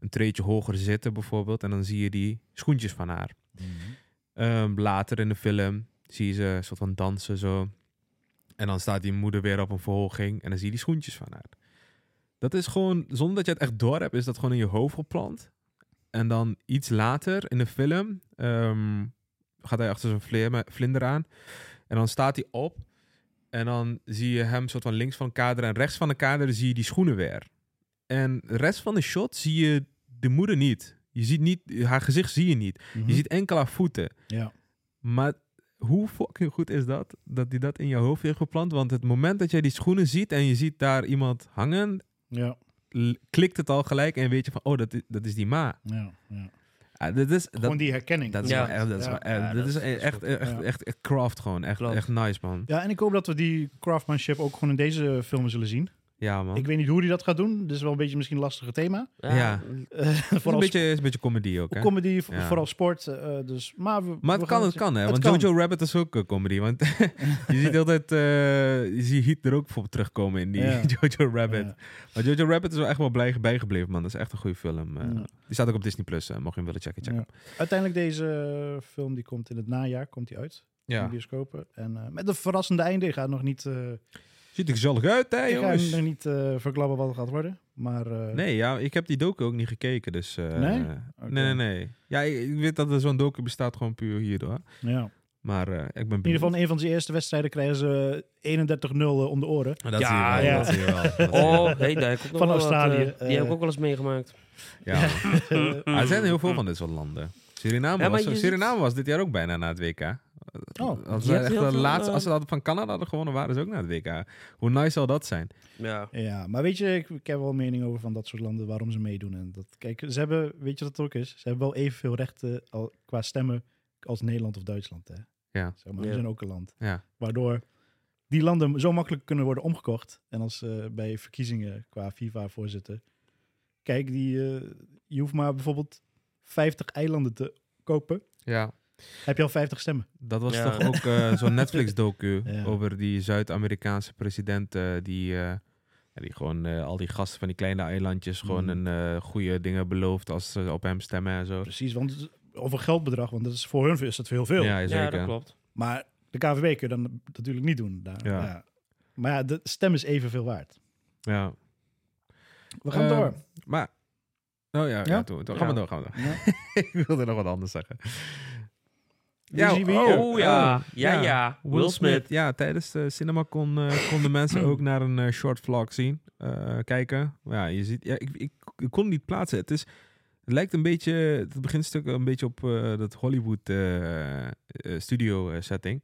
Speaker 7: een treetje hoger zitten bijvoorbeeld. En dan zie je die schoentjes van haar.
Speaker 6: Hmm.
Speaker 7: Ehm, later in de film zie je ze een soort van dansen zo. En dan staat die moeder weer op een verhoging en dan zie je die schoentjes van haar. Dat is gewoon, zonder dat je het echt door hebt, is dat gewoon in je hoofd geplant. En dan iets later in de film ehm, gaat hij achter zijn vleerme- vlinder aan. En dan staat hij op. En dan zie je hem soort van links van kader en rechts van de kader zie je die schoenen weer. En de rest van de shot zie je de moeder niet. Je ziet niet, haar gezicht zie je niet. Je ziet enkel haar voeten.
Speaker 6: Hm? Ja.
Speaker 7: Maar hoe fucking goed is dat? Dat hij dat in je hoofd heeft geplant. Want het moment dat jij die schoenen ziet en je ziet daar iemand hangen,
Speaker 6: Ja.
Speaker 7: l- klikt het al gelijk en weet je van, oh, dat is, dat is die ma.
Speaker 6: Ja. ja.
Speaker 7: Ah, dit is, dat,
Speaker 6: Gewoon die herkenning.
Speaker 7: dat is
Speaker 3: Ja.
Speaker 7: wel echt- dat is
Speaker 6: Ja.
Speaker 7: wel echt-
Speaker 3: Ja,
Speaker 7: dit
Speaker 3: dat
Speaker 7: is
Speaker 3: is- dat is
Speaker 7: echt,
Speaker 3: goed.
Speaker 7: echt,
Speaker 6: Ja.
Speaker 7: echt, echt craft gewoon. Echt,
Speaker 3: Klopt.
Speaker 7: echt nice, man.
Speaker 6: Ja, en ik hoop dat we die craftsmanship ook gewoon in deze film zullen zien.
Speaker 7: Ja, man.
Speaker 6: Ik weet niet hoe hij dat gaat doen. Dit is wel een beetje misschien een lastig thema.
Speaker 7: Ja.
Speaker 6: Eh,
Speaker 7: het is
Speaker 6: vooral
Speaker 7: een beetje, is een beetje comedy ook, hè?
Speaker 6: comedy, v-
Speaker 7: Ja.
Speaker 6: vooral sport. eh, dus, maar we,
Speaker 7: Maar
Speaker 6: we
Speaker 7: het
Speaker 6: gaan
Speaker 7: kan, het kan, hè?
Speaker 6: Het
Speaker 7: Want
Speaker 6: kan.
Speaker 7: Jojo Rabbit is ook een comedy. Want je ziet altijd... eh, je ziet Heat er ook voor terugkomen in die
Speaker 6: Ja.
Speaker 7: Jojo Rabbit.
Speaker 6: Ja.
Speaker 7: Maar Jojo Rabbit is wel echt wel blij bijgebleven, man. Dat is echt een goede film. eh.
Speaker 6: Ja.
Speaker 7: Die staat ook op Disney+. Plus, eh, mocht je hem willen checken, check
Speaker 6: Ja.
Speaker 7: hem.
Speaker 6: Uiteindelijk deze film die komt in het najaar komt die uit. In de
Speaker 7: Ja.
Speaker 6: bioscopen. En eh, met een verrassende einde. Ik ga nog niet, eh,
Speaker 7: Ziet er gezellig uit, hè,
Speaker 6: ik ga
Speaker 7: jongens?
Speaker 6: nog niet eh, verklappen wat het gaat worden. Maar eh,
Speaker 7: Nee, ja, ik heb die docu ook niet gekeken, dus... eh,
Speaker 6: Nee? Oké.
Speaker 7: Nee, nee, nee. Ja, ik, ik weet dat er zo'n docu bestaat gewoon puur hierdoor.
Speaker 6: ja.
Speaker 7: Maar eh, ik ben
Speaker 6: in ieder geval in een van zijn eerste wedstrijden krijgen ze eh, 31-0 om de oren.
Speaker 7: Dat
Speaker 3: Ja,
Speaker 7: ja,
Speaker 6: ja.
Speaker 7: ja. Dat zie je wel. dat zie je wel.
Speaker 3: Oh, hey, daar heb ik ook nog
Speaker 6: Van
Speaker 3: wel wat, eh,
Speaker 6: Australië, eh.
Speaker 3: die heb ik ook wel eens meegemaakt.
Speaker 7: Ja.
Speaker 3: Mm,
Speaker 7: Maar er zijn heel veel van dit soort landen. Suriname,
Speaker 3: Ja, maar
Speaker 7: was,
Speaker 3: je ziet-
Speaker 7: Suriname was dit jaar ook bijna na het WK.
Speaker 6: Oh,
Speaker 7: Als,
Speaker 3: je
Speaker 7: ze
Speaker 3: hebt
Speaker 7: echt
Speaker 3: heel
Speaker 7: de
Speaker 3: veel,
Speaker 7: laatste,
Speaker 3: eh,
Speaker 7: als ze dat van Canada hadden gewonnen, waren ze ook naar het WK. Hoe nice zou dat zijn?
Speaker 3: Ja.
Speaker 6: Ja, maar weet je, ik, ik heb wel een mening over van dat soort landen waarom ze meedoen. En dat, kijk, ze hebben, weet je wat het ook is? Ze hebben wel evenveel rechten al, qua stemmen als Nederland of Duitsland. Hè?
Speaker 7: Ja.
Speaker 6: Zeg maar,
Speaker 3: Ja.
Speaker 6: we zijn ook een land.
Speaker 7: Ja.
Speaker 6: Waardoor die landen zo makkelijk kunnen worden omgekocht. En als eh, bij verkiezingen qua FIFA-voorzitter. Kijk, die, eh, je hoeft maar bijvoorbeeld 50 eilanden te kopen.
Speaker 7: Ja.
Speaker 6: Heb je al 50 stemmen?
Speaker 7: Dat was
Speaker 3: Ja.
Speaker 7: toch ook eh, zo'n Netflix-docu
Speaker 6: Ja.
Speaker 7: over die Zuid-Amerikaanse president eh, die, eh, ja, die gewoon eh, al die gasten van die kleine eilandjes gewoon
Speaker 6: Mm.
Speaker 7: een eh, goede dingen belooft als ze op hem stemmen en zo.
Speaker 6: Precies, want het is over geldbedrag, want dat is, voor hun is dat heel veel.
Speaker 7: Ja,
Speaker 3: ja,
Speaker 7: zeker.
Speaker 3: dat klopt.
Speaker 6: Maar de KVB kun je dan natuurlijk niet doen. Daar.
Speaker 7: Ja.
Speaker 6: Ja. Maar ja, de stem is evenveel waard. Ehm,
Speaker 7: Ja.
Speaker 6: We gaan
Speaker 7: Eh,
Speaker 6: door.
Speaker 7: Maar, oh ja, ja?
Speaker 6: Ja?
Speaker 7: toen, toen- gaan we
Speaker 3: Ja.
Speaker 7: door, gaan we door.
Speaker 6: Ja.
Speaker 7: Ik wilde nog wat anders zeggen.
Speaker 6: Wie zien we hier?
Speaker 7: oh,
Speaker 3: Oh ja, ja,
Speaker 7: ja.
Speaker 3: ja. Will Smith.
Speaker 7: Ja, tijdens de CinemaCon eh, konden mensen ook naar een eh, short vlog zien. eh, kijken. Ja, je ziet, ja, ik, ik, ik kon het niet plaatsen. Het, is, het lijkt een beetje, het beginstuk een beetje op eh, dat Hollywood eh, eh, studio eh, setting.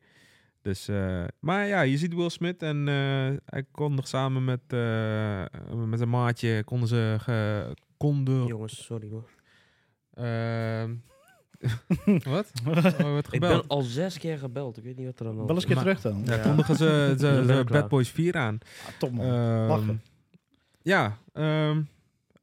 Speaker 7: Dus, eh, maar ja, je ziet Will Smith en eh, hij kon nog samen met, eh, met een maatje, konden ze, ge- konden,
Speaker 3: Jongens, sorry hoor.
Speaker 7: Ehm, wat? Oh, wat
Speaker 3: Ik
Speaker 7: gebeld?
Speaker 3: ben al zes keer gebeld. Ik weet niet wat er aan de hand
Speaker 6: Wel eens een keer
Speaker 7: maar-
Speaker 6: terug dan.
Speaker 7: Ja,
Speaker 3: Ja.
Speaker 7: kondigen ze,
Speaker 3: Dan
Speaker 7: ze,
Speaker 3: ben
Speaker 7: ze
Speaker 3: ik
Speaker 7: Bad
Speaker 3: klaar.
Speaker 7: Boys 4 aan.
Speaker 6: Ah, top man.
Speaker 7: Ehm,
Speaker 6: Lachen.
Speaker 7: ja, ehm,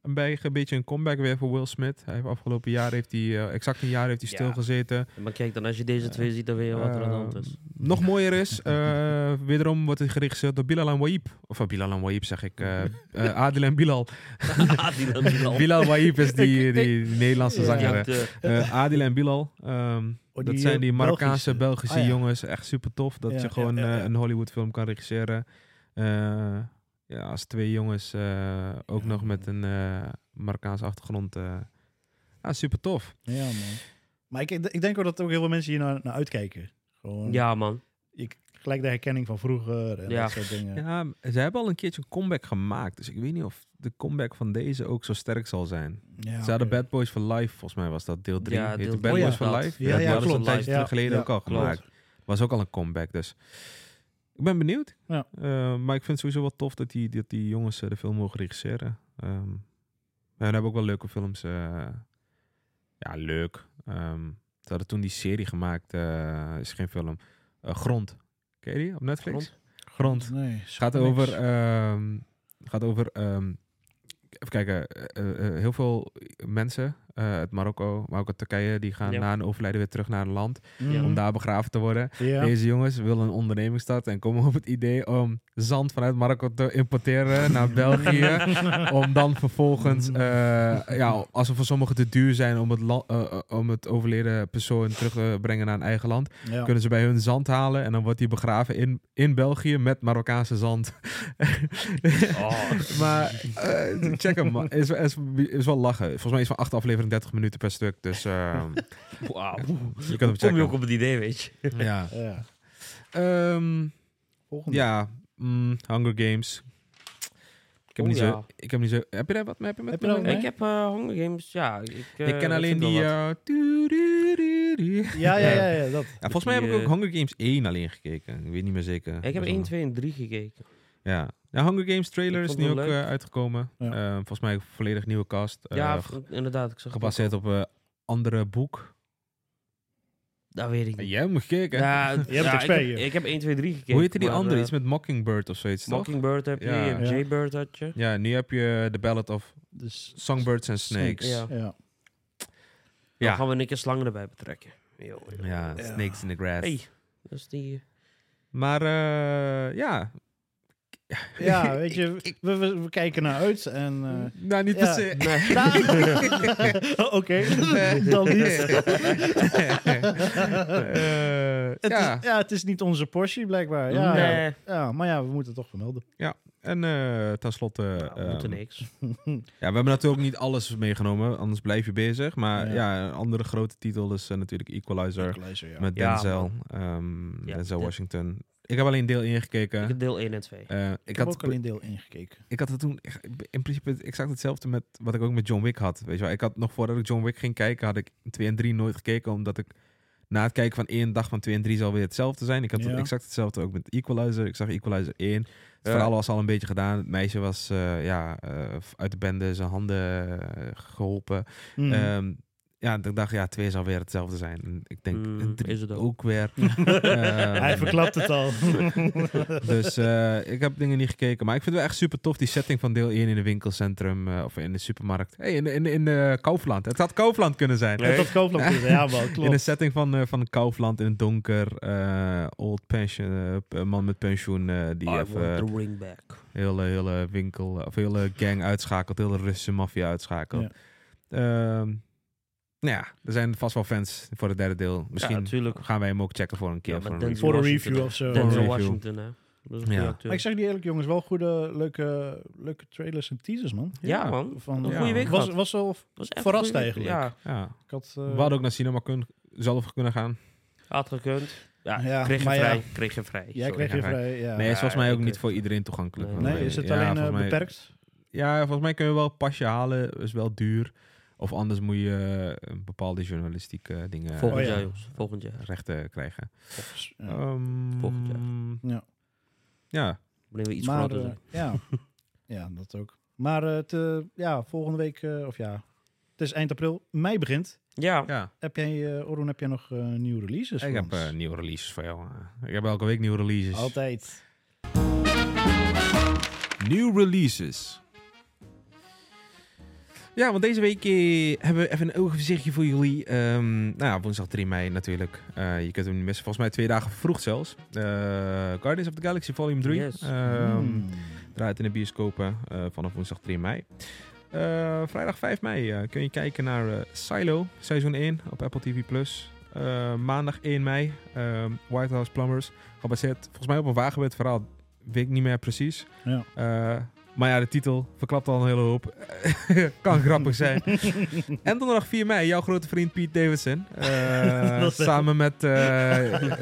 Speaker 7: een, bij, een beetje een comeback weer voor Will Smith. Hij heeft afgelopen jaar, heeft hij, eh, exact een jaar heeft hij
Speaker 3: Ja.
Speaker 7: stilgezeten. Ehm,
Speaker 3: is. Maar kijk dan, als je deze twee ziet, dan weet je wat er aan de hand is.
Speaker 7: Nog mooier is, eh, wederom wordt hij geregisseerd door Bilal Wahib. Of eh, Bilal Wahib zeg ik. eh eh, Adil en Bilal.
Speaker 3: Ah, die dan wel.
Speaker 7: Bilal Wahib is die, die, Nederlandse
Speaker 6: Ja.
Speaker 7: zanger.
Speaker 3: Ja,
Speaker 7: hè.
Speaker 3: de-
Speaker 7: Eh, Adil en Bilal. ehm,
Speaker 6: Oh,
Speaker 7: dat zijn die
Speaker 6: eh,
Speaker 7: Marokkaanse, Belgische,
Speaker 6: Ah, ja.
Speaker 7: jongens. Echt super tof dat
Speaker 6: Ja,
Speaker 7: je
Speaker 6: ja,
Speaker 7: gewoon
Speaker 6: ja,
Speaker 7: eh,
Speaker 6: ja.
Speaker 7: een Hollywoodfilm kan regisseren. Eh, ja, als twee jongens eh, ook
Speaker 6: Ja.
Speaker 7: nog met een eh, Marokkaanse achtergrond. eh. ja, super tof.
Speaker 6: Ja man. Maar ik, ik denk ook dat ook heel veel mensen hier naar, naar uitkijken. Gewoon
Speaker 3: ja, man.
Speaker 6: ik, gelijk de herkenning van vroeger en
Speaker 3: Ja.
Speaker 6: dat soort dingen.
Speaker 7: Ja, ze hebben al een keertje een comeback gemaakt. Dus ik weet niet of de comeback van deze ook zo sterk zal zijn.
Speaker 6: Ja,
Speaker 7: ze hadden
Speaker 6: oké.
Speaker 7: Bad Boys for Life, volgens mij was dat deel 3.
Speaker 3: Ja, deel
Speaker 7: Bad
Speaker 6: drie
Speaker 7: Boys
Speaker 6: was
Speaker 7: for
Speaker 3: dat.
Speaker 7: Life.
Speaker 6: Ja, ja,
Speaker 7: die hadden ze een
Speaker 6: klopt.
Speaker 7: tijdje
Speaker 6: Ja,
Speaker 7: terug geleden
Speaker 6: ja,
Speaker 7: ook al
Speaker 3: klopt.
Speaker 7: gemaakt. Was ook al een comeback, dus ik ben benieuwd.
Speaker 6: Ja.
Speaker 7: Eh, maar ik vind het sowieso wel tof dat die, dat die jongens eh, de film mogen regisseren. Ehm we hebben ook wel leuke films. eh, ja, leuk. Ehm ze hadden toen die serie gemaakt, eh, is geen film. Eh, Grond. Ken je die op Netflix?
Speaker 3: Grond?
Speaker 7: Grond.
Speaker 6: Nee,
Speaker 7: Gaat
Speaker 6: niks.
Speaker 7: over, ehm, gaat over ehm, even kijken, eh, eh, eh, heel veel mensen eh, uit Marokko, maar ook uit Turkije, die gaan
Speaker 3: Ja.
Speaker 7: na een overlijden weer terug naar hun land
Speaker 6: Mhm.
Speaker 7: eh, om daar begraven te worden.
Speaker 6: Ja.
Speaker 7: Deze jongens willen een onderneming starten en komen op het idee om zand vanuit Marokko te importeren naar België. om dan vervolgens,
Speaker 6: Mhm.
Speaker 7: eh, ja, als ze voor sommigen te duur zijn om het, la- eh, eh, om het overleden persoon terug te brengen naar hun eigen land,
Speaker 6: Ja.
Speaker 7: kunnen ze bij hun zand halen en dan wordt die begraven in, in België met Marokkaanse zand. Oh, maar eh, check hem, man. Is, is, is wel lachen. Volgens mij is van acht aflevering 30 minuten per stuk, dus eh,
Speaker 3: Wauw.
Speaker 7: je
Speaker 3: Kom
Speaker 7: kunt hem
Speaker 3: je ook
Speaker 7: checken.
Speaker 3: op het idee, weet je.
Speaker 7: Ja.
Speaker 6: Ja.
Speaker 7: Ehm,
Speaker 6: Volgende.
Speaker 7: Ja, mm, Hunger Games. Ik heb,
Speaker 3: Oh,
Speaker 7: niet zo,
Speaker 3: ja.
Speaker 7: ik heb niet zo. Heb je daar wat mee? Heb je, met
Speaker 6: Heb je daar
Speaker 7: me?
Speaker 6: wat Nee?
Speaker 3: Ik heb eh, Hunger Games, ja. Ik, eh,
Speaker 7: Ik ken
Speaker 3: dat
Speaker 7: alleen
Speaker 3: vind wel
Speaker 7: die.
Speaker 3: wat.
Speaker 7: eh, tuururururu.
Speaker 6: Ja, ja, ja, ja, dat.
Speaker 7: Ja, volgens mij heb
Speaker 3: die,
Speaker 7: ik ook
Speaker 3: eh,
Speaker 7: Hunger Games 1 alleen gekeken. Ik weet niet meer zeker.
Speaker 3: Ik heb
Speaker 7: Was
Speaker 3: 1,
Speaker 7: dat-
Speaker 3: 2 en 3 gekeken.
Speaker 7: Ja. ja, Hunger Games trailer
Speaker 3: Ik
Speaker 7: is
Speaker 3: vond
Speaker 7: nu ook
Speaker 3: het leuk.
Speaker 7: eh, uitgekomen.
Speaker 6: Ja.
Speaker 7: Eh, volgens mij een volledig nieuwe cast. eh,
Speaker 3: ja,
Speaker 7: ge-
Speaker 3: v- inderdaad. Ik zag het ook
Speaker 7: gebaseerd
Speaker 3: al.
Speaker 7: op een andere boek.
Speaker 3: Dat weet ik niet.
Speaker 7: Jij moet kijken.
Speaker 3: Ja,
Speaker 6: Je hebt
Speaker 3: ja,
Speaker 6: expert
Speaker 3: ik, heb,
Speaker 6: hier.
Speaker 3: ik heb 1, 2, 3 gekeken.
Speaker 7: Hoe heette die
Speaker 3: maar,
Speaker 7: andere?
Speaker 3: eh,
Speaker 7: Iets met Mockingbird of zoiets, toch?
Speaker 3: Mockingbird heb je,
Speaker 7: Ja.
Speaker 3: je hebt
Speaker 6: Ja.
Speaker 3: Jaybird had je.
Speaker 7: Ja, nu heb je The Ballad of
Speaker 6: Dus,
Speaker 7: Songbirds and Snakes.
Speaker 3: Ja.
Speaker 6: ja.
Speaker 3: Dan
Speaker 7: Ja.
Speaker 3: gaan we een keer slangen erbij betrekken. Yo, yo.
Speaker 7: Ja, Snakes in the Grass.
Speaker 3: Hey, dat is die...
Speaker 7: Maar eh, ja.
Speaker 6: ja, weet je, we, we, we kijken naar uit en... eh,
Speaker 7: Nou, niet
Speaker 6: Ja.
Speaker 7: per se. Oh,
Speaker 6: Oké, dan niet.
Speaker 7: Eh,
Speaker 6: Het
Speaker 7: ja,
Speaker 6: Is, ja, het is niet onze Porsche blijkbaar. Ja, ja.
Speaker 3: eh, nee,
Speaker 6: Ja, maar ja, we moeten het toch vermelden.
Speaker 7: en eh, tenslotte...
Speaker 3: nou, we moeten
Speaker 7: ehm,
Speaker 3: niks.
Speaker 7: ja, we hebben natuurlijk niet alles meegenomen, anders blijf je bezig. Maar
Speaker 6: Ja.
Speaker 7: ja, een andere grote titel is eh, natuurlijk Equalizer
Speaker 6: Glazer, ja.
Speaker 7: met
Speaker 3: Ja,
Speaker 7: Denzel. ehm,
Speaker 3: Ja,
Speaker 7: Denzel
Speaker 3: dit-
Speaker 7: Washington. Ik heb alleen deel 1 gekeken.
Speaker 3: Ik heb deel 1 en 2.
Speaker 7: Eh,
Speaker 6: Ik
Speaker 7: ik,
Speaker 6: heb
Speaker 7: had,
Speaker 6: ook alleen deel ingekeken.
Speaker 7: ik had het toen echt- in principe exact hetzelfde met wat ik ook met John Wick had. Weet je wel? Ik had nog voordat ik John Wick ging kijken, had ik 2 en 3 nooit gekeken. Omdat ik na het kijken van één dag van 2 en 3 zal weer hetzelfde zijn. Ik had het
Speaker 6: Ja.
Speaker 7: exact hetzelfde ook met Equalizer. Ik zag Equalizer 1. Het verhaal was al een beetje gedaan. Het meisje was eh, ja, eh, uit de bende zijn handen eh, geholpen.
Speaker 6: Mhm.
Speaker 7: Ehm, ja, ik dacht, ja, twee zal weer hetzelfde zijn. En ik denk, eh,
Speaker 3: Mm,
Speaker 7: drie
Speaker 3: is het ook.
Speaker 7: weer. Ehm,
Speaker 6: Hij verklapt het al.
Speaker 7: dus eh, ik heb dingen niet gekeken. Maar ik vind het wel echt super tof, die setting van deel 1 in een winkelcentrum eh, of in de supermarkt. Hey, in, in, in eh, Kaufland. Het had Kaufland kunnen zijn.
Speaker 6: Dat dat Koopland is. Ja, man,
Speaker 7: In een
Speaker 6: klopt.
Speaker 7: setting van, eh, van Kaufland in het donker. eh, old pension, eh, een man met pensioen eh, die
Speaker 6: Ah,
Speaker 3: I
Speaker 7: even
Speaker 3: want the ring back.
Speaker 7: hele, hele winkel, of hele gang uitschakelt, hele Russische maffia uitschakelt.
Speaker 6: Ja.
Speaker 7: Ehm, nou ja, er zijn vast wel fans voor het derde deel. Misschien
Speaker 3: natuurlijk.
Speaker 7: gaan wij hem ook checken voor een keer.
Speaker 3: Ja,
Speaker 7: voor
Speaker 3: maar
Speaker 7: een
Speaker 3: dan-
Speaker 6: Voor
Speaker 7: review.
Speaker 6: een review
Speaker 3: Washington.
Speaker 6: of zo.
Speaker 7: Denzel
Speaker 3: Denzel
Speaker 7: review.
Speaker 3: Washington, hè. Dat is een
Speaker 7: Ja.
Speaker 3: goede
Speaker 6: Maar ik
Speaker 3: acteur.
Speaker 6: zeg die eerlijk, jongens, wel goede, leuke, leuke trailers en teasers, man.
Speaker 3: Ja, man.
Speaker 6: Van,
Speaker 3: Een
Speaker 7: Ja.
Speaker 3: goede week
Speaker 6: was,
Speaker 3: gehad.
Speaker 6: was wel.
Speaker 3: Dat is echt
Speaker 6: verrast
Speaker 3: een goede-
Speaker 6: eigenlijk.
Speaker 3: Ja,
Speaker 7: Ja.
Speaker 6: Ik had, eh,
Speaker 7: We hadden ook naar cinema kun, zelf kunnen gaan.
Speaker 3: had gekund. Ja,
Speaker 6: Ja,
Speaker 3: kreeg je
Speaker 6: maar ja.
Speaker 3: vrij. Kreeg je vrij.
Speaker 6: jij
Speaker 3: sorry.
Speaker 6: kreeg je
Speaker 7: ja,
Speaker 6: vrij. Ja. eh,
Speaker 7: nee,
Speaker 6: Nee,
Speaker 7: is volgens mij ook
Speaker 3: ik-
Speaker 7: niet voor iedereen toegankelijk.
Speaker 3: Nee.
Speaker 7: volgens mij.
Speaker 6: is het
Speaker 7: Ja,
Speaker 6: alleen eh,
Speaker 7: volgens mij-
Speaker 6: beperkt?
Speaker 7: Ja, volgens mij kun je wel een pasje halen. is wel duur. Of anders moet je eh, een bepaalde journalistieke eh, dingen
Speaker 3: Volgend
Speaker 6: Oh, ja.
Speaker 3: jaar, jongens. Volgend jaar.
Speaker 7: rechten krijgen.
Speaker 6: Ja.
Speaker 7: Ehm,
Speaker 3: Volgend
Speaker 6: Ja.
Speaker 7: Ja,
Speaker 3: Wanneer we iets
Speaker 6: maar,
Speaker 3: groter
Speaker 6: eh,
Speaker 3: zijn.
Speaker 6: ja. ja, dat ook. Maar eh, het, eh, ja, volgende week, eh, of ja, het is eind april. Mei begint.
Speaker 3: Ja,
Speaker 7: ja.
Speaker 6: Heb jij, eh Orun, heb jij nog eh, nieuwe releases?
Speaker 7: Ik
Speaker 6: voor
Speaker 7: heb
Speaker 6: ons?
Speaker 7: eh, nieuwe releases voor jou. eh. Ik heb elke week nieuwe releases.
Speaker 6: Altijd.
Speaker 7: Nieuwe releases. Ja, want deze week eh, hebben we even een overzichtje voor jullie. Ehm, nou ja, woensdag 3 mei natuurlijk. Eh, je kunt hem niet missen. Volgens mij twee dagen vroeg zelfs. Eh, Guardians of the Galaxy Volume 3.
Speaker 3: Yes.
Speaker 7: Ehm,
Speaker 6: Hmm.
Speaker 7: Draait in de bioscopen eh, vanaf woensdag 3 mei. Eh, vrijdag 5 mei eh, kun je kijken naar eh, Silo, seizoen 1 op Apple TV+. Eh, maandag 1 mei, ehm, White House Plumbers. Gebaseerd volgens mij op een wagenbed verhaal. Weet ik niet meer precies.
Speaker 6: Ja.
Speaker 7: Eh, maar ja, de titel verklapt al een hele hoop. kan grappig zijn. en donderdag 4 mei, jouw grote vriend Pete Davidson. eh,
Speaker 6: Dat is-
Speaker 7: samen met eh,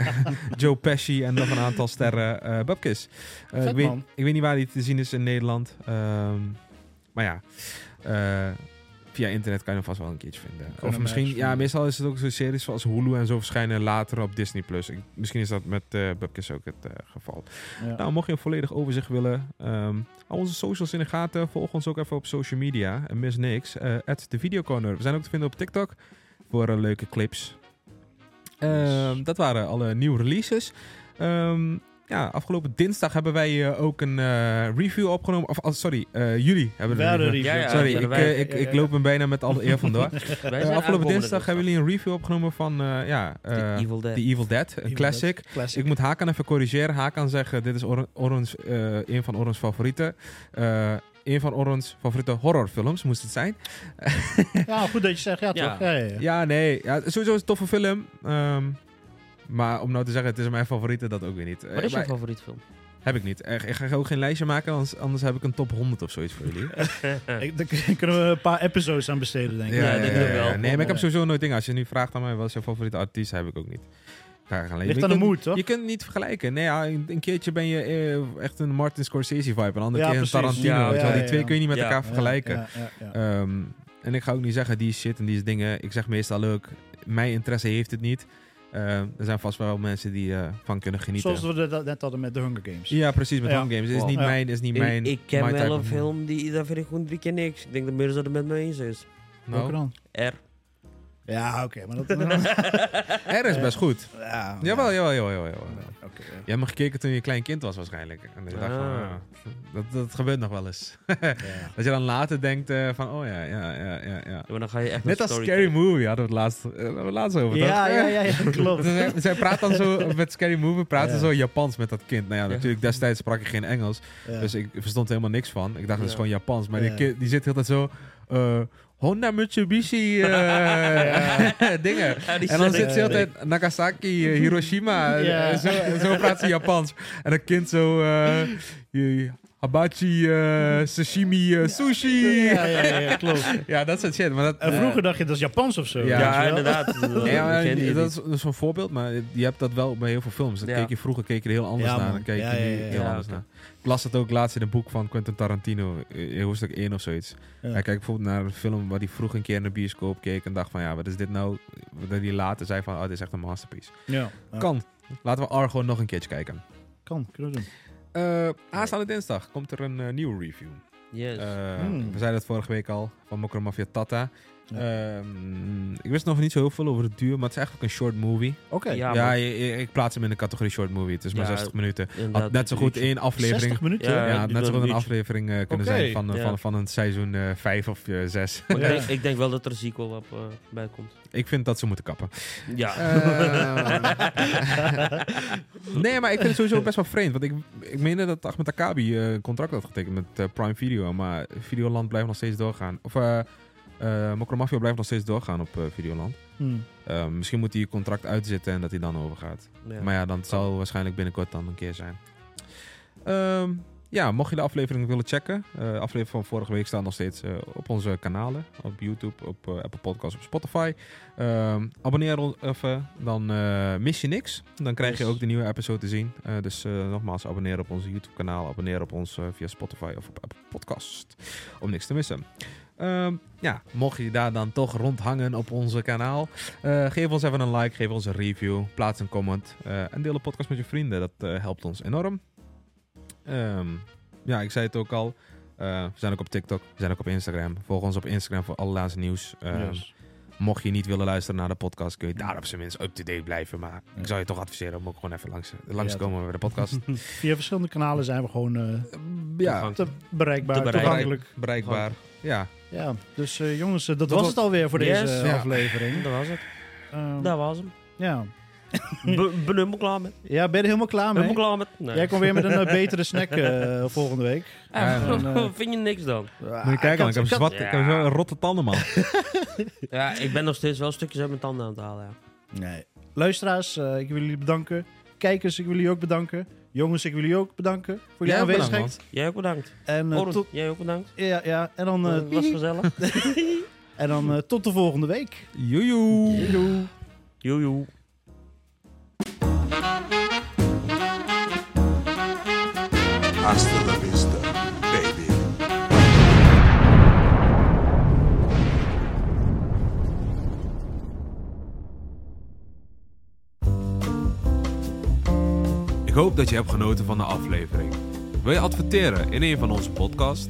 Speaker 7: Joe Pesci en nog een aantal sterren eh Bubkiss. Eh,
Speaker 6: Vet,
Speaker 7: ik, weet,
Speaker 6: man.
Speaker 7: ik weet niet waar die te zien is in Nederland. Ehm, maar ja, eh, via internet kan je hem vast wel een keertje vinden.
Speaker 6: hem
Speaker 7: of
Speaker 6: ergens
Speaker 7: misschien, ja,
Speaker 6: vinden.
Speaker 7: meestal is het ook zo'n series zoals Hulu en zo verschijnen later op Disney+. Plus. Misschien is dat met eh Bubkiss ook het eh, geval.
Speaker 6: Ja.
Speaker 7: Nou, mocht je een volledig overzicht willen, ehm hou onze socials in de gaten. Volg ons ook even op social media en mis niks. Eh, At de Videocorner. We zijn ook te vinden op TikTok voor eh, leuke clips. Ehm, Dat waren alle nieuwe releases. Ehm, ja, afgelopen dinsdag hebben wij eh, ook een eh, review opgenomen. Of, oh, sorry, eh, jullie hebben
Speaker 6: We
Speaker 7: een
Speaker 6: hadden
Speaker 7: review.
Speaker 3: Ja, ja,
Speaker 6: reviews.
Speaker 7: Sorry,
Speaker 3: ja,
Speaker 7: ik,
Speaker 3: wij-
Speaker 7: eh, ik,
Speaker 6: ja, ja,
Speaker 7: ik loop hem bijna met alle eer vandoor. Eh,
Speaker 3: Wij zijn
Speaker 7: afgelopen
Speaker 3: aankomende
Speaker 7: dinsdag hebben jullie een review opgenomen van eh, ja, eh,
Speaker 3: The Evil Dead.
Speaker 7: The Evil Dead, een
Speaker 6: Evil
Speaker 7: classic.
Speaker 6: Dead. Classic.
Speaker 7: Dus Ik moet Hakan even corrigeren. Hakan zeggen, dit is Or Orons, eh, een van Orons favorieten. Eh, een van Orons favoriete horrorfilms, moest het zijn.
Speaker 6: Ja, goed dat je zegt. Ja,
Speaker 3: Ja.
Speaker 6: toch? Ja, ja, ja.
Speaker 7: Ja, nee. Ja, sowieso is het een toffe film. Ehm, maar om nou te zeggen, het is mijn favoriete, dat ook weer niet. Eh,
Speaker 3: Wat is jouw
Speaker 7: maar-
Speaker 3: favoriet film?
Speaker 7: heb ik niet. Eh, Ik ga ook geen lijstje maken, anders, anders heb ik een top 100 of zoiets voor jullie.
Speaker 6: Ik- daar kun- kunnen we een paar episodes aan besteden, denk ik.
Speaker 3: Ja, ik denk het wel.
Speaker 7: Nee, maar ik heb sowieso nooit dingen. Als je nu vraagt aan mij, wat is je favoriete artiest, heb ik ook niet. Ik ga geen
Speaker 6: Ligt
Speaker 7: je
Speaker 6: aan de
Speaker 7: kunt-
Speaker 6: moed, toch?
Speaker 7: Je kunt het niet vergelijken. Nee, ja, een een keertje ben je eh, echt een Martin Scorsese vibe. Een andere
Speaker 6: Ja,
Speaker 7: keer een
Speaker 6: precies.
Speaker 7: Tarantino.
Speaker 3: Ja,
Speaker 7: weet je wel.
Speaker 6: ja,
Speaker 7: die
Speaker 6: ja,
Speaker 7: twee
Speaker 6: ja.
Speaker 7: kun je niet met
Speaker 3: Ja.
Speaker 7: elkaar
Speaker 6: Ja,
Speaker 7: vergelijken.
Speaker 6: Ja, ja, ja.
Speaker 7: Ehm, en ik ga ook niet zeggen, die is shit en die is dingen. Ik zeg meestal ook, mijn interesse heeft het niet. Ehm, er zijn vast wel mensen die eh, van kunnen genieten.
Speaker 6: Zoals we dat net hadden met de Hunger Games.
Speaker 7: Ja, precies, met
Speaker 6: Ja.
Speaker 7: Hunger Games. Het is
Speaker 3: Wow.
Speaker 7: niet
Speaker 6: Ja.
Speaker 7: mijn, het is niet
Speaker 3: Ik,
Speaker 7: mijn...
Speaker 3: ik ken
Speaker 7: my type
Speaker 3: wel een
Speaker 7: of-
Speaker 3: film, die, daar vind ik gewoon drie keer niks. Ik denk dat Mirza het met me eens is.
Speaker 7: Nou,
Speaker 6: Welke dan?
Speaker 3: R.
Speaker 6: Ja, oké, maar dat...
Speaker 7: R is best goed.
Speaker 3: Oh,
Speaker 6: ja,
Speaker 7: Jawel, jawel, jawel, jawel. jawel.
Speaker 6: Oké.
Speaker 7: Jij hebt me gekeken toen je een klein kind was waarschijnlijk. En ik dacht van,
Speaker 3: Ah.
Speaker 7: ja, dat, dat gebeurt nog wel eens.
Speaker 6: ja.
Speaker 7: Dat je dan later denkt eh, van, oh ja, ja, ja, ja. ja.
Speaker 3: Ja, maar dan ga je echt
Speaker 7: Net
Speaker 3: een
Speaker 7: als
Speaker 3: story
Speaker 7: Scary Movie hadden we het laatst, eh, hadden we het laatst over,
Speaker 6: Ja,
Speaker 7: toch?
Speaker 6: ja, ja, ja, klopt.
Speaker 7: Zij, zij praat dan zo, met Scary Movie praten
Speaker 6: Ja.
Speaker 7: zo Japans met dat kind. Nou ja,
Speaker 3: Ja.
Speaker 7: natuurlijk destijds sprak ik geen Engels.
Speaker 6: Ja.
Speaker 7: Dus ik verstond helemaal niks van. Ik dacht, dat is
Speaker 3: Ja.
Speaker 7: gewoon Japans. Maar
Speaker 6: Ja.
Speaker 7: die, ki- die zit heel de tijd zo... eh, Honda Mitsubishi eh, dingen.
Speaker 3: Ja, die
Speaker 7: en dan
Speaker 3: zit-
Speaker 7: zit ze altijd Nagasaki, eh, Hiroshima. eh,
Speaker 6: Ja.
Speaker 7: zo, zo praat ze Japans. En dat kind zo... eh, je- Habachi, eh, sashimi, eh, sushi.
Speaker 6: Ja,
Speaker 7: Ja.
Speaker 6: ja, ja, ja, klopt.
Speaker 7: dat soort shit. Maar dat,
Speaker 6: En vroeger dacht je, dat is Japans of zo.
Speaker 7: Ja,
Speaker 3: Ja,
Speaker 6: weet je wel?
Speaker 3: inderdaad.
Speaker 7: Ja, maar
Speaker 3: Ik ken die
Speaker 7: dat, is, dat is een voorbeeld, maar je hebt dat wel bij heel veel films. Dat
Speaker 3: Ja.
Speaker 7: keek je, vroeger keek je er heel anders
Speaker 6: Ja,
Speaker 7: naar.
Speaker 6: man.
Speaker 7: Dan keek
Speaker 6: Ja,
Speaker 7: je nu
Speaker 6: ja, ja, ja.
Speaker 7: heel
Speaker 3: Ja,
Speaker 7: anders
Speaker 3: oké.
Speaker 7: naar. Ik las dat ook laatst in een boek van Quentin Tarantino, eh, hoofdstuk 1 of zoiets.
Speaker 6: Ja.
Speaker 7: Hij kijkt bijvoorbeeld naar een film waar hij vroeg een keer in de bioscoop keek en dacht van ja, wat is dit nou? Dat hij later zei van, oh, dit is echt een masterpiece.
Speaker 6: Ja. Kan.
Speaker 7: Kan. Laten we Argo nog een keertje kijken.
Speaker 6: Kan, kunnen we doen.
Speaker 7: Eh, aanstaande dinsdag komt er een eh, nieuwe review.
Speaker 3: Yes.
Speaker 7: Eh,
Speaker 6: Hmm.
Speaker 7: We zeiden het vorige week al, van Mokro Mafia Tata.
Speaker 6: Ja.
Speaker 7: Ehm, ik wist nog niet zo heel veel over de duur, maar het is eigenlijk een short movie.
Speaker 6: Oké.
Speaker 3: Ja,
Speaker 7: Ja,
Speaker 3: maar
Speaker 7: je- je- ik plaats hem in de categorie short movie. Het is maar
Speaker 3: Ja,
Speaker 7: 60 minuten.
Speaker 3: inderdaad,
Speaker 7: Had net zo
Speaker 3: een
Speaker 7: goed
Speaker 3: uurtje.
Speaker 7: één aflevering.
Speaker 6: 60 minuten?
Speaker 3: Ja.
Speaker 7: Ja,
Speaker 3: duurt
Speaker 7: net zo
Speaker 3: wel
Speaker 7: goed
Speaker 3: een
Speaker 7: een
Speaker 3: uurtje.
Speaker 7: aflevering eh, kunnen
Speaker 6: Oké,
Speaker 7: zijn van,
Speaker 3: ja.
Speaker 7: van, van een seizoen 5 of eh, 6.
Speaker 3: Maar
Speaker 6: Ja.
Speaker 3: ik, denk, ik denk wel dat er een sequel op eh, bij komt.
Speaker 7: ik vind dat ze moeten kappen.
Speaker 3: Ja.
Speaker 7: Eh,
Speaker 3: Eh.
Speaker 7: nee, maar ik vind het sowieso best wel vreemd. Want ik, ik meende dat Ahmed Akabi eh, een contract had getekend met eh, Prime Video. Maar Videoland blijft nog steeds doorgaan. Of eh eh, Mokro Mafia blijft nog steeds doorgaan op eh, Videoland.
Speaker 6: Hm.
Speaker 7: Eh, misschien moet hij je contract uitzitten en dat hij dan overgaat.
Speaker 3: Ja.
Speaker 7: Maar ja, dan zal waarschijnlijk binnenkort dan een keer zijn. Ehm, ja, mocht je de aflevering willen checken. eh, de aflevering van vorige week staat nog steeds eh, op onze kanalen. Op YouTube, op eh, Apple Podcasts, op Spotify. Ehm, abonneer ons even, dan eh, mis je niks. Dan krijg je
Speaker 3: Yes.
Speaker 7: ook de nieuwe episode te zien. Eh, dus eh, nogmaals, abonneer op onze YouTube kanaal. Abonneer op ons eh, via Spotify of op Apple Podcast. Om niks te missen. Ehm, ja, mocht je daar dan toch rondhangen op onze kanaal. Eh, geef ons even een like, geef ons een review, plaats een comment eh, en deel de podcast met je vrienden. Dat eh, helpt ons enorm. Ehm, ja, ik zei het ook al. Eh, we zijn ook op TikTok, we zijn ook op Instagram. Volg ons op Instagram voor alle laatste nieuws. Ehm,
Speaker 6: Yes.
Speaker 7: Mocht je niet willen luisteren naar de podcast, kun je daar op zijn minst up-to-date blijven. Maar ik zou je toch adviseren om ook gewoon even langs, langs te
Speaker 6: Ja,
Speaker 7: komen bij de podcast.
Speaker 6: Via verschillende kanalen zijn we gewoon eh,
Speaker 7: ja,
Speaker 6: te bereikbaar,
Speaker 3: Te bereiken.
Speaker 6: toegankelijk.
Speaker 7: bereikbaar. Ja,
Speaker 6: Ja, dus eh, jongens, eh, dat,
Speaker 3: Dat
Speaker 6: was
Speaker 3: was-
Speaker 6: het alweer voor
Speaker 3: Yes.
Speaker 6: deze
Speaker 7: Ja.
Speaker 6: aflevering.
Speaker 3: Dat was het.
Speaker 6: Ehm,
Speaker 3: Dat was hem.
Speaker 6: ja.
Speaker 3: Be- Ben helemaal klaar met.
Speaker 6: ja, ben je er helemaal klaar mee?
Speaker 3: Ben helemaal klaar met. Nee.
Speaker 6: Jij komt weer met een eh, betere snack eh, volgende week. Ah,
Speaker 3: Ah,
Speaker 7: Ja,
Speaker 6: dan,
Speaker 3: Vind je niks dan?
Speaker 7: moet je kijken, man. Ah, Ik heb zwart, ik heb
Speaker 3: Ja.
Speaker 7: zo'n rotte tanden, man.
Speaker 3: Ja, ik ben nog steeds wel stukjes uit mijn tanden aan het halen. Ja.
Speaker 6: Nee. Luisteraars, eh, ik wil jullie bedanken. Kijkers, ik wil jullie ook bedanken. Jongens, ik wil jullie ook bedanken voor jullie
Speaker 7: Ja, bedankt,
Speaker 6: aanwezigheid.
Speaker 3: Jij ook bedankt.
Speaker 6: en, eh,
Speaker 3: Oren,
Speaker 6: tot,
Speaker 3: jij ook bedankt.
Speaker 6: ja, ja, en dan, eh,
Speaker 3: Het was gezellig.
Speaker 6: en dan eh, tot de volgende week.
Speaker 7: Joejoe.
Speaker 6: Doei.
Speaker 3: Joejoe.
Speaker 5: Hasta la vista, baby.
Speaker 7: Ik hoop dat je hebt genoten van de aflevering. Wil je adverteren in een van onze podcasts?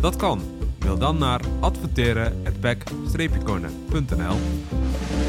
Speaker 7: Dat kan. Mail dan naar adverteren@pack-corner.nl